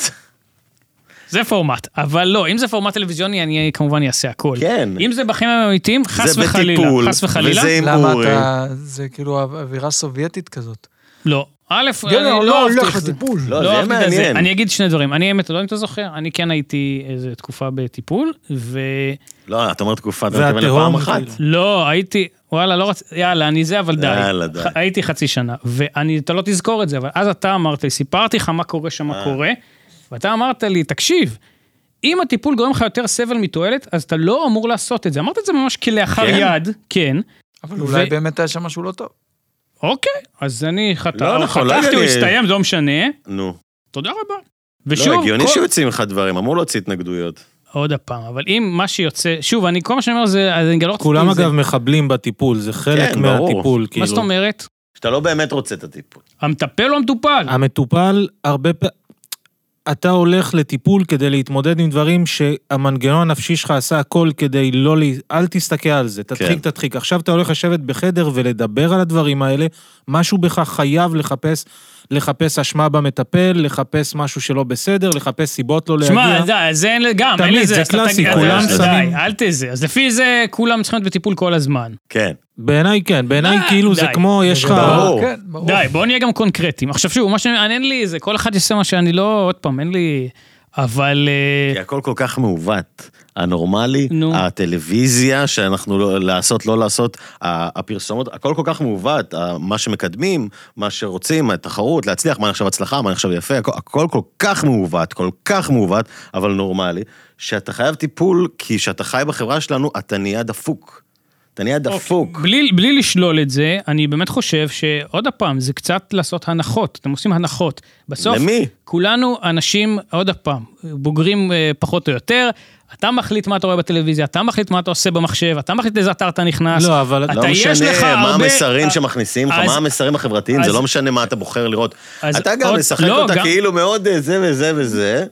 Speaker 2: זה פורמט, אבל לא, אם זה פורמט טלוויזיוני, אני כמובן אעשה הכל.
Speaker 3: כן.
Speaker 2: אם זה בחיים האמיתיים, חס
Speaker 3: זה
Speaker 2: וחלילה.
Speaker 3: בטיפול,
Speaker 2: חס וחלילה.
Speaker 3: וזה עם
Speaker 1: למה
Speaker 3: אורי.
Speaker 1: אתה, זה כאילו אווירה סובייטית כזאת.
Speaker 2: לא. א', אני
Speaker 1: גבר
Speaker 2: לא
Speaker 1: לא
Speaker 2: אהבתי
Speaker 1: הולך
Speaker 2: איך זה.
Speaker 1: לטיפול.
Speaker 3: לא,
Speaker 2: אהבתי
Speaker 3: זה יהיה
Speaker 2: את
Speaker 3: מעניין.
Speaker 2: אני אגיד שני דברים. אני האמת, לא יודע אם אתה זוכר, אני כן הייתי איזה תקופה בטיפול, ולא,
Speaker 3: לא, אתה אומר תקופה, אתה
Speaker 4: זה
Speaker 3: מתכוון
Speaker 4: התהום,
Speaker 3: לפעם אחת.
Speaker 4: כאילו.
Speaker 2: הייתי, וואלה, לא רציתי, יאללה, אני זה, אבל די.
Speaker 3: יאללה, די.
Speaker 2: ח- הייתי חצי שנה, ואתה לא תזכור את זה, אבל אז אתה אמרת לי, סיפרתי לך מה קורה שם,
Speaker 3: אה.
Speaker 2: מה קורה, ואתה אמרת לי, תקשיב, אם הטיפול גורם לך יותר סבל מתועלת, אז אתה לא אמור לעשות את זה. אמרת את זה ממש כלאחר
Speaker 3: כן?
Speaker 2: יד, כן.
Speaker 1: אבל אולי
Speaker 2: ו-
Speaker 1: באמת היה שם משהו לא טוב.
Speaker 2: אוקיי, אז אני חת-
Speaker 3: לא נכון, לא
Speaker 2: חתכתי, הוא
Speaker 3: הגיוני.
Speaker 2: הסתיים, זה לא משנה,
Speaker 3: נו.
Speaker 2: תודה רבה.
Speaker 3: לא, הגיוני
Speaker 2: כל-
Speaker 3: שיוצאים לך דברים, אמור להוציא התנגדויות.
Speaker 2: עוד הפעם, אבל אם מה שיוצא, שוב, אני כל מה שאני אומר זה, אז אני גם לא רציתי
Speaker 4: כולם
Speaker 2: את זה.
Speaker 4: אגב מחבלים בטיפול, זה חלק
Speaker 3: כן, ברור.
Speaker 4: מהטיפול,
Speaker 2: מה
Speaker 4: כאילו.
Speaker 2: זאת אומרת?
Speaker 3: שאתה לא באמת רוצה את הטיפול.
Speaker 2: המטפל או המטופל?
Speaker 4: המטופל, הרבה פ... אתה הולך לטיפול כדי להתמודד עם דברים שהמנגנון הנפשי שלך עשה הכל כדי לא ל... אל תסתכל על זה, תדחיק,
Speaker 3: כן.
Speaker 4: תדחיק. עכשיו אתה הולך לשבת בחדר ולדבר על הדברים האלה, משהו בך חייב לחפש, לחפש אשמה במטפל, לחפש משהו שלא בסדר, לחפש סיבות לא
Speaker 2: שמע,
Speaker 4: להגיע.
Speaker 2: די, זה אין, גם, אין
Speaker 4: תמיד,
Speaker 2: לזה
Speaker 4: זה
Speaker 2: אסטרטגיה,
Speaker 4: קלאסי,
Speaker 2: אז
Speaker 3: כולם
Speaker 2: די,
Speaker 4: שמים-
Speaker 2: אל תזה. אז לפי זה כולם צריכים להיות בטיפול כל הזמן.
Speaker 3: כן.
Speaker 4: בעיניי כן, בעיניי
Speaker 2: אה,
Speaker 4: כאילו זה
Speaker 2: די.
Speaker 4: כמו, יש לך...
Speaker 3: ברור.
Speaker 1: כן, ברור.
Speaker 2: די, בואו נהיה גם קונקרטיים. עכשיו שוב, מה שמעניין לי זה כל אחד יעשה מה שאני לא, עוד פעם, אין לי... אבל... אה,
Speaker 3: כי הכל כל כך מעוות. הנורמלי,
Speaker 2: נו.
Speaker 3: הטלוויזיה שאנחנו לא, לעשות, לא לעשות, ה- הפרסומות, הכל כל כך מעוות, ה- מה שמקדמים, מה שרוצים, התחרות, להצליח, מה נחשב הצלחה, מה נחשב יפה, הכל, הכל כל כך מעוות, כל כך מעוות, אבל נורמלי, שאתה חייב טיפול, כי כשאתה חי בחברה שלנו, אתה נהיה דפוק. אתה נהיה
Speaker 2: אוקיי.
Speaker 3: דפוק.
Speaker 2: בלי, בלי לשלול את זה, אני באמת חושב שעוד פעם, זה קצת לעשות הנחות. אתם עושים הנחות. בסוף,
Speaker 3: למי?
Speaker 2: כולנו אנשים, עוד פעם, בוגרים אה, פחות או יותר. אתה מחליט מה אתה רואה בטלוויזיה, אתה מחליט מה אתה עושה במחשב, אתה מחליט לאיזה אתר אתה נכנס.
Speaker 4: לא, אבל-
Speaker 2: אתה
Speaker 3: לא
Speaker 2: יש לך
Speaker 3: משנה מה
Speaker 2: הרבה- אה,
Speaker 3: המסרים שמכניסים לך,
Speaker 2: אז-
Speaker 3: מה המסרים החברתיים,
Speaker 2: אז-
Speaker 3: זה לא משנה מה אתה בוחר לראות.
Speaker 2: אז
Speaker 3: אתה גם
Speaker 2: עוד-
Speaker 3: משחק
Speaker 2: לא,
Speaker 3: אותה
Speaker 2: גם-
Speaker 3: כאילו מאוד אה, זה וזה וזה.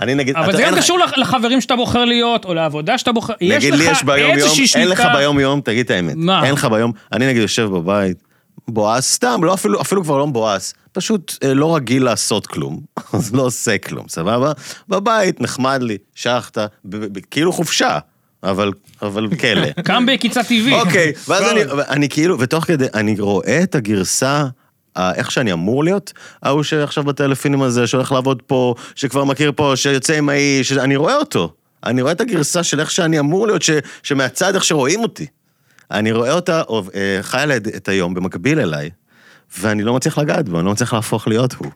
Speaker 3: אני נגיד...
Speaker 2: אבל
Speaker 3: אתה-
Speaker 2: זה גם
Speaker 3: אין לך-
Speaker 2: קשור לח- לחברים שאתה בוחר להיות, או לעבודה שאתה בוחר. יש
Speaker 3: נגיד לי יש
Speaker 2: לך
Speaker 3: ביום יום,
Speaker 2: איזושהי שליטה.
Speaker 3: אין לך ביום יום, תגיד את האמת.
Speaker 2: מה?
Speaker 3: אין לך ביום, אני נגיד יושב בבית, בועס, סתם, לא אפילו, אפילו כבר לא מבועס, פשוט אה, לא רגיל לעשות כלום, אז לא עושה כלום, סבבה? בבית, נחמד לי, שחטה, ב- ב- ב- כאילו חופשה, אבל, אבל כלא.
Speaker 2: קם בעקיצה טבעית.
Speaker 3: אוקיי, ואז אני, אני כאילו, ותוך כדי, אני רואה את הגרסה, ה- איך שאני אמור להיות, ההוא שעכשיו בטלפינים הזה, שהולך לעבוד פה, שכבר מכיר פה, שיוצא עם ההיא, ש- אני רואה אותו. אני רואה את הגרסה של איך שאני אמור להיות, ש, שמהצד איך שרואים אותי. אני רואה אותה או- אה, חיה לה את- את היום במקביל אליי, ואני לא מצליח לגעת בו, אני לא מצליח להפוך להיות הוא.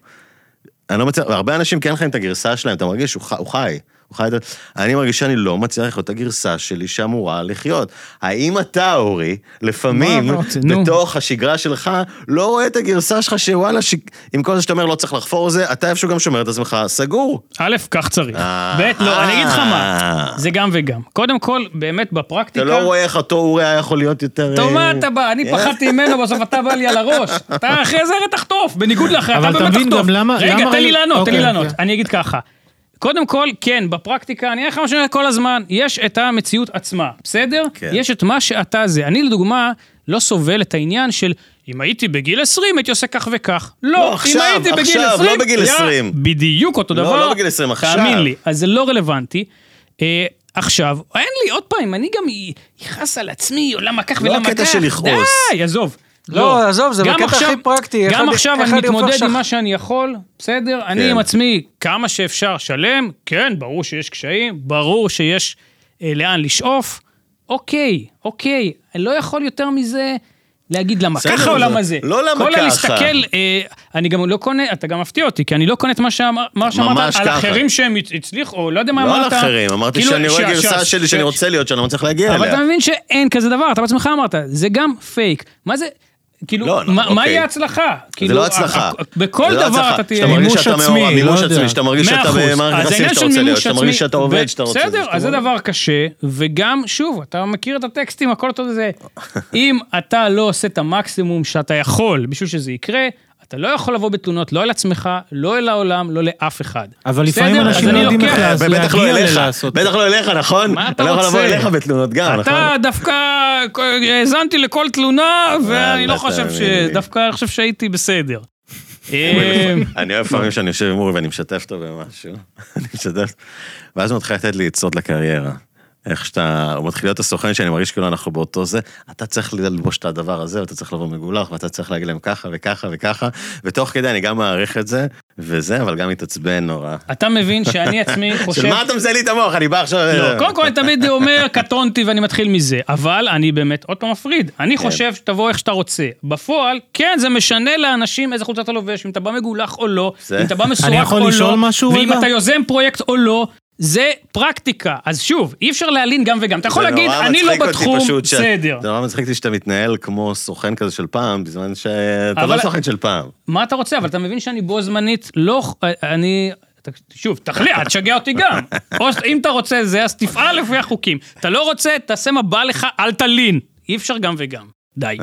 Speaker 3: אני לא מצליח, הרבה אנשים כן חיים את הגרסה שלהם, אתה מרגיש שהוא חי, הוא חי, הוא חי את... ה- אני מרגיש שאני לא מצליח לחיות את הגרסה שלי שאמורה לחיות. האם אתה, אורי, לפעמים,
Speaker 2: מה אמרתי? נו.
Speaker 3: בתוך השגרה שלך, לא רואה את הגרסה שלך שוואלה, ש... עם כל זה שאתה אומר לא צריך לחפור זה, אתה איפשהו גם שומר את עצמך סגור.
Speaker 2: א', כך צריך.
Speaker 3: אה.
Speaker 2: ב', לא, אני אגיד לך מה,
Speaker 3: אה.
Speaker 2: זה גם וגם. קודם כל, באמת בפרקטיקה...
Speaker 3: אתה לא רואה איך אותו אורי היה יכול להיות יותר...
Speaker 2: אתה אומר,
Speaker 3: אה,
Speaker 2: מה אתה בא, אני פחדתי ממנו, בסוף אתה בא לי על הראש. אתה אחרי זה הרי תחטוף, בניגוד לך, אתה
Speaker 4: אבל
Speaker 2: באמת
Speaker 4: אתה
Speaker 2: תחטוף.
Speaker 4: מבין גם למה-
Speaker 2: רגע,
Speaker 4: למה
Speaker 2: תן לי
Speaker 4: ראי-
Speaker 2: לענות, תן לי
Speaker 4: אוקיי,
Speaker 2: לענות.
Speaker 4: אוקיי.
Speaker 2: אני אגיד ככה. קודם כל, כן, בפרקטיקה, אני אגיד לך מה שאני אומר כל הזמן, יש את המציאות עצמה, בסדר?
Speaker 3: כן.
Speaker 2: יש את מה שאתה זה. אני לדוגמה, לא סובל את העניין של, אם הייתי בגיל 20, הייתי עושה כך וכך.
Speaker 3: לא,
Speaker 2: לא,
Speaker 3: עכשיו,
Speaker 2: אם הייתי בגיל 20,
Speaker 3: עכשיו, לא בגיל
Speaker 2: היה
Speaker 3: 20.
Speaker 2: בדיוק אותו
Speaker 3: לא,
Speaker 2: דבר.
Speaker 3: לא בגיל 20, עכשיו.
Speaker 2: תאמין לי, אז זה לא רלוונטי. אה, עכשיו, אין לי, עוד פעם, אני גם אכעס על עצמי, או למה כך
Speaker 3: לא
Speaker 2: ולמה כך.
Speaker 3: הקטע של לכעוס.
Speaker 2: די, עזוב.
Speaker 1: לא, עזוב, זה
Speaker 2: גם
Speaker 1: בקטע
Speaker 2: עכשיו-
Speaker 1: הכי פרקטי,
Speaker 2: גם
Speaker 1: אחד-
Speaker 2: עכשיו
Speaker 1: אחד
Speaker 2: אני
Speaker 1: יהפוך
Speaker 2: מתמודד
Speaker 1: שח-
Speaker 2: עם מה שאני יכול, בסדר? אני עם עצמי כמה שאפשר שלם, כן, ברור שיש קשיים, ברור שיש אה, לאן לשאוף. אוקיי, אוקיי, אני לא יכול יותר מזה להגיד למה
Speaker 3: בסדר,
Speaker 2: ככה או
Speaker 3: זה-
Speaker 2: למה זה.
Speaker 3: לא למה
Speaker 2: כל
Speaker 3: ככה.
Speaker 2: הלהסתכל, אה, אני גם לא קונה, אתה גם מפתיע אותי, כי אני לא קונה את מה שאמר- מה
Speaker 3: ממש
Speaker 2: שאמרת על
Speaker 3: ככה.
Speaker 2: אחרים שהם הצ- הצליחו, או לא יודע מה
Speaker 3: לא
Speaker 2: אמרת.
Speaker 3: על אחרים, אמרתי
Speaker 2: כאילו,
Speaker 3: שאני רואה
Speaker 2: שה-
Speaker 3: גרסה
Speaker 2: שה-
Speaker 3: שלי שאני
Speaker 2: ש-
Speaker 3: רוצה להיות, שאני לא מצליח להגיע
Speaker 2: אבל
Speaker 3: אליה.
Speaker 2: אתה מבין שאין כזה דבר, אתה בעצמך אמרת, זה גם פייק. מה זה, כאילו,
Speaker 3: לא,
Speaker 2: מה-
Speaker 3: אוקיי.
Speaker 2: מה יהיה הצלחה?
Speaker 3: זה
Speaker 2: כאילו,
Speaker 3: לא הצלחה.
Speaker 2: ה- ה- בכל
Speaker 3: זה לא
Speaker 2: דבר
Speaker 3: הצלחה.
Speaker 2: אתה תהיה...
Speaker 3: שאתה מרגיש
Speaker 4: מימוש
Speaker 3: שאתה
Speaker 4: עצמי,
Speaker 3: מעורב,
Speaker 4: לא
Speaker 3: מימוש
Speaker 4: יודע.
Speaker 3: עצמי, שאתה מרגיש
Speaker 2: מאה
Speaker 3: שאתה
Speaker 2: אחוז.
Speaker 3: במערכת
Speaker 2: אז
Speaker 3: יחסים
Speaker 2: העניין
Speaker 3: שאתה
Speaker 2: של
Speaker 3: רוצה להיות,
Speaker 2: מימוש
Speaker 3: שאתה
Speaker 2: עצמי...
Speaker 3: מרגיש שאתה עובד,
Speaker 2: ו-
Speaker 3: שאתה רוצה.
Speaker 2: בסדר, אז זה דבר קשה, וגם, שוב, אתה מכיר את הטקסטים, הכל אותו זה. אם אתה לא עושה את המקסימום שאתה יכול בשביל שזה יקרה, אתה לא יכול לבוא בתלונות לא אל עצמך, לא אל העולם, לא לאף אחד.
Speaker 4: אבל לפעמים
Speaker 2: בסדר? אז
Speaker 4: אנשים לא
Speaker 2: אני
Speaker 4: יודעים איך
Speaker 2: לוקח-
Speaker 4: לעשות. אז
Speaker 3: בטח לא
Speaker 4: להגיע
Speaker 3: אליך,
Speaker 4: ללעשות.
Speaker 3: בטח לא אליך, נכון?
Speaker 2: מה אתה
Speaker 3: אני לא יכול
Speaker 2: רוצה?
Speaker 3: לבוא אליך בתלונות גם, נכון?
Speaker 2: אתה דווקא האזנתי לכל תלונה, ואני לא
Speaker 3: אתה
Speaker 2: חושב ש...
Speaker 3: אה, מבין.
Speaker 2: דווקא אני חושב שהייתי בסדר. אמ,
Speaker 3: אני אוהב פעמים שאני יושב עם אורי ואני משתף אותו במשהו. אני משתף. ואז הוא מתחיל לתת לי עצות לקריירה. איך שאתה, הוא מתחיל להיות הסוכן שאני מרגיש כאילו אנחנו באותו זה, אתה צריך ללבוש את הדבר הזה, ואתה צריך לבוא מגולח, ואתה צריך להגיד להם ככה וככה וככה, ותוך כדי אני גם מעריך את זה, וזה, אבל גם מתעצבן נורא.
Speaker 2: אתה מבין שאני עצמי חושב...
Speaker 3: של מה אתה מזהה לי את המוח, אני בא עכשיו...
Speaker 2: לא, קודם כל אני תמיד אומר, קטונתי ואני מתחיל מזה, אבל אני באמת עוד פעם מפריד.
Speaker 3: כן.
Speaker 2: אני חושב שתבוא איך שאתה רוצה. בפועל, כן, זה משנה לאנשים איזה חולצה אתה לובש, אם אתה בא מגולח או לא,
Speaker 3: זה-
Speaker 2: אם אתה בא מסורק או לא,
Speaker 4: אני יכול לשאול משהו
Speaker 2: ואם
Speaker 4: רגע?
Speaker 2: אתה יוזם פרויקט או לא. זה פרקטיקה, אז שוב, אי אפשר להלין גם וגם. אתה יכול
Speaker 3: זה
Speaker 2: להגיד,
Speaker 3: נורא
Speaker 2: אני לא
Speaker 3: מצחיק אותי
Speaker 2: בתחום,
Speaker 3: פשוט ש-
Speaker 2: בסדר.
Speaker 3: זה נורא מצחיק אותי שאתה מתנהל כמו סוכן כזה של פעם, בזמן שאתה
Speaker 2: אבל-
Speaker 3: לא סוכן של פעם.
Speaker 2: מה אתה רוצה? אבל אתה מבין שאני בו זמנית לא... אני... שוב, תחליט, אל תשגע אותי גם. או אם אתה רוצה זה, אז תפעל לפי החוקים. אתה לא רוצה, תעשה מה בא לך, אל תלין. אי אפשר גם וגם. די.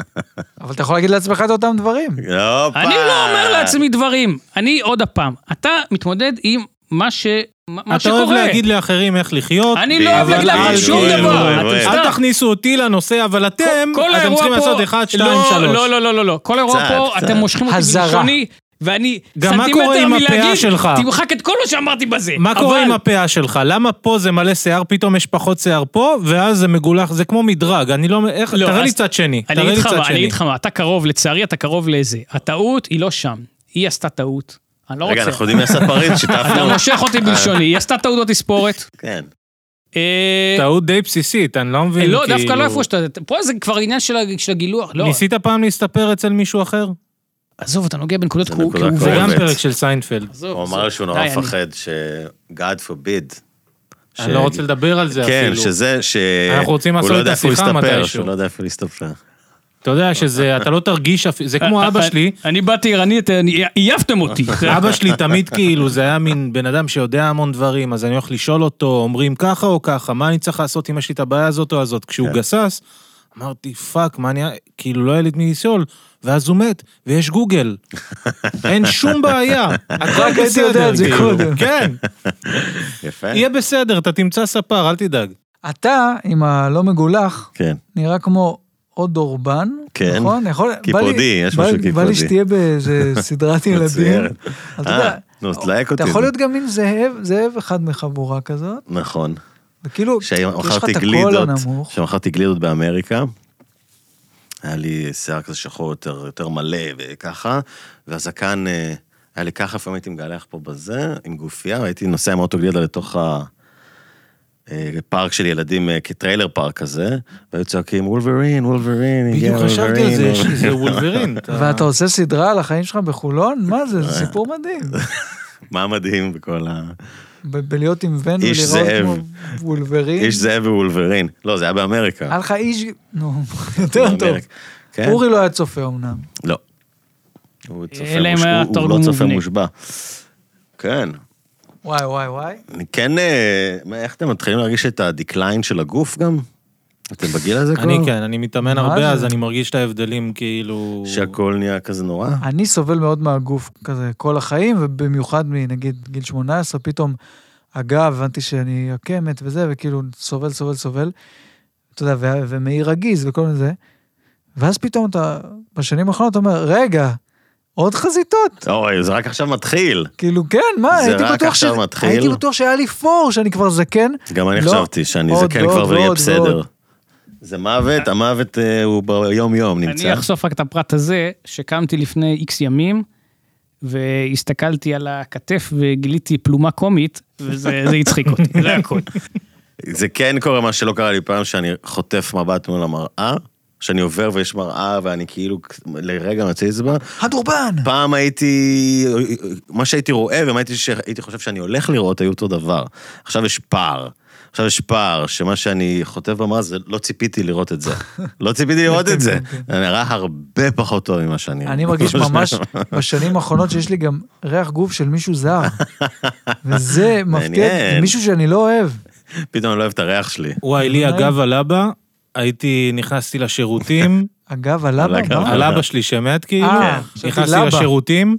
Speaker 1: אבל אתה יכול להגיד לעצמך את אותם דברים.
Speaker 3: הופה.
Speaker 2: אני לא אומר לעצמי דברים. אני, עוד הפעם, אתה מתמודד עם מה ש... מה מה
Speaker 4: אתה
Speaker 2: שקורה.
Speaker 4: אוהב להגיד לאחרים איך לחיות.
Speaker 2: אני לא אוהב
Speaker 4: אבל
Speaker 2: להגיד לאחרים
Speaker 4: אל
Speaker 2: שום
Speaker 4: תהיו-
Speaker 2: דבר.
Speaker 3: אוי, אוי.
Speaker 2: אתה
Speaker 4: אל
Speaker 2: סתם.
Speaker 4: תכניסו אותי לנושא, אבל אתם,
Speaker 2: כל
Speaker 4: אתם
Speaker 2: האירוע
Speaker 4: צריכים
Speaker 2: פה...
Speaker 4: לעשות 1, 2,
Speaker 2: לא,
Speaker 4: 3.
Speaker 2: לא, לא, לא, לא, לא. כל האירוע
Speaker 3: קצת,
Speaker 2: פה,
Speaker 3: קצת.
Speaker 2: אתם מושכים אותי
Speaker 1: הזרה.
Speaker 2: בלשוני, ואני
Speaker 4: גם מה
Speaker 2: סנטימטר
Speaker 4: קורה עם הפאה
Speaker 2: מלהגיד,
Speaker 4: שלך?
Speaker 2: תמחק את כל מה שאמרתי בזה.
Speaker 4: מה קורה
Speaker 2: אבל-
Speaker 4: עם הפאה שלך? למה פה זה מלא שיער, פתאום יש פחות שיער פה, ואז זה מגולח, זה כמו מדרג, אני לא... איך-
Speaker 2: לא,
Speaker 4: תראה לי
Speaker 2: אז-
Speaker 4: צד שני.
Speaker 2: אני
Speaker 4: תראה
Speaker 2: אגיד
Speaker 4: לי
Speaker 2: לך
Speaker 4: צד
Speaker 2: מה, אני
Speaker 4: שני.
Speaker 2: אגיד לך מה, אתה קרוב, לצערי אתה קרוב לזה. הטעות היא לא שם. היא עשתה טעות. אני לא
Speaker 3: רגע, אנחנו
Speaker 2: רוצה.
Speaker 3: יודעים מי עשה פריט, שיתפנו.
Speaker 2: אתה מושך אותי בלשוני, היא עשתה טעות בתספורת.
Speaker 3: כן.
Speaker 2: אה,
Speaker 4: טעות די בסיסית, אני לא מבין,
Speaker 2: לא, דווקא
Speaker 4: כאילו-
Speaker 2: לא איפה שאתה... פה זה כבר עניין של ה- של הגילוח. לא,
Speaker 4: ניסית פעם להסתפר אצל מישהו אחר?
Speaker 3: לא,
Speaker 2: עזוב, אתה נוגע בנקודות
Speaker 3: זה
Speaker 2: כאו-
Speaker 3: נקודה
Speaker 2: כאובות.
Speaker 4: זה
Speaker 3: כואבת.
Speaker 4: גם פרק של סיינפלד.
Speaker 2: עזוב,
Speaker 3: הוא
Speaker 2: עזוב.
Speaker 3: אמר שהוא נורא
Speaker 2: די, אני-
Speaker 3: מפחד ש... God forbid.
Speaker 4: אני לא רוצה לדבר על זה
Speaker 3: כן,
Speaker 4: אפילו.
Speaker 3: שזה, ש...
Speaker 4: אנחנו רוצים
Speaker 3: הוא
Speaker 4: לעשות
Speaker 3: לא
Speaker 4: את
Speaker 3: יודע איפה
Speaker 4: השיחה
Speaker 3: הוא הסתפר,
Speaker 4: מתישהו.
Speaker 3: שהוא לא יודע איפה להסתפר.
Speaker 4: אתה יודע שזה, אתה לא תרגיש, אפ-
Speaker 2: אה,
Speaker 4: זה כמו אבא שלי,
Speaker 2: אני באתי ערנית, אני- עייפתם אותי.
Speaker 4: אבא שלי תמיד כאילו, זה היה מין בן אדם שיודע המון דברים, אז אני הולך לשאול אותו, אומרים ככה או ככה, מה אני צריך לעשות אם יש לי את הבעיה הזאת או הזאת? כשהוא גסס, אמרתי, פאק, מה אני... כאילו, לא היה לי את מי לשאול, ואז הוא מת, ויש גוגל. אין שום בעיה, הכל
Speaker 1: רק הייתי יודע
Speaker 4: בסדר,
Speaker 1: את זה
Speaker 4: כאילו.
Speaker 1: קודם.
Speaker 4: כן,
Speaker 3: יפה.
Speaker 4: יהיה בסדר, אתה תמצא ספר, אל תדאג.
Speaker 1: אתה, עם הלא מגולח,
Speaker 3: כן.
Speaker 1: נראה כמו עוד אורבן,
Speaker 3: כן.
Speaker 1: נכון? יכול...
Speaker 3: קיפודי,
Speaker 1: בא לי-
Speaker 3: יש
Speaker 1: בא-
Speaker 3: משהו
Speaker 1: בא לי
Speaker 3: קיפודי.
Speaker 1: שתהיה באיזה סדרת ילדים.
Speaker 3: מצוירת.
Speaker 1: אז אתה
Speaker 3: אה,
Speaker 1: יודע,
Speaker 3: נו, אז תלהק אותי.
Speaker 1: אתה יכול להיות גם מין זאב, זאב אחד מחבורה כזאת,
Speaker 3: נכון.
Speaker 1: וכאילו, יש לך
Speaker 3: כשמכרתי
Speaker 1: את הקול
Speaker 3: גלידות,
Speaker 1: הנמוך.
Speaker 3: כשמכרתי גלידות באמריקה, היה לי שיער כזה שחור יותר, יותר מלא וככה, והזקן אה, היה לי ככה, לפעמים הייתי מגלח פה בזה, עם גופייה, והייתי נוסע עם אוטו גלידה לתוך ה... אה, פארק של ילדים, אה, כטריילר פארק כזה, והיו צועקים וולברין, וולברין,
Speaker 4: בדיוק
Speaker 3: yeah,
Speaker 4: חשבתי על
Speaker 3: Wolverine,
Speaker 4: זה, יש-
Speaker 3: Wolverine."
Speaker 4: זה וולברין. אתה-
Speaker 1: ואתה עושה
Speaker 3: אה.
Speaker 1: סדרה על החיים שלך בחולון? מה זה, זה סיפור מדהים.
Speaker 3: מה מדהים בכל ה...
Speaker 1: ב- בלהיות עם ון
Speaker 3: איש
Speaker 1: ולראות
Speaker 3: זאב.
Speaker 1: כמו וולברין.
Speaker 3: איש זאב ווולברין. לא, זה היה באמריקה.
Speaker 1: היה לך איש... נו, אה, יותר טוב.
Speaker 3: באמריקה. כן?
Speaker 1: אורי לא היה צופה אמנם.
Speaker 3: לא. הוא צופה
Speaker 2: אלא אם
Speaker 3: מוש-
Speaker 2: היה
Speaker 3: הוא- הוא
Speaker 2: תרגום
Speaker 3: לא צופה
Speaker 2: מובנה.
Speaker 3: מושבע. כן.
Speaker 1: וואי, וואי, וואי.
Speaker 3: אני כן... אה, מה, איך אתם מתחילים להרגיש את הדקליין של הגוף גם? אתם בגיל הזה כבר?
Speaker 4: אני כן, אני מתאמן
Speaker 1: מה
Speaker 4: הרבה,
Speaker 1: זה?
Speaker 4: אז אני מרגיש את ההבדלים כאילו...
Speaker 3: שהכל נהיה כזה נורא?
Speaker 1: אני סובל מאוד מהגוף כזה כל החיים, ובמיוחד מנגיד גיל 18, פתאום הגב, הבנתי שאני עקמת וזה, וכאילו סובל, סובל, סובל. אתה יודע, ו- ומעי רגיז וכל מיני זה. ואז פתאום אתה, בשנים האחרונות אתה אומר, רגע, עוד חזיתות.
Speaker 3: אוי, זה רק עכשיו מתחיל.
Speaker 1: כאילו, כן, מה,
Speaker 3: זה
Speaker 1: הייתי
Speaker 3: רק
Speaker 1: בטוח,
Speaker 3: עכשיו מתחיל.
Speaker 1: הייתי בטוח שהיה לי פור, שאני כבר זקן.
Speaker 3: גם אני
Speaker 1: לא.
Speaker 3: חשבתי שאני
Speaker 1: עוד,
Speaker 3: זקן כבר
Speaker 1: ועוד,
Speaker 3: ויהיה
Speaker 1: ועוד,
Speaker 3: בסדר.
Speaker 1: ועוד.
Speaker 3: זה מוות, המוות אה, הוא ביום-יום
Speaker 2: אני
Speaker 3: נמצא.
Speaker 2: אחשוף רק את הפרט הזה, שקמתי לפני איקס ימים, והסתכלתי על הכתף וגיליתי פלומה קומית, וזה זה הצחיק אותי, זה הכל.
Speaker 3: זה כן קורה מה שלא קרה לי פעם, שאני חוטף מבט מול המראה, שאני עובר ויש מראה ואני כאילו לרגע מציץ בה.
Speaker 1: הדורבן!
Speaker 3: פעם הייתי, מה שהייתי רואה ומה הייתי, שהייתי חושב שאני הולך לראות היו אותו דבר. עכשיו יש פער. עכשיו יש פער, שמה שאני חוטף במראה זה לא ציפיתי לראות את זה. לא ציפיתי לראות את זה. זה נראה הרבה פחות טוב ממה שאני...
Speaker 1: אני מרגיש ממש בשנים האחרונות שיש לי גם ריח גוף של מישהו זר. וזה מפתיע,
Speaker 3: מעניין.
Speaker 1: זה מישהו שאני לא אוהב.
Speaker 3: פתאום אני לא אוהב את הריח שלי.
Speaker 4: וואי, לי הגב על אבא, הייתי, נכנסתי לשירותים,
Speaker 1: אגב, על אבא,
Speaker 3: על הגב.
Speaker 1: מה?
Speaker 4: על אבא שלי שמת כאילו,
Speaker 1: אה, חשבתי
Speaker 4: נכנסתי
Speaker 1: לאבא.
Speaker 4: לשירותים,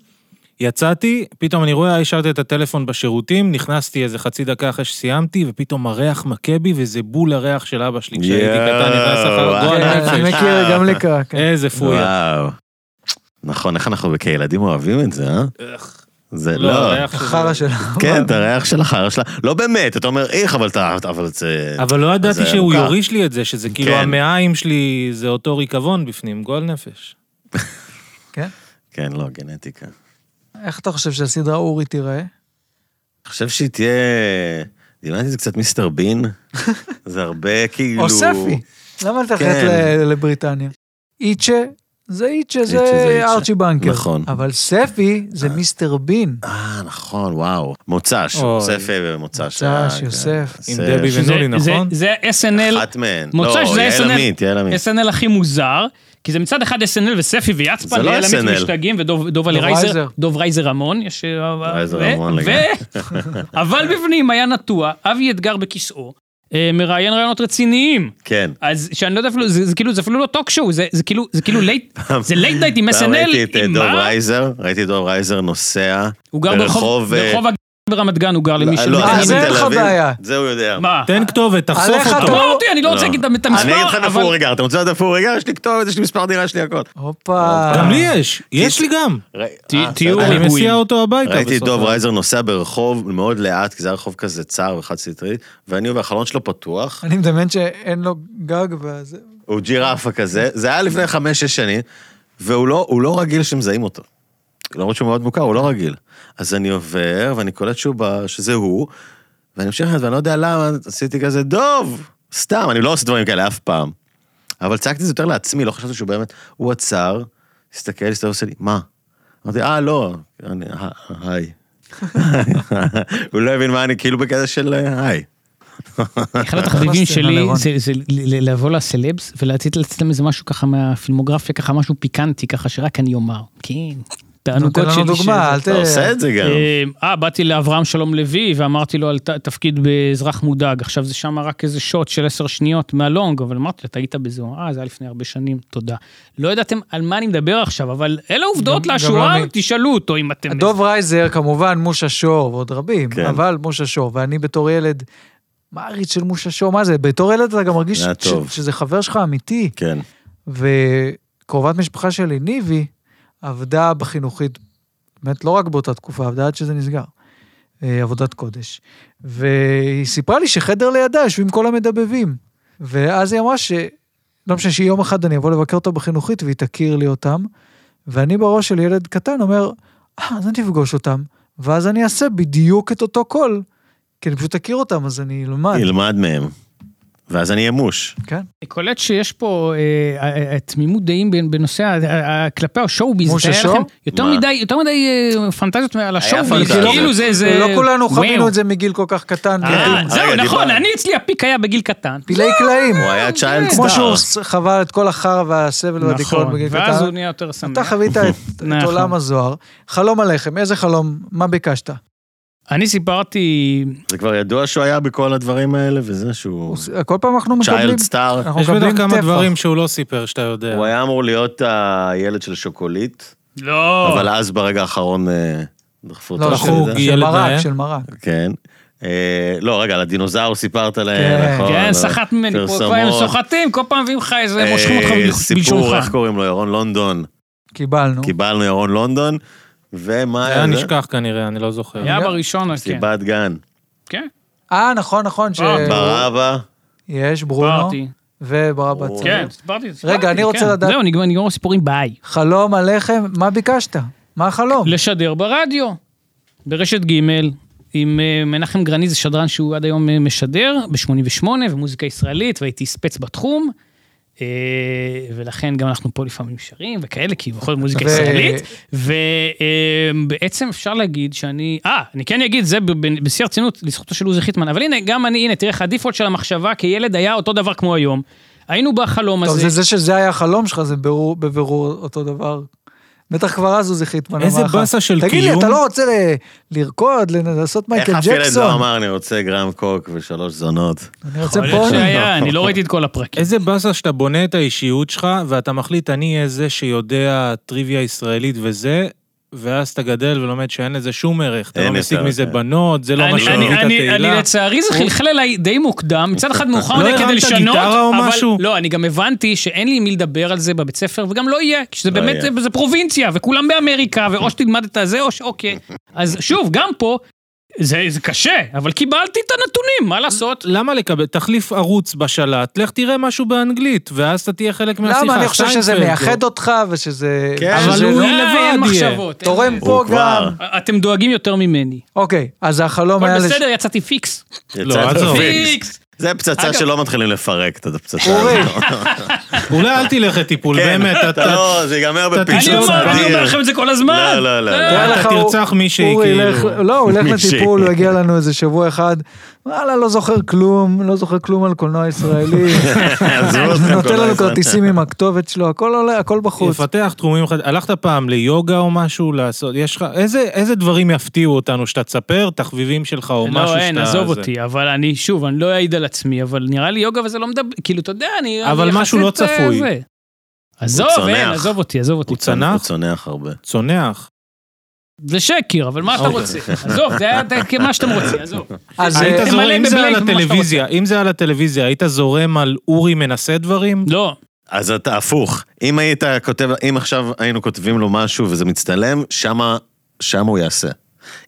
Speaker 4: יצאתי, פתאום אני רואה, השארתי את הטלפון בשירותים, נכנסתי איזה חצי דקה אחרי שסיימתי, ופתאום הריח מכה בי, וזה בול הריח של אבא שלי, כשהייתי
Speaker 3: יואו,
Speaker 4: קטן, נכנס אחר
Speaker 3: וואי.
Speaker 4: גועל
Speaker 1: כן, אני
Speaker 4: נפש.
Speaker 1: מכיר גם לקה, כן.
Speaker 4: איזה פויה.
Speaker 3: וואו. נכון, איך אנחנו כילדים אוהבים את זה, אה? זה
Speaker 4: לא,
Speaker 3: לא.
Speaker 4: הריח שזה-
Speaker 1: חרא של אבא.
Speaker 3: כן, את הריח של החרא שלה. לא באמת, אתה אומר איך, אבל אתה... אבל זה...
Speaker 4: אבל לא ידעתי
Speaker 3: זה
Speaker 4: שהוא
Speaker 3: מוכר.
Speaker 4: יוריש לי את זה, שזה כאילו
Speaker 3: כן.
Speaker 4: המעיים שלי, זה אותו ריקבון בפנים, גועל נפש.
Speaker 1: כן?
Speaker 3: כן, לא, גנטיקה.
Speaker 1: איך אתה חושב שהסדרה אורי תיראה?
Speaker 3: אני חושב שהיא תהיה... דמיינתי את זה קצת מיסטר בין. זה הרבה כאילו...
Speaker 1: או ספי. למה ללכת
Speaker 3: כן.
Speaker 1: ל- לבריטניה? איצ'ה, זה איצ'ה,
Speaker 3: איצ'ה זה
Speaker 1: זה
Speaker 3: איצ'ה.
Speaker 1: ארצ'י בנקר.
Speaker 3: נכון.
Speaker 1: אבל ספי זה מיסטר בין.
Speaker 3: אה, נכון, וואו. מוצ"ש,
Speaker 4: אוי.
Speaker 3: ספי ומוצ"ש.
Speaker 1: מוצ"ש,
Speaker 3: אה, כן.
Speaker 1: יוסף.
Speaker 4: עם
Speaker 3: יוסף.
Speaker 4: דבי
Speaker 2: שזה-
Speaker 4: ונולי,
Speaker 2: זה-
Speaker 4: נכון?
Speaker 2: זה SNL,
Speaker 3: אחת מהן.
Speaker 2: מוצ"ש
Speaker 3: לא,
Speaker 2: זה
Speaker 3: יעל
Speaker 2: SNL.
Speaker 3: עמית, יעל עמית.
Speaker 2: SNL הכי מוזר, כי זה מצד אחד SNL וספי ויצפן,
Speaker 3: זה לא
Speaker 2: ואלה
Speaker 3: SNL.
Speaker 2: משתגעים, ודוב עלי
Speaker 1: דוב
Speaker 2: רייזר,
Speaker 1: רייזר.
Speaker 2: דוב רייזר המון, יש... אה,
Speaker 3: רייזר
Speaker 2: ו-
Speaker 3: המון
Speaker 2: ו-
Speaker 3: לגמרי.
Speaker 2: אבל בפנים היה נטוע, אבי אתגר בכיסאו, אה, מראיין רעיונות רציניים.
Speaker 3: כן.
Speaker 2: אז שאני לא יודע אפילו, זה זה כאילו, זה אפילו לא טוק שואו, זה זה כאילו, זה כאילו לייט, זה לייט דייט עם
Speaker 3: פעם
Speaker 2: SNL,
Speaker 3: ראיתי את אה,
Speaker 2: עם
Speaker 3: דוב
Speaker 2: מה?
Speaker 3: רייזר, ראיתי את דוב רייזר נוסע
Speaker 2: הוא גר ברחוב,
Speaker 3: ברחוב... אה,
Speaker 2: ברחוב הג... ברמת גן הוא גר למי
Speaker 3: לא,
Speaker 2: שלא,
Speaker 1: אה,
Speaker 3: אני
Speaker 1: זה אין
Speaker 3: מתל
Speaker 1: לך
Speaker 3: אביב,
Speaker 1: בעיה.
Speaker 3: זה הוא יודע.
Speaker 2: מה?
Speaker 4: תן כתובת, תחשוף
Speaker 1: עליך
Speaker 4: אותו.
Speaker 1: אתה-
Speaker 2: אמרתי, אני לא רוצה
Speaker 3: לא.
Speaker 2: להגיד את
Speaker 3: אני אגיד לך
Speaker 2: המספר,
Speaker 3: איפה
Speaker 2: אבל...
Speaker 3: הוא רגע, אתה רוצה לדעת איפה הוא רגע? יש לי כתובת, יש לי מספר דירה, יש לי הכל.
Speaker 1: הופה.
Speaker 4: גם לי יש, יש לי גם.
Speaker 3: ר-
Speaker 2: ת-
Speaker 3: אה,
Speaker 2: תהיו
Speaker 3: בסדר.
Speaker 4: אני
Speaker 2: רגועים.
Speaker 4: מסיע אותו הביתה.
Speaker 3: ראיתי את
Speaker 4: בסוף. אה?
Speaker 3: דוב רייזר נוסע ברחוב מאוד לאט, כי זה היה רחוב כזה צר וחד סטרי, ואני והחלון שלו פתוח,
Speaker 1: אני מדמיין שאין לו גג וזה...
Speaker 3: הוא ג'ירפה כזה, זה היה לפני חמש-שש שנים, והוא לא, הוא לא רגיל שמזהים אותו. למרות שהוא מאוד מוכר, הוא לא רגיל. אז אני עובר, ואני קולט שהוא ב... שזה הוא, ואני ממשיך ללכת, ואני לא יודע למה, עשיתי כזה, דוב! סתם, אני לא עושה דברים כאלה אף פעם. אבל צעקתי את זה יותר לעצמי, לא חשבתי שהוא באמת... הוא עצר, הסתכל, הסתכל, עושה לי, מה? אמרתי, אה, לא. אני, "אה, היי. הוא לא הבין מה אני, כאילו בקטע של אה, היי.
Speaker 2: אחד התחביבים
Speaker 1: נכנסתי
Speaker 2: שלי
Speaker 1: לרון.
Speaker 2: זה- זה ל- ל- לבוא לסלבס ולהציץ לצלם איזה משהו ככה מהפילמוגרפיה, ככה משהו פיקנטי, ככה שרק אני אומר. כן,
Speaker 1: נותן
Speaker 2: תענוגות שלי.
Speaker 1: לנו דוגמה, אל ת...
Speaker 3: אתה עושה את זה גם.
Speaker 2: אה, אה, באתי לאברהם שלום לוי ואמרתי לו על ת- תפקיד באזרח מודאג. עכשיו זה שם רק איזה שוט של עשר שניות מהלונג, אבל אמרתי לו, טעית בזה, הוא אמר, אה, זה היה לפני הרבה שנים, תודה. לא ידעתם על מה אני מדבר עכשיו, אבל אלה עובדות
Speaker 1: גם- גם לא
Speaker 2: לאשורן,
Speaker 1: אני.
Speaker 2: תשאלו אותו אם אתם...
Speaker 1: דוב רייזר, כמובן, מושה שור ועוד רבים,
Speaker 3: כן.
Speaker 1: אבל מושה שור, ואני בתור ילד, מעריץ של מושה שור, מה זה? בתור ילד אתה גם מרגיש
Speaker 3: זה היה
Speaker 1: ש-
Speaker 3: טוב.
Speaker 1: שזה חבר שלך אמיתי,
Speaker 3: כן.
Speaker 1: וקרובת משפחה שלי, ניבי, עבדה בחינוכית, באמת לא רק באותה תקופה, עבדה עד שזה נסגר, אה, עבודת קודש. והיא סיפרה לי שחדר לידה יושבים כל המדבבים. ואז היא אמרה ש... לא משנה שיום אחד אני אבוא לבקר אותה בחינוכית והיא תכיר לי אותם, ואני בראש של ילד קטן אומר, אה, אז אני אפגוש אותם, ואז אני אעשה בדיוק את אותו קול, כי אני פשוט אכיר אותם, אז אני אלמד.
Speaker 3: ילמד מהם. ואז אני אהיה מוש.
Speaker 1: כן.
Speaker 2: אני קולט שיש פה אה, אה, אה, תמימות דעים בין- בנושא ה- ה- ה- כלפי השואו-ביז.
Speaker 1: משה
Speaker 2: תאר
Speaker 1: שואו?
Speaker 2: לכם, יותר
Speaker 3: מה?
Speaker 2: מדי, יותר מדי אה, פנטזיות על השואו-ביז,
Speaker 3: פנטזיה.
Speaker 2: כאילו זה, זה...
Speaker 1: לא כולנו
Speaker 2: וואו.
Speaker 1: חווינו את זה מגיל כל כך קטן.
Speaker 2: אה, זהו,
Speaker 3: כן. רגע,
Speaker 2: נכון,
Speaker 3: דיברנו.
Speaker 2: אני אצלי הפיק היה בגיל קטן.
Speaker 1: פילי קלעים.
Speaker 3: הוא היה צ'יילד סטאר.
Speaker 1: כמו שהוא חווה את כל החרא והסבל והדיכאון
Speaker 2: נכון,
Speaker 1: בגיל קטן.
Speaker 2: ואז הוא נהיה יותר שמח.
Speaker 1: אתה חווית את- את
Speaker 2: נכון.
Speaker 1: עולם הזוהר. חלום עליכם, איזה חלום? מה ביקשת?
Speaker 2: אני סיפרתי,
Speaker 3: זה כבר ידוע שהוא היה בכל הדברים האלה, וזה שהוא...
Speaker 1: הוא- כל פעם אנחנו מקבלים...
Speaker 3: צ'יילד סטאר.
Speaker 2: אה,
Speaker 1: אנחנו
Speaker 4: יש בטח
Speaker 1: מקבלים
Speaker 4: כמה
Speaker 1: טפח.
Speaker 4: דברים שהוא לא סיפר שאתה יודע.
Speaker 3: הוא היה אמור להיות הילד של שוקולית,
Speaker 2: לא,
Speaker 3: אבל אז ברגע האחרון אה, דחפו אותו.
Speaker 1: לא,
Speaker 3: לזה.
Speaker 4: בחור
Speaker 1: של-
Speaker 4: גיל
Speaker 1: של
Speaker 4: ילד
Speaker 1: מרק,
Speaker 4: נאה.
Speaker 1: של מרק.
Speaker 3: כן. אה, לא, רגע, על הדינוזאור סיפרת
Speaker 1: כן.
Speaker 3: להם, נכון.
Speaker 2: כן,
Speaker 3: על
Speaker 2: סחט ממני, פה
Speaker 3: פרסומות.
Speaker 2: כבר הם סוחטים, כל פעם מביאים לך איזה,
Speaker 3: אה,
Speaker 2: מושכים אותך
Speaker 3: סיפור,
Speaker 2: בלשונך.
Speaker 3: איך קוראים לו? ירון לונדון.
Speaker 1: קיבלנו.
Speaker 3: קיבלנו ירון לונדון, ומה
Speaker 4: היה
Speaker 3: זה?
Speaker 2: כן.
Speaker 4: נשכח כנראה, אני לא זוכר.
Speaker 2: היה בראשון, אז כן.
Speaker 3: סיבת גן.
Speaker 2: כן,
Speaker 1: אה, נכון, נכון, ש...
Speaker 2: אה,
Speaker 3: ברבא,
Speaker 1: יש, ברונו
Speaker 2: סיפרתי.
Speaker 1: וברבת
Speaker 3: ברור.
Speaker 1: צדיק.
Speaker 2: כן, סיפרתי, סיפרתי.
Speaker 1: רגע, אני רוצה
Speaker 2: כן.
Speaker 1: לדעת-
Speaker 2: זהו, נגמר נגמר הסיפורים, ביי.
Speaker 1: חלום עליכם, מה ביקשת? מה החלום?
Speaker 2: לשדר ברדיו, ברשת ג' עם אה, מנחם גרני, זה שדרן שהוא עד היום אה, משדר, ב-88, ומוזיקה ישראלית, והייתי ספץ בתחום, אה, ולכן גם אנחנו פה לפעמים שרים וכאלה, כי בכל זאת מוזיקה
Speaker 1: ו-
Speaker 2: ישראלית, ובעצם אפשר להגיד שאני, אה, אני כן אגיד, זה ב- ב- בשיא הרצינות, לזכותו של עוזי חיטמן, אבל הנה, גם אני, הנה, תראה איך הדיפולט של המחשבה כילד היה אותו דבר כמו היום. היינו בחלום
Speaker 1: טוב,
Speaker 2: הזה.
Speaker 1: זה זה שזה היה החלום שלך, זה ברור- בבירור אותו דבר. בטח כבר אז עוזי חיטמן אמר לך.
Speaker 4: איזה באסה של
Speaker 1: תגיד לי,
Speaker 4: קיום.
Speaker 1: אתה לא רוצה ל- לרקוד, לנ- לעשות
Speaker 3: איך
Speaker 1: מייקל
Speaker 3: אף ילד לא
Speaker 1: ג'קסון?
Speaker 3: אמר, אני רוצה גרם קוק ושלוש זונות.
Speaker 1: אני רוצה
Speaker 2: יכול להיות
Speaker 1: פורנו.
Speaker 2: שהיה, אני לא ראיתי את כל הפרקים.
Speaker 4: איזה באסה שאתה בונה את האישיות שלך, ואתה מחליט, אני אהיה זה שיודע טריוויה ישראלית וזה, ואז אתה גדל ולומד שאין לזה שום ערך. אתה לא
Speaker 3: אין
Speaker 4: משיג
Speaker 3: יותר,
Speaker 4: מזה
Speaker 3: כן.
Speaker 4: בנות, זה לא
Speaker 2: אני-
Speaker 4: מה שהביא
Speaker 2: אני-
Speaker 4: את
Speaker 2: אני- אני
Speaker 4: התהילה.
Speaker 2: לצערי זה חלחל עליי די מוקדם, מצד אחד מאוחר
Speaker 4: לא
Speaker 2: מדי כדי
Speaker 4: הרמת
Speaker 2: לשנות,
Speaker 4: גיטרה או
Speaker 2: אבל-
Speaker 4: משהו?
Speaker 2: לא, אני גם הבנתי שאין לי עם מי לדבר על זה בבית ספר, וגם לא יהיה, כי שזה
Speaker 3: לא
Speaker 2: באמת,
Speaker 3: יהיה.
Speaker 2: זה פרובינציה, וכולם באמריקה, ואו שתלמד את הזה, או שאוקיי. אז שוב, גם פה, זה זה קשה, אבל קיבלתי את הנתונים, מה לעשות?
Speaker 4: למה לקבל? תחליף ערוץ בשלט, לך תראה משהו באנגלית, ואז אתה תהיה חלק מהשיחה.
Speaker 1: למה? אני חושב שזה
Speaker 4: סיינפלד,
Speaker 1: מייחד אותך ושזה...
Speaker 3: כן.
Speaker 1: שזה
Speaker 4: אבל
Speaker 2: זה
Speaker 4: הוא
Speaker 2: לא-
Speaker 1: לא-
Speaker 4: לבד
Speaker 2: אין
Speaker 4: יהיה.
Speaker 2: מחשבות. אין-
Speaker 1: תורם פה
Speaker 3: הוא
Speaker 1: גם.
Speaker 3: כבר.
Speaker 2: אתם דואגים יותר ממני.
Speaker 1: אוקיי, אז החלום
Speaker 2: הכל
Speaker 1: היה... לש-
Speaker 2: בסדר, יצאתי פיקס.
Speaker 4: לא,
Speaker 3: יצאת
Speaker 4: עזוב.
Speaker 3: פיקס.
Speaker 2: פיקס.
Speaker 3: זה פצצה
Speaker 2: אגב-
Speaker 3: שלא מתחילים לפרק את הפצצה.
Speaker 1: אורי,
Speaker 3: הזאת.
Speaker 4: או- אולי אל תלך לטיפול,
Speaker 3: כן,
Speaker 4: באמת,
Speaker 3: אתה
Speaker 4: אתה
Speaker 3: לא, זה ייגמר
Speaker 4: אתה
Speaker 3: בפיצוץ.
Speaker 2: אני אמרתי,
Speaker 4: אדיר.
Speaker 2: אני אומר לכם את זה כל הזמן.
Speaker 3: לא, לא, לא,
Speaker 2: אה,
Speaker 3: לא.
Speaker 1: תאר
Speaker 4: אתה
Speaker 1: לך, הוא-
Speaker 4: תרצח מישהי,
Speaker 1: אורי
Speaker 4: כאילו.
Speaker 1: ילך- לא, הוא ילך
Speaker 3: מישהי.
Speaker 1: לטיפול, הוא יגיע לנו איזה שבוע אחד, וואלה, לא זוכר כלום, לא זוכר כלום על קולנוע ישראלי.
Speaker 3: עזבו אתכם כל
Speaker 1: נותן לנו
Speaker 3: הזמן.
Speaker 1: כרטיסים עם הכתובת שלו, הכל עולה, הכל בחוץ.
Speaker 4: יפתח תחומים חדשים. הלכת פעם ליוגה או משהו לעשות? יש לך... איזה, איזה דברים יפתיעו אותנו שאתה תספר? תחביבים שלך או משהו שאתה...
Speaker 2: לא, אין, עזוב
Speaker 4: זה.
Speaker 2: אותי, אבל אני, שוב, אני לא אעיד על עצמי, אבל נראה לי יוגה וזה לא מדבר, כאילו, אתה יודע, אני...
Speaker 4: אבל
Speaker 2: אני
Speaker 4: משהו לא
Speaker 2: יחסית, אה,
Speaker 4: צפוי.
Speaker 2: זה. עזוב,
Speaker 3: צונח.
Speaker 2: אין, עזוב אותי, עזוב אותי.
Speaker 4: הוא צנח?
Speaker 3: הוא צונח הרבה.
Speaker 4: צונח.
Speaker 2: זה שקר, אבל מה אתה
Speaker 4: אוקיי.
Speaker 2: רוצה? עזוב, זה היה די- מה שאתם רוצים, עזוב.
Speaker 1: אז
Speaker 2: זה-
Speaker 4: היית
Speaker 1: אה,
Speaker 2: תמלא
Speaker 4: זורם, אם זה
Speaker 2: בבלנק
Speaker 4: על
Speaker 2: מה שאתה
Speaker 4: הטלוויזיה, אם זה על הטלוויזיה, היית זורם על אורי מנסה דברים?
Speaker 2: לא,
Speaker 3: אז אתה הפוך. אם היית כותב, אם עכשיו היינו כותבים לו משהו וזה מצטלם, שמה, שמה הוא יעשה.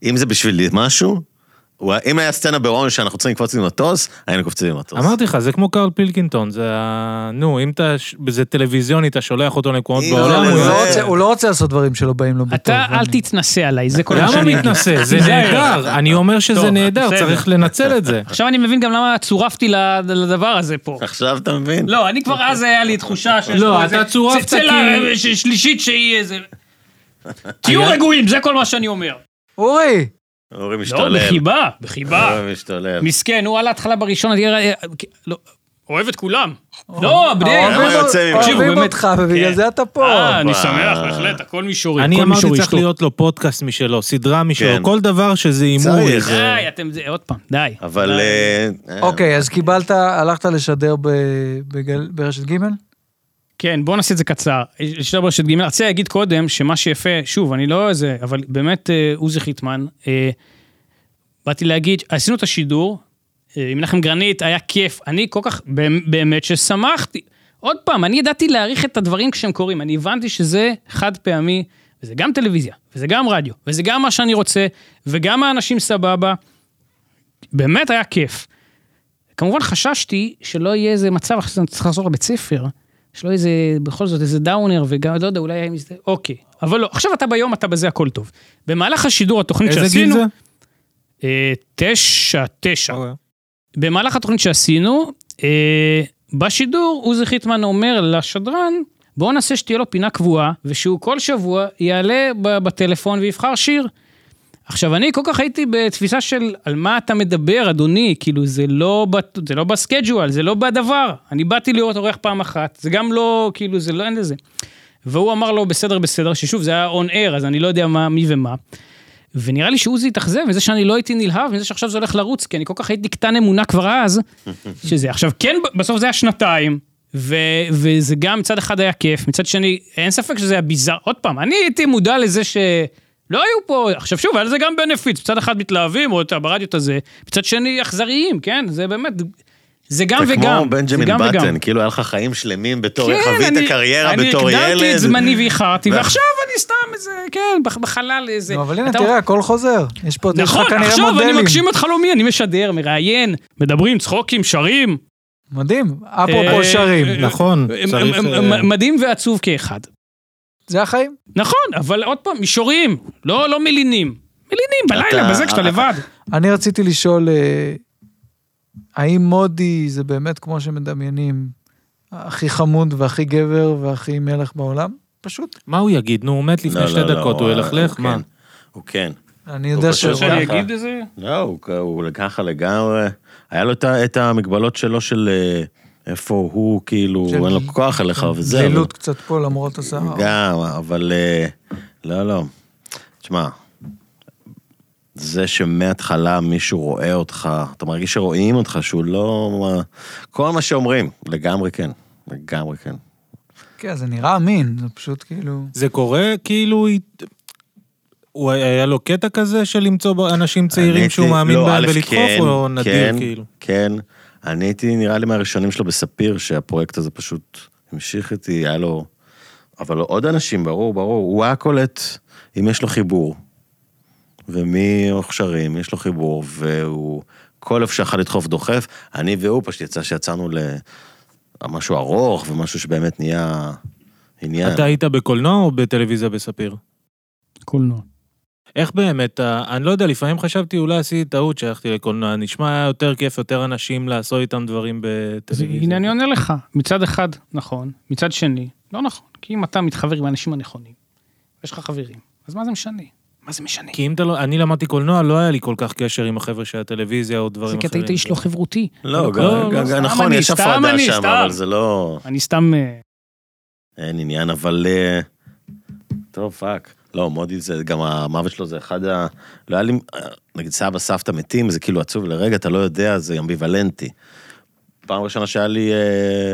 Speaker 3: אם זה בשביל משהו, הוא, אם היה סצנה בהון שאנחנו צריכים לקפוץ עם מטוס, היינו קופצים עם
Speaker 2: לא.
Speaker 3: מטוס.
Speaker 4: אמרתי לך, זה כמו קרל פילקינטון, זה ה... נו, אם אתה... ש- זה טלוויזיוני, אתה שולח אותו למקומות
Speaker 3: אם
Speaker 1: לא,
Speaker 4: בעולם,
Speaker 3: זה-
Speaker 1: הוא
Speaker 4: הוא
Speaker 1: לא
Speaker 3: זה-
Speaker 4: יראה-
Speaker 1: רוצה- הוא לא רוצה לעשות דברים שלא באים לו בטוב.
Speaker 2: אתה
Speaker 1: אני-
Speaker 2: אל תתנסה עליי, זה כל מה
Speaker 4: למה
Speaker 2: שאני... אגיד.
Speaker 4: מתנשא? זה
Speaker 2: תיזהר.
Speaker 4: נהדר, אני אומר
Speaker 2: טוב,
Speaker 4: שזה נהדר,
Speaker 2: בסדר.
Speaker 4: צריך לנצל את זה.
Speaker 2: עכשיו אני מבין גם למה צורפתי ל- לדבר הזה פה.
Speaker 3: עכשיו אתה מבין?
Speaker 2: לא, אני כבר אז היה לי תחושה שיש
Speaker 4: אוקיי. לא,
Speaker 2: פה
Speaker 4: אתה
Speaker 2: איזה
Speaker 4: צורפת
Speaker 2: צלצלה
Speaker 4: כי-
Speaker 2: ש- שלישית שהיא איזה... תהיו
Speaker 4: היה-
Speaker 2: רגועים, זה כל מה שאני אומר.
Speaker 1: אורי,
Speaker 3: אורי
Speaker 2: לא,
Speaker 3: משתולל.
Speaker 2: בחיבה, בחיבה.
Speaker 3: אורי משתולל.
Speaker 2: מסכן, הוא על ההתחלה בראשון, אני אראה- לא, אוהב את כולם. לא, בני,
Speaker 3: למה
Speaker 1: אוהבים
Speaker 3: יוצא ממנו?
Speaker 2: תקשיבו,
Speaker 1: אוהבים
Speaker 2: באמת.
Speaker 1: אותך, ובגלל
Speaker 2: כן.
Speaker 1: זה אתה פה.
Speaker 2: אה, אני
Speaker 3: וואו.
Speaker 2: שמח, בהחלט, הכל מישורי.
Speaker 4: אני
Speaker 2: הכל
Speaker 4: אמרתי
Speaker 2: מישורי,
Speaker 4: צריך
Speaker 2: שטוב.
Speaker 4: להיות לו פודקאסט משלו, סדרה
Speaker 3: כן.
Speaker 4: משלו, כל דבר שזה הימור.
Speaker 3: צריך.
Speaker 4: זה-
Speaker 2: די, אתם, זה- עוד פעם, די.
Speaker 3: כן. אבל... אה,
Speaker 1: אוקיי, אז קיבלת, הלכת לשדר ב- בגל- ברשת ג'?
Speaker 2: כן, בואו נעשה את זה קצר. יש דבר שדגים, רציתי להגיד קודם, שמה שיפה, שוב, אני לא איזה, אבל באמת, אה, עוזי חיטמן, אה, באתי להגיד, עשינו את השידור, אה, עם מנחם גרנית, היה כיף. אני כל כך, באמ- באמת ששמחתי. עוד פעם, אני ידעתי להעריך את הדברים כשהם קורים. אני הבנתי שזה חד פעמי, וזה גם טלוויזיה, וזה גם רדיו, וזה גם מה שאני רוצה, וגם האנשים סבבה. באמת היה כיף. כמובן חששתי שלא יהיה איזה מצב, אחרי זה אני צריך לחזור לבית ספר, שלא יהיה איזה, בכל זאת איזה דאונר, וגם, לא יודע, אולי היה עם זה, אוקיי. אבל לא, עכשיו אתה ביום, אתה בזה, הכל טוב. במהלך השידור, התוכנית
Speaker 4: איזה גיל
Speaker 2: שעשינו,
Speaker 4: זה?
Speaker 2: אה, תשע, תשע.
Speaker 4: אוקיי.
Speaker 2: במהלך התוכנית שעשינו, אה, בשידור עוזי חיטמן אומר לשדרן, בואו נעשה שתהיה לו פינה קבועה, ושהוא כל שבוע יעלה ב- בטלפון ויבחר שיר. עכשיו, אני כל כך הייתי בתפיסה של על מה אתה מדבר, אדוני, כאילו, זה לא, בת- זה לא בסקייג'ואל, זה לא בדבר. אני באתי לראות אורח פעם אחת, זה גם לא, כאילו, זה לא, אין לזה. והוא אמר לו, בסדר, בסדר, ששוב, זה היה און אייר, אז אני לא יודע מה, מי ומה. ונראה לי שעוזי התאכזב מזה שאני לא הייתי נלהב, מזה שעכשיו זה הולך לרוץ, כי אני כל כך הייתי קטן אמונה כבר אז, שזה. עכשיו, כן, בסוף זה היה שנתיים, ו, וזה גם מצד אחד היה כיף, מצד שני, אין ספק שזה היה ביזאר. עוד פעם, אני הייתי מודע לזה ש... לא היו פה, עכשיו שוב, היה לזה גם בנפיץ, מצד אחד מתלהבים, או את ברדיוט הזה, מצד שני אכזריים, כן? זה באמת, זה גם
Speaker 3: זה
Speaker 2: וגם.
Speaker 3: כמו
Speaker 2: זה
Speaker 3: בנג'מין
Speaker 2: גם וגם.
Speaker 3: בטן, כאילו היה לך חיים שלמים בתור,
Speaker 2: כן, אני-
Speaker 3: חווית קריירה בתור
Speaker 2: אני הקדמתי
Speaker 3: ילד.
Speaker 2: את זמני ואיחרתי,
Speaker 3: ו-
Speaker 2: ועכשיו אני סתם איזה, כן, בח- בחלל איזה...
Speaker 1: נו, לא, אבל הנה,
Speaker 2: אתה-
Speaker 1: תראה, הכל חוזר. יש פה, יש
Speaker 2: נכון,
Speaker 1: לך כנראה
Speaker 2: עכשיו אני
Speaker 1: מודלים.
Speaker 2: מגשים את חלומי, אני משדר, מראיין, מדברים, צחוקים, שרים.
Speaker 1: מדהים,
Speaker 2: אה,
Speaker 1: אפרופו שרים.
Speaker 2: אה,
Speaker 4: נכון, צריך...
Speaker 2: מ-
Speaker 4: אה,
Speaker 2: מ- מדהים ועצוב כאחד.
Speaker 1: זה החיים.
Speaker 2: נכון, אבל עוד פעם, מישורים, לא לא מלינים. מלינים בלילה,
Speaker 3: אתה-
Speaker 2: בזה כשאתה לבד.
Speaker 1: אני רציתי לשאול, אה, האם מודי זה באמת כמו שמדמיינים, הכי חמוד והכי גבר והכי מלך בעולם? פשוט.
Speaker 4: מה הוא יגיד? נו, הוא מת
Speaker 3: לא,
Speaker 4: לפני
Speaker 3: לא,
Speaker 4: שתי
Speaker 3: לא,
Speaker 4: דקות, הוא ילכלך?
Speaker 3: כן.
Speaker 4: מה?
Speaker 3: הוא כן.
Speaker 1: אני יודע
Speaker 3: פשוט
Speaker 1: שהוא...
Speaker 3: ככה.
Speaker 2: שאני אגיד איזה...
Speaker 3: לא, הוא כ- הוא ככה לגמרי, היה לו את ה- את המגבלות שלו של אה, איפה הוא, כאילו,
Speaker 1: של-
Speaker 3: אין לו כוח אליך וזה. אבל-
Speaker 1: זילות קצת פה למרות הסער.
Speaker 3: גם, אבל אה, לא, לא. תשמע, זה שמההתחלה מישהו רואה אותך, אתה מרגיש שרואים אותך, שהוא לא... כל מה שאומרים, לגמרי כן, לגמרי כן.
Speaker 1: כן, זה נראה אמין, זה פשוט כאילו...
Speaker 4: זה קורה כאילו... הת- הוא היה לו קטע כזה של למצוא אנשים צעירים
Speaker 3: אני
Speaker 4: שהוא
Speaker 3: הייתי-
Speaker 4: מאמין
Speaker 3: לא,
Speaker 4: בהם
Speaker 3: א',
Speaker 4: ולדחוף,
Speaker 3: כן,
Speaker 4: או נדיר
Speaker 3: כן,
Speaker 4: כאילו?
Speaker 3: כן, אני הייתי נראה לי מהראשונים שלו בספיר, שהפרויקט הזה פשוט המשיך איתי, היה לו... אבל לא, עוד אנשים, ברור, ברור, הוא היה קולט אם יש לו חיבור. ומי מוכשרים, יש לו חיבור, והוא... כל איפה שיכול לדחוף דוחף, אני והוא פשוט יצא שיצאנו למשהו ארוך ומשהו שבאמת נהיה עניין.
Speaker 4: אתה היית בקולנוע או בטלוויזיה בספיר?
Speaker 2: קולנוע.
Speaker 4: איך באמת, ה- אני לא יודע, לפעמים חשבתי אולי עשיתי טעות שהלכתי לקולנוע, נשמע היה יותר כיף, יותר אנשים לעשות איתם דברים
Speaker 2: הנה
Speaker 4: בטלוויזיה.
Speaker 2: אני עונה לך, מצד אחד נכון, מצד שני לא נכון, כי אם אתה מתחבר עם האנשים הנכונים, יש לך חברים, אז מה זה משנה? מה זה משנה?
Speaker 4: כי אם אתה לא, אני למדתי קולנוע, לא היה לי כל כך קשר עם החבר'ה של הטלוויזיה או דברים
Speaker 2: זה
Speaker 4: אחרים.
Speaker 2: כי אתה היית איש לא חברותי.
Speaker 3: לא, גם-
Speaker 2: לא,
Speaker 3: גם-
Speaker 2: סתם
Speaker 3: נכון,
Speaker 2: אני,
Speaker 3: יש
Speaker 2: סתם
Speaker 3: הפרדה
Speaker 2: אני,
Speaker 3: שם,
Speaker 2: סתם.
Speaker 3: אבל זה לא...
Speaker 2: אני סתם... אה,
Speaker 3: אין עניין, אבל... אה, טוב, פאק. לא, מודי זה, גם המוות שלו זה אחד ה... לא היה לי... אה, נגיד סבא, סבתא מתים, זה כאילו עצוב לרגע, אתה לא יודע, זה אמביוולנטי. פעם ראשונה שהיה לי אה,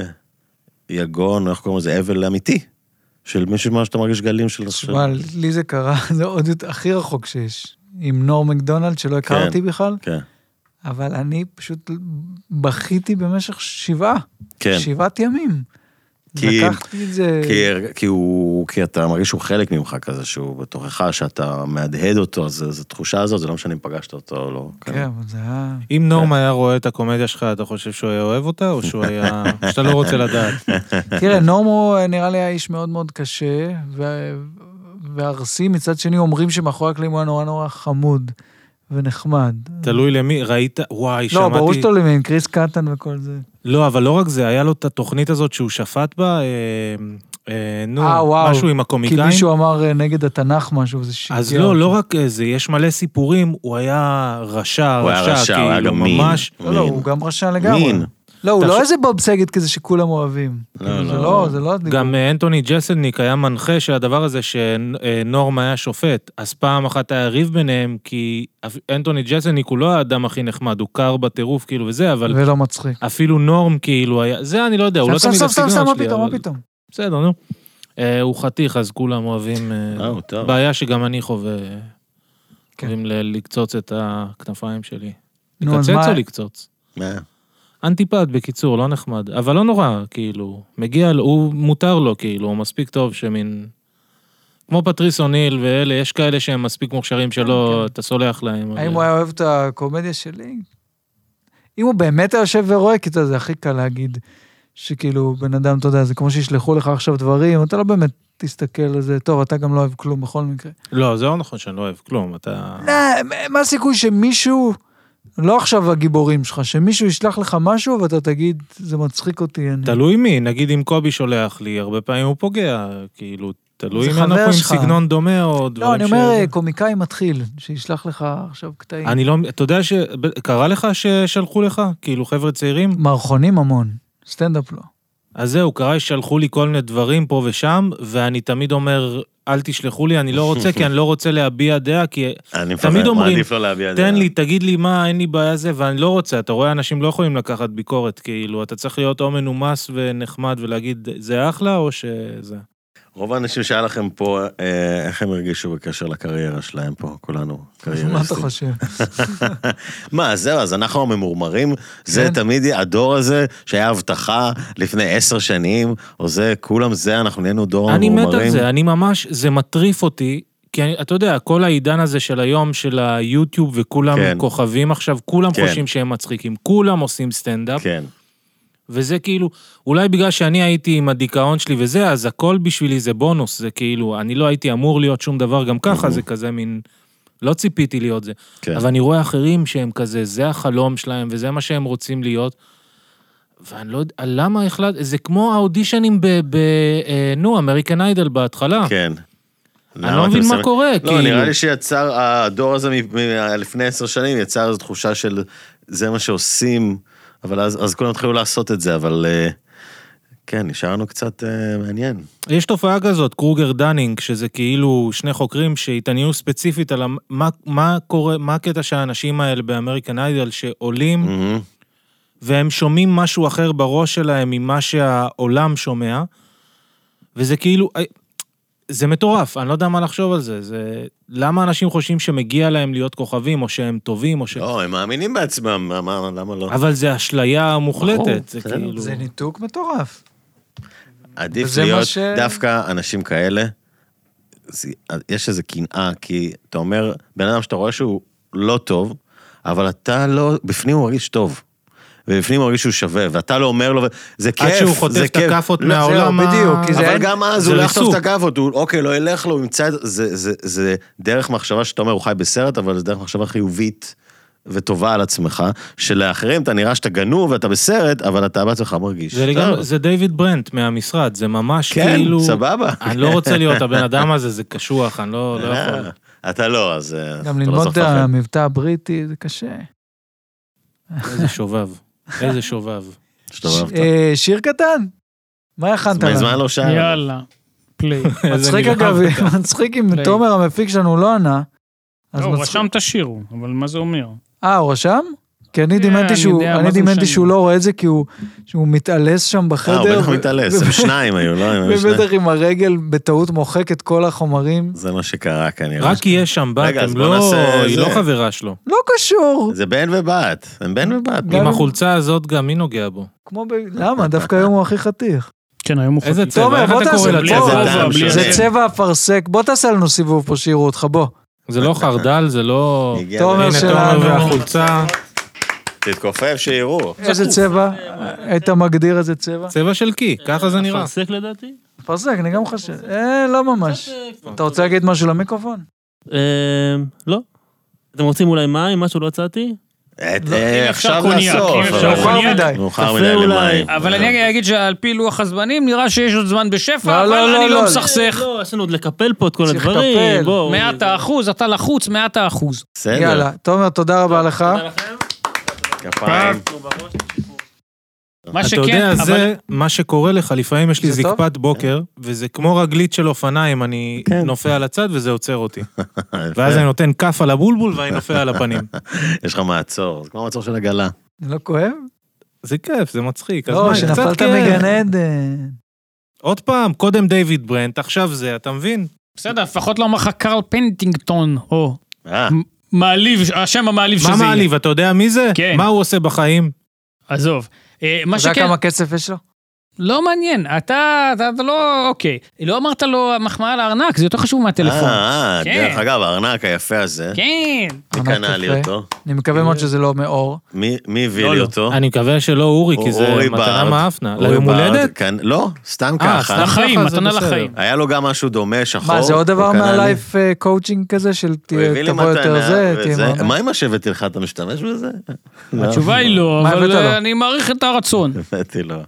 Speaker 3: יגון, או איך קוראים לזה, אבל אמיתי. של מישהו מה שאתה מרגיש גלים של...
Speaker 1: תשמע, לי זה קרה, זה עוד יותר הכי רחוק שיש. עם נור מקדונלד, שלא הכרתי בכלל,
Speaker 3: כן,
Speaker 1: אבל אני פשוט בכיתי במשך שבעה,
Speaker 3: כן.
Speaker 1: שבעת ימים.
Speaker 3: כי-
Speaker 1: לקחתי את זה...
Speaker 3: כי, כי, הוא, כי אתה מרגיש שהוא חלק ממך כזה, שהוא בתוכך, שאתה מהדהד אותו, אז זו תחושה הזאת, זה לא משנה אם פגשת אותו או לא.
Speaker 1: כן, אבל זה היה...
Speaker 4: אם נורם היה רואה את הקומדיה שלך, אתה חושב שהוא היה אוהב אותה, או שהוא היה... שאתה לא רוצה לדעת?
Speaker 1: תראה, נורמו אה, נראה לי היה איש מאוד מאוד קשה, ו- וארסי מצד שני אומרים שמאחורי הקלעים הוא היה נורא נורא חמוד ונחמד.
Speaker 4: תלוי למי, ראית? וואי,
Speaker 1: לא,
Speaker 4: שמעתי...
Speaker 1: ברור שאתה עם קריס קטן וכל זה.
Speaker 4: לא, אבל לא רק זה, היה לו את התוכנית הזאת שהוא שפט בה, אה, אה, נו,
Speaker 1: אה, וואו.
Speaker 4: משהו עם
Speaker 1: כי
Speaker 4: הקומיקאים.
Speaker 1: מישהו כן. אמר אה, נגד התנ"ך משהו, זה שיגע.
Speaker 4: אז לא, לא רק אה, זה, יש מלא סיפורים, הוא היה רשע,
Speaker 3: הוא היה רשע, הוא היה
Speaker 4: כאילו,
Speaker 3: גם מין.
Speaker 4: ממש.
Speaker 1: לא, לא,
Speaker 3: מין.
Speaker 1: הוא גם רשע לגמרי.
Speaker 3: מין.
Speaker 1: לא, הוא
Speaker 4: אתה
Speaker 1: לא
Speaker 4: חושב-
Speaker 1: איזה בוב סגת כזה שכולם אוהבים. כאילו, זה לא, זה לא... הדיבור.
Speaker 4: גם אה, אנטוני ג'סלניק היה מנחה של הדבר הזה שנורם היה שופט, אז פעם אחת היה ריב ביניהם, כי אפ- אנטוני ג'סלניק הוא לא האדם הכי נחמד, הוא קר בטירוף כאילו וזה, אבל
Speaker 1: ולא מצחיק.
Speaker 4: אפילו נורם כאילו היה, זה אני לא יודע, הוא לא
Speaker 1: סתם,
Speaker 4: תמיד
Speaker 1: סתם, סתם,
Speaker 4: הסגנון
Speaker 1: סתם,
Speaker 4: שלי,
Speaker 1: מה פתאום, מה
Speaker 4: אבל-
Speaker 1: פתאום.
Speaker 4: בסדר, נו. אה, הוא חתיך, אז כולם אוהבים... אה,
Speaker 3: אה, הוא טוב.
Speaker 4: בעיה שגם אני חווה.
Speaker 1: כן.
Speaker 4: אוהבים ל- לקצוץ את הכנפיים שלי.
Speaker 1: נו, אז
Speaker 4: לקצץ
Speaker 1: מה-
Speaker 4: או לקצוץ?
Speaker 3: מה?
Speaker 4: אנטיפט בקיצור, לא נחמד. אבל לא נורא, כאילו. מגיע, לו- הוא מותר לו, כאילו, הוא מספיק טוב שמין... כמו פטריס אוניל ואלה, יש כאלה שהם מספיק מוכשרים שלא, אתה סולח להם. אבל-
Speaker 1: כן, האם הוא היה אוהב את הקומדיה שלי? אם הוא באמת היה יושב ורואה, כי אתה יודע, זה הכי קל להגיד שכאילו, בן אדם, אתה יודע, זה כמו שישלחו לך עכשיו דברים, אתה לא באמת תסתכל על זה, טוב, אתה גם לא אוהב כלום בכל מקרה. אה,
Speaker 4: לא, זה לא נכון שאני לא אוהב כלום, אתה...
Speaker 1: לא, מה הסיכוי שמישהו לא עכשיו הגיבורים שלך, שמישהו ישלח לך משהו ואתה תגיד, זה מצחיק אותי, אני...
Speaker 4: תלוי מי, נגיד אם קובי שולח לי, הרבה פעמים הוא פוגע, כאילו, תלוי
Speaker 1: זה
Speaker 4: אם
Speaker 1: חבר
Speaker 4: אנחנו עם
Speaker 1: שלך.
Speaker 4: סגנון דומה או
Speaker 1: לא,
Speaker 4: דברים
Speaker 1: אני
Speaker 4: ש...
Speaker 1: אומר, קומיקאי מתחיל, שישלח לך עכשיו קטעים.
Speaker 4: אני לא, אתה יודע ש... קרה לך ששלחו לך? כאילו, חבר'ה צעירים?
Speaker 1: מערכונים המון, סטנדאפ לא.
Speaker 4: אז זהו, קרה ששלחו לי כל מיני דברים פה ושם, ואני תמיד אומר, אל תשלחו לי, אני לא רוצה, כי אני לא רוצה להביע דעה, כי
Speaker 3: אני מפחד,
Speaker 4: תמיד אומרים,
Speaker 3: מעדיף לא להביע דעה.
Speaker 4: תן לי, תגיד לי מה, אין לי בעיה זה, ואני לא רוצה, אתה רואה, אנשים לא יכולים לקחת ביקורת, כאילו, אתה צריך להיות או מנומס ונחמד ולהגיד, זה אחלה, או שזה...
Speaker 3: רוב האנשים שהיה לכם פה, אה, איך הם הרגישו בקשר לקריירה שלהם פה, כולנו קריירה.
Speaker 1: מה אתה חושב?
Speaker 3: מה, זהו, אז אנחנו הממורמרים, זה
Speaker 1: כן.
Speaker 3: תמיד יהיה- הדור הזה שהיה הבטחה לפני עשר שנים, או זה, כולם זה, אנחנו נהיינו דור
Speaker 4: אני מת על
Speaker 3: הממורמרים.
Speaker 4: זה, אני ממש, זה מטריף אותי, כי אני, אתה יודע, כל העידן הזה של היום, של היוטיוב, וכולם
Speaker 3: כן.
Speaker 4: כוכבים עכשיו, כולם
Speaker 3: כן.
Speaker 4: חושבים שהם מצחיקים, כולם עושים סטנדאפ,
Speaker 3: כן,
Speaker 4: וזה כאילו, אולי בגלל שאני הייתי עם הדיכאון שלי וזה, אז הכל בשבילי זה בונוס, זה כאילו, אני לא הייתי אמור להיות שום דבר, גם ככה זה כזה מין, לא ציפיתי להיות זה.
Speaker 3: כן.
Speaker 4: אבל אני רואה אחרים שהם כזה, זה החלום שלהם וזה מה שהם רוצים להיות. ואני לא יודע, למה החלט, זה כמו האודישנים ב... ב אה, נו, אמריקן איידל בהתחלה.
Speaker 3: כן.
Speaker 4: אני לא מבין מה קורה,
Speaker 3: כאילו.
Speaker 4: כאילו.
Speaker 3: לא, נראה לי שיצר, הדור הזה מ- מ- לפני עשר שנים יצר איזו תחושה של זה מה שעושים, אבל אז אז כולם התחילו לעשות את זה, אבל אה, כן, נשארנו קצת אה, מעניין.
Speaker 4: יש תופעה כזאת, קרוגר דנינג, שזה כאילו שני חוקרים שהתעניינו ספציפית על המ- מה, מה קורה, מה הקטע שהאנשים האלה באמריקן איידל שעולים,
Speaker 3: מהמם.
Speaker 4: והם שומעים משהו אחר בראש שלהם ממה שהעולם שומע, וזה כאילו, אה, זה מטורף, אני לא יודע מה לחשוב על זה, זה... למה אנשים חושבים שמגיע להם להיות כוכבים, או שהם טובים, או ש...
Speaker 3: לא, הם מאמינים בעצמם, מה- מה- למה לא?
Speaker 4: אבל זה אשליה מוחלטת, זה
Speaker 3: בסדר.
Speaker 4: כאילו...
Speaker 1: זה ניתוק מטורף.
Speaker 3: עדיף
Speaker 1: וזה מה
Speaker 3: להיות
Speaker 1: ש-
Speaker 3: דווקא אנשים כאלה, זה- יש איזו קנאה, כי אתה אומר, בן אדם שאתה רואה שהוא לא טוב, אבל אתה לא, בפנים הוא מרגיש טוב. ובפנים הוא מרגיש שהוא שווה, ואתה לא אומר לו, זה כיף,
Speaker 4: עד
Speaker 3: זה כיף.
Speaker 4: שהוא חוטף את הכאפות
Speaker 3: לא,
Speaker 4: מהעולם
Speaker 1: זהו, בדיוק,
Speaker 4: ה-
Speaker 1: כי זה
Speaker 3: אבל
Speaker 1: אין-
Speaker 3: גם אז
Speaker 4: זה
Speaker 3: הוא לא יחטוף את
Speaker 4: ריסוק.
Speaker 3: הכאפות, הוא אוקיי, לא ילך לו, הוא ימצא את זה, זה, זה דרך מחשבה שאתה אומר, הוא חי בסרט, אבל זו דרך מחשבה חיובית וטובה על עצמך, שלאחרים אתה נראה שאתה גנוב ואתה בסרט, אבל אתה בעצמך מרגיש.
Speaker 4: זה
Speaker 3: טוב.
Speaker 4: לגמרי, זה דיוויד ברנט מהמשרד, זה ממש
Speaker 3: כן,
Speaker 4: כאילו...
Speaker 3: סבבה.
Speaker 4: אני לא רוצה להיות הבן אדם הזה, זה קשוח, אני לא, לא יכול.
Speaker 3: אה, אתה לא, אז... אה, אתה
Speaker 1: גם
Speaker 3: לא
Speaker 1: ללמוד את
Speaker 3: צריך לפחד.
Speaker 1: המבטא הבריטי זה קשה.
Speaker 4: איזה שובב, איזה שובב.
Speaker 3: השתובבת.
Speaker 1: אה, שיר קטן? מה הכנת
Speaker 3: אז מזמן
Speaker 1: לנו?
Speaker 3: לא שר.
Speaker 2: יאללה, פליי.
Speaker 4: איזה
Speaker 1: מצחיק
Speaker 4: נלהב.
Speaker 1: אגב, מצחיק אם
Speaker 2: פליי.
Speaker 1: תומר המפיק שלנו לא ענה. אז
Speaker 2: לא, הוא
Speaker 1: מצחיק-
Speaker 2: רשם את השיר, הוא, אבל מה זה אומר?
Speaker 1: אה, הוא רשם? כי אני
Speaker 2: כן,
Speaker 1: דימנתי
Speaker 2: אני
Speaker 1: שהוא,
Speaker 2: יודע,
Speaker 1: אני
Speaker 2: מה זה
Speaker 1: דימנתי
Speaker 2: משנה?
Speaker 1: שהוא לא רואה את זה כי הוא שהוא מתעלס שם
Speaker 3: אה, הוא
Speaker 1: בחדר.
Speaker 3: בטח
Speaker 1: ו-
Speaker 3: מתעלס, הם שניים היו, לא? הם היו שניים.
Speaker 1: ובטח עם הרגל בטעות מוחק את כל החומרים.
Speaker 3: זה מה שקרה כנראה.
Speaker 4: רק כי יש שם בת,
Speaker 3: כן, רגע, אז
Speaker 4: הם
Speaker 3: בוא
Speaker 4: לא...
Speaker 3: נעשה
Speaker 4: היא
Speaker 3: זה.
Speaker 4: לא חברה שלו.
Speaker 1: לא קשור.
Speaker 3: זה בן ובת, הם בן ובת.
Speaker 1: גם-
Speaker 4: עם החולצה הזאת גם מי נוגע בו?
Speaker 1: כמו ב... למה? דווקא היום הוא הכי חתיך.
Speaker 2: כן, היום הוא
Speaker 4: איזה
Speaker 2: חוקי.
Speaker 4: צבע,
Speaker 1: תומר,
Speaker 4: איך
Speaker 1: בוא
Speaker 4: אתה
Speaker 1: תעשה
Speaker 4: קורא
Speaker 1: בלי
Speaker 4: לצבע?
Speaker 1: הזה
Speaker 3: טעם שונה.
Speaker 1: זה צבע אפרסק, בוא תעשה לנו סיבוב פה, שיראו אותך, בוא.
Speaker 4: זה לא חרדל, זה לא...
Speaker 3: הגיע
Speaker 1: תומר
Speaker 3: הנה,
Speaker 4: הנה,
Speaker 1: שלנו.
Speaker 4: תומר והחולצה.
Speaker 3: תתכופף שיראו.
Speaker 1: איזה צבע? היית מגדיר איזה צבע?
Speaker 4: צבע של קי, ככה זה נראה.
Speaker 8: אפרסק לדעתי?
Speaker 1: אפרסק, אני גם חושב. אה, לא ממש. אתה רוצה להגיד משהו למיקרופון?
Speaker 8: אה, לא. אתם רוצים אולי מים? משהו לא הצעתי?
Speaker 3: אה, אה,
Speaker 2: אם אפשר
Speaker 3: עכשיו
Speaker 2: קוניאק,
Speaker 3: לסוף.
Speaker 2: אם
Speaker 3: אבל-
Speaker 2: אפשר
Speaker 1: מאוחר
Speaker 2: קוניאק.
Speaker 1: מדי.
Speaker 3: מאוחר
Speaker 8: קפה
Speaker 3: מדי
Speaker 8: אולי.
Speaker 3: למים.
Speaker 2: אבל אני אגיד שעל פי לוח הזמנים נראה שיש עוד זמן בשפע,
Speaker 1: לא,
Speaker 2: אבל
Speaker 1: לא, לא,
Speaker 2: אני
Speaker 1: לא.
Speaker 2: לא מסכסך.
Speaker 8: לא, יש לנו עוד לקפל פה את כל
Speaker 1: צריך
Speaker 8: הדברים.
Speaker 1: לקפל.
Speaker 8: בואו.
Speaker 2: מאת האחוז, אתה לחוץ, מאת האחוז.
Speaker 3: בסדר.
Speaker 1: יאללה, תומר, תודה רבה לך.
Speaker 3: כפיים.
Speaker 2: מה
Speaker 4: אתה
Speaker 2: שכן,
Speaker 4: יודע,
Speaker 2: אבל-
Speaker 4: זה מה שקורה לך, לפעמים יש לי
Speaker 1: זה טוב?
Speaker 4: זקפת בוקר, וזה כמו רגלית של אופניים, אני
Speaker 3: כן.
Speaker 4: נופל על הצד וזה עוצר אותי.
Speaker 3: אה,
Speaker 4: ואז אני נותן כף על הבולבול ואני נופל על הפנים.
Speaker 3: יש לך מעצור, זה כמו מעצור של עגלה.
Speaker 1: אני לא כואב?
Speaker 4: זה כיף, זה מצחיק. אז
Speaker 1: לא,
Speaker 4: מה, קצת
Speaker 1: שנפלת
Speaker 4: כיף.
Speaker 1: מגן עדן.
Speaker 4: עוד פעם, קודם דיוויד ברנט, עכשיו זה, אתה מבין?
Speaker 2: בסדר, לפחות לא אמר לך קרל פנטינגטון, או
Speaker 3: אה,
Speaker 2: מעליב, השם המעליב שזה
Speaker 4: מה
Speaker 2: יהיה.
Speaker 4: מעליב, אתה יודע מי זה?
Speaker 2: כן.
Speaker 4: מה הוא עושה בחיים?
Speaker 2: עזוב. אה, מה
Speaker 1: אתה יודע
Speaker 2: שכן,
Speaker 1: כמה כסף יש לו?
Speaker 2: לא מעניין, אתה, אתה, אתה לא, אוקיי. לא אמרת לו מחמאה על הארנק, זה יותר חשוב מהטלפון.
Speaker 3: אה, אה,
Speaker 2: כן,
Speaker 3: דרך אגב, הארנק היפה הזה,
Speaker 2: כן.
Speaker 3: מי קנה לי אותו?
Speaker 1: אני מקווה מאוד שזה לא מאור.
Speaker 3: מי מי הביא לי אותו?
Speaker 4: אני מקווה שלא אורי, כי זה
Speaker 3: אורי
Speaker 4: מתנה
Speaker 3: בארד.
Speaker 4: מאפנה.
Speaker 3: אורי
Speaker 4: ליום
Speaker 3: בארד
Speaker 4: הולדת?
Speaker 3: קנ- לא, סתם
Speaker 4: אה,
Speaker 3: ככה.
Speaker 4: סתם
Speaker 2: לחיים,
Speaker 4: ככה זה
Speaker 2: מתנה
Speaker 4: בסדר.
Speaker 2: לחיים.
Speaker 3: היה לו גם משהו דומה, שחור.
Speaker 1: מה, זה עוד דבר
Speaker 3: הוא קנה לי.
Speaker 1: מהלייף קואוצ'ינג כזה של תה-
Speaker 3: הוא הביא לי
Speaker 1: תבוא יותר
Speaker 3: מתנה,
Speaker 1: זה,
Speaker 3: וזה.
Speaker 1: תהיה מאמן?
Speaker 3: מה עם השבט שלך, אתה משתמש בזה? לא.
Speaker 2: התשובה היא לא,
Speaker 1: מה הבאת
Speaker 2: אבל
Speaker 1: לו?
Speaker 2: אה, אני מעריך את הרצון.
Speaker 3: הבאתי לו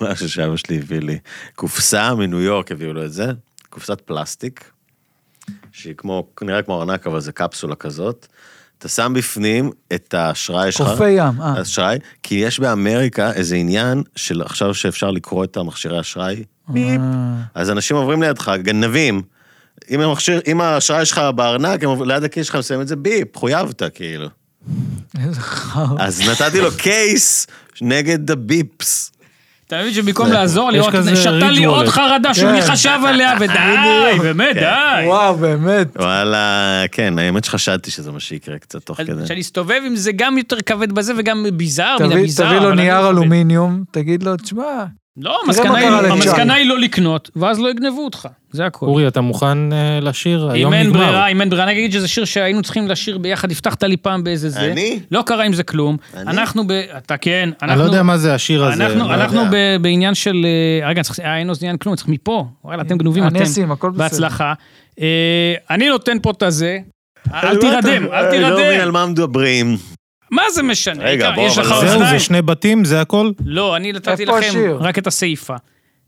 Speaker 3: משהו שאבא שלי הביא לי. קופסה מניו יורק הביאו לו את זה, קופסת פלסטיק, שהיא כמו, נראה כמו ארנק, אבל זה קפסולה כזאת. אתה שם בפנים את האשראי שלך.
Speaker 1: חופי ים, אה.
Speaker 3: אשראי, כי יש באמריקה איזה עניין של עכשיו שאפשר לקרוא את המכשירי אשראי. ביפ. אז אנשים עוברים לידך, גנבים. אם המכשיר, אם האשראי שלך בארנק, הם עוב- ליד הכיס שלך מסיים את זה ביפ, חויבת כאילו.
Speaker 1: איזה חרא.
Speaker 3: אז נתתי לו קייס נגד הביפס.
Speaker 2: אתה מבין שבמקום
Speaker 3: זה-
Speaker 2: לעזור לי,
Speaker 4: יש
Speaker 2: עוד-
Speaker 4: כזה
Speaker 2: שתה לי
Speaker 4: ריד
Speaker 2: עוד
Speaker 4: וולט.
Speaker 2: חרדה שמי
Speaker 1: כן.
Speaker 2: חשב עליה, ודי, באמת, די.
Speaker 1: וואו, באמת.
Speaker 3: וואלה, כן, האמת שחשדתי שזה מה שיקרה קצת תוך
Speaker 2: אז
Speaker 3: כדי.
Speaker 2: שאני אסתובב עם זה גם יותר כבד בזה וגם ביזר, מן
Speaker 1: תביא
Speaker 2: הביזר.
Speaker 1: תביא לו
Speaker 2: אבל אני לא
Speaker 1: נייר
Speaker 2: מכבד.
Speaker 1: אלומיניום, תגיד לו, תשמע,
Speaker 2: לא, המסקנה
Speaker 1: מה
Speaker 2: היא-
Speaker 1: קרה לצ'ארלי.
Speaker 2: המסקנה היא לא לקנות, ואז לא יגנבו אותך, זה הכל.
Speaker 4: אורי, אתה מוכן אה, לשיר?
Speaker 2: אם
Speaker 4: היום
Speaker 2: אין
Speaker 4: נגמר.
Speaker 2: ברירה, אם אין ברירה, אני אגיד שזה שיר שהיינו צריכים לשיר ביחד, הבטחת לי פעם באיזה זה.
Speaker 3: אני?
Speaker 2: לא קרה עם זה כלום.
Speaker 3: אני?
Speaker 2: אנחנו ב... אתה כן, אנחנו...
Speaker 4: אני לא יודע מה זה לא השיר הזה.
Speaker 2: אנחנו,
Speaker 4: מה-
Speaker 2: אנחנו
Speaker 3: יודע.
Speaker 2: ב, בעניין של, אה, רגע, צריך, אה, אין אוזניין כלום, צריך מפה, וואלה, אתם גנובים, אתם.
Speaker 1: אני אשים, הכל בסדר.
Speaker 2: בהצלחה. אה, אני נותן פה את הזה, אל
Speaker 3: לא,
Speaker 2: תירדם,
Speaker 3: אתה-
Speaker 2: אל
Speaker 3: אני לא מבין על
Speaker 2: תירדם.
Speaker 3: מה מדברים.
Speaker 2: מה זה משנה?
Speaker 3: רגע,
Speaker 2: רגע,
Speaker 3: בוא,
Speaker 2: יש
Speaker 3: אבל
Speaker 2: לך
Speaker 3: זהו,
Speaker 4: זהו, זה
Speaker 2: אוזניים.
Speaker 4: שני בתים, זה הכל?
Speaker 2: לא, אני נתתי
Speaker 1: איפה
Speaker 2: לכם
Speaker 1: השיר?
Speaker 2: רק את הסיפה.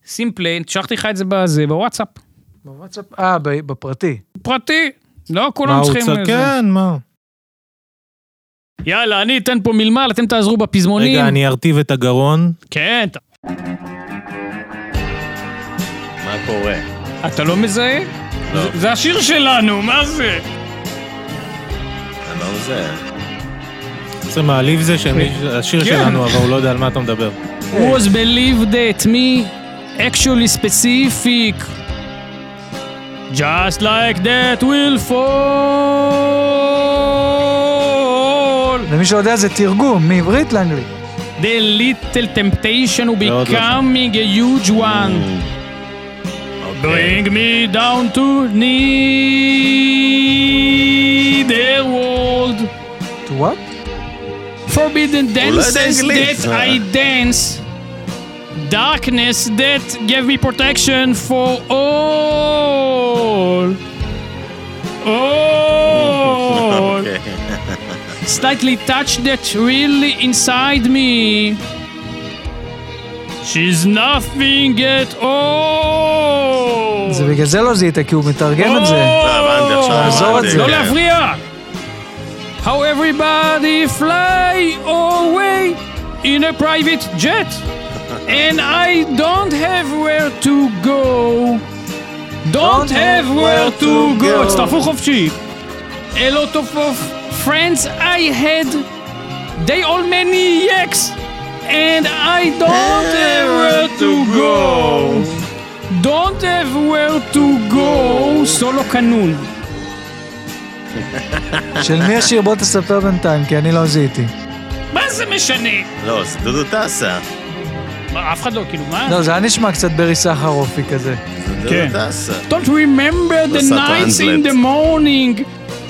Speaker 2: שים פליין, שלחתי לך את זה בזה, בוואטסאפ.
Speaker 1: בוואטסאפ, אה, ב- בפרטי.
Speaker 2: פרטי. לא,
Speaker 4: מה
Speaker 2: כולם
Speaker 4: הוא
Speaker 2: צריכים...
Speaker 4: צ-
Speaker 2: איזה-
Speaker 4: כן, מה?
Speaker 2: יאללה, אני אתן פה מלמל, אתם תעזרו בפזמונים.
Speaker 4: רגע, אני ארטיב את הגרון.
Speaker 2: כן, אתה-
Speaker 3: מה קורה?
Speaker 2: אתה לא מזהה?
Speaker 3: לא.
Speaker 2: זה- זה השיר שלנו, מה זה?
Speaker 3: אני לא מזהה.
Speaker 4: זה מעליב זה
Speaker 2: כן.
Speaker 4: שהשיר שלנו, אבל הוא לא יודע על מה אתה מדבר.
Speaker 2: was believed that me actually specific. Just like that will fall.
Speaker 1: למי שלא יודע, זה תרגום מעברית לאנגלית.
Speaker 2: The little temptation will
Speaker 4: מאוד לא
Speaker 2: becoming a huge one. Bring me down to neither world.
Speaker 1: To what?
Speaker 2: Forbidden dances
Speaker 3: אנגלית.
Speaker 2: that I dance. Darkness that gave me protection for all. All.
Speaker 3: אוקיי.
Speaker 2: Slightly touch that really inside me. She's nothing at all.
Speaker 1: זה בגלל זה לא זיהית, כי הוא מתרגם את זה.
Speaker 2: Oh!
Speaker 3: לא, הבנתי, עכשיו
Speaker 1: לעזוב את
Speaker 3: הבנתי,
Speaker 1: זה.
Speaker 2: לא
Speaker 3: כן.
Speaker 2: להפריע! How everybody fly away in a private jet and I don't have where to go don't have where to go הצטרפו חופשי a lot of, of friends I had they all maniacs and I don't have where to go don't have where to go סולו קנון
Speaker 1: של מי השיר? בוא תספר בינתיים, כי אני לא זיהיתי.
Speaker 2: מה זה משנה?
Speaker 3: לא, זה דודו טסה.
Speaker 2: מה, אף אחד לא, כאילו, מה?
Speaker 1: לא, זה היה נשמע קצת ברי סחרופי כזה.
Speaker 3: זה
Speaker 2: כן.
Speaker 3: דודו טסה.
Speaker 2: Don't remember the
Speaker 3: עשה
Speaker 2: nights in
Speaker 3: טרנסלט.
Speaker 2: the morning.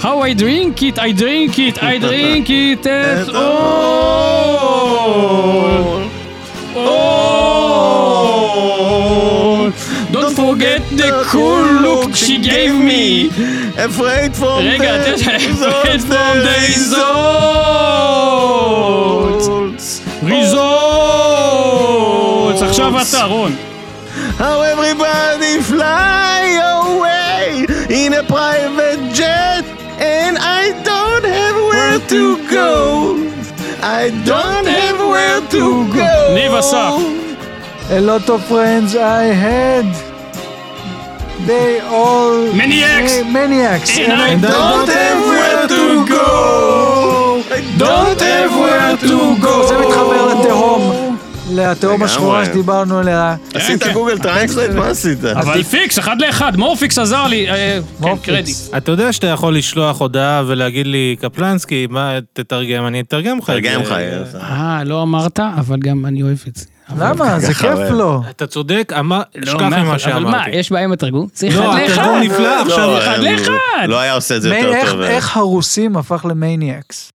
Speaker 2: How I drink it, I drink it, I drink it at all. all. Don't forget the cool look she gave me.
Speaker 3: Afraid from the...
Speaker 2: רגע, אתה afraid from the results. results. עכשיו אתה, רון.
Speaker 3: How everybody fly away in a private jet and I don't have where to go. I don't have where to go.
Speaker 2: ניב אסף.
Speaker 1: A lot of friends I had. They all...
Speaker 2: Maniacs.
Speaker 1: Eh, Maniacs.
Speaker 2: And I
Speaker 1: And I
Speaker 3: Don't have where to go. Don't have where to go.
Speaker 1: זה מתחבר לתהום. לתהום השחורה שדיברנו עליה.
Speaker 3: עשית גוגל טרנסלייט? מה עשית?
Speaker 2: אבל פיקס, אחד לאחד, מורפיקס עזר לי, אה, כן,
Speaker 1: מורפיקס.
Speaker 2: קרדיט.
Speaker 4: אתה יודע שאתה יכול לשלוח הודעה ולהגיד לי, קפלנסקי, מה, תתרגם, אני אתרגם לך. את
Speaker 3: תרגם
Speaker 4: זה."
Speaker 3: לך.
Speaker 2: אה, לא אמרת, אבל גם אני אוהב את זה.
Speaker 1: למה? זה
Speaker 3: ככה,
Speaker 1: כיף
Speaker 3: אבל-
Speaker 1: לו.
Speaker 4: אתה צודק, אמר-
Speaker 2: לא,
Speaker 4: שכח ממה
Speaker 2: אבל מה,
Speaker 4: שאמרתי.
Speaker 2: יש בעיה עם התרגום? זה אחד
Speaker 4: לא,
Speaker 2: לאחד.
Speaker 4: התרגום נפלא עכשיו.
Speaker 2: אחד
Speaker 3: אה,
Speaker 2: לאחד.
Speaker 3: לא היה עושה את זה
Speaker 1: מאיר,
Speaker 3: יותר
Speaker 1: איך-
Speaker 3: טוב. אה.
Speaker 1: איך הרוסים הפך למניאקס?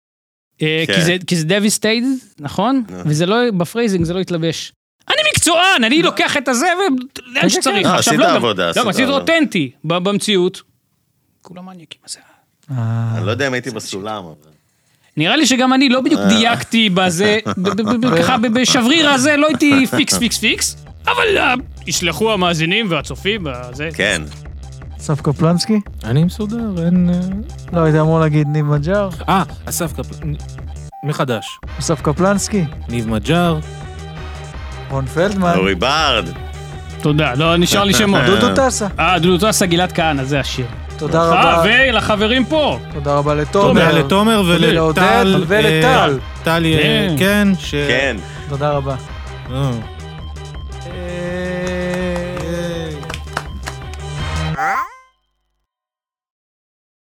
Speaker 2: אה,
Speaker 3: כן.
Speaker 2: כי זה- כי זה devastated, נכון? וזה לא, בפרייזינג זה לא התלבש. אני מקצוען, אני לוקח את הזה ו- לאן שצריך.
Speaker 3: כן. אה,
Speaker 2: עכשיו,
Speaker 3: עשית
Speaker 2: לא, גם-
Speaker 3: עבודה, עשית
Speaker 2: לא, עשית
Speaker 3: עבודה.
Speaker 2: אותנטי ב- במציאות. כולם מניאקים, אז זה...
Speaker 3: אני לא יודע אם הייתי בסולם, אבל...
Speaker 2: נראה לי שגם אני לא בדיוק דייקתי בזה, ב- ב- ב- ב- ככה ב- בשבריר הזה לא הייתי פיקס פיקס פיקס, אבל אה, ישלחו המאזינים והצופים, זה...
Speaker 3: כן.
Speaker 1: אסף קפלנסקי?
Speaker 4: אני מסודר, אין...
Speaker 1: לא, היית אמור להגיד ניב מג'אר?
Speaker 4: אה, אסף קפלן. מחדש.
Speaker 1: אסף קפלנסקי?
Speaker 4: ניב מג'אר.
Speaker 1: רון פלדמן?
Speaker 3: אורי אה. בארד.
Speaker 2: תודה, לא נשאר לי שמות.
Speaker 1: דודו טסה.
Speaker 2: אה, דודו טסה, גלעד כהנא, זה השיר.
Speaker 1: תודה
Speaker 2: אה,
Speaker 1: רבה.
Speaker 2: ולחברים פה.
Speaker 1: תודה רבה
Speaker 4: תודה
Speaker 1: לתומר.
Speaker 4: לתומר
Speaker 1: לעודד
Speaker 4: ולטל.
Speaker 1: ולטל.
Speaker 4: אה, טל, אה,
Speaker 2: כן.
Speaker 4: כן. ש-
Speaker 3: כן.
Speaker 1: תודה רבה.
Speaker 4: אה.
Speaker 1: אה,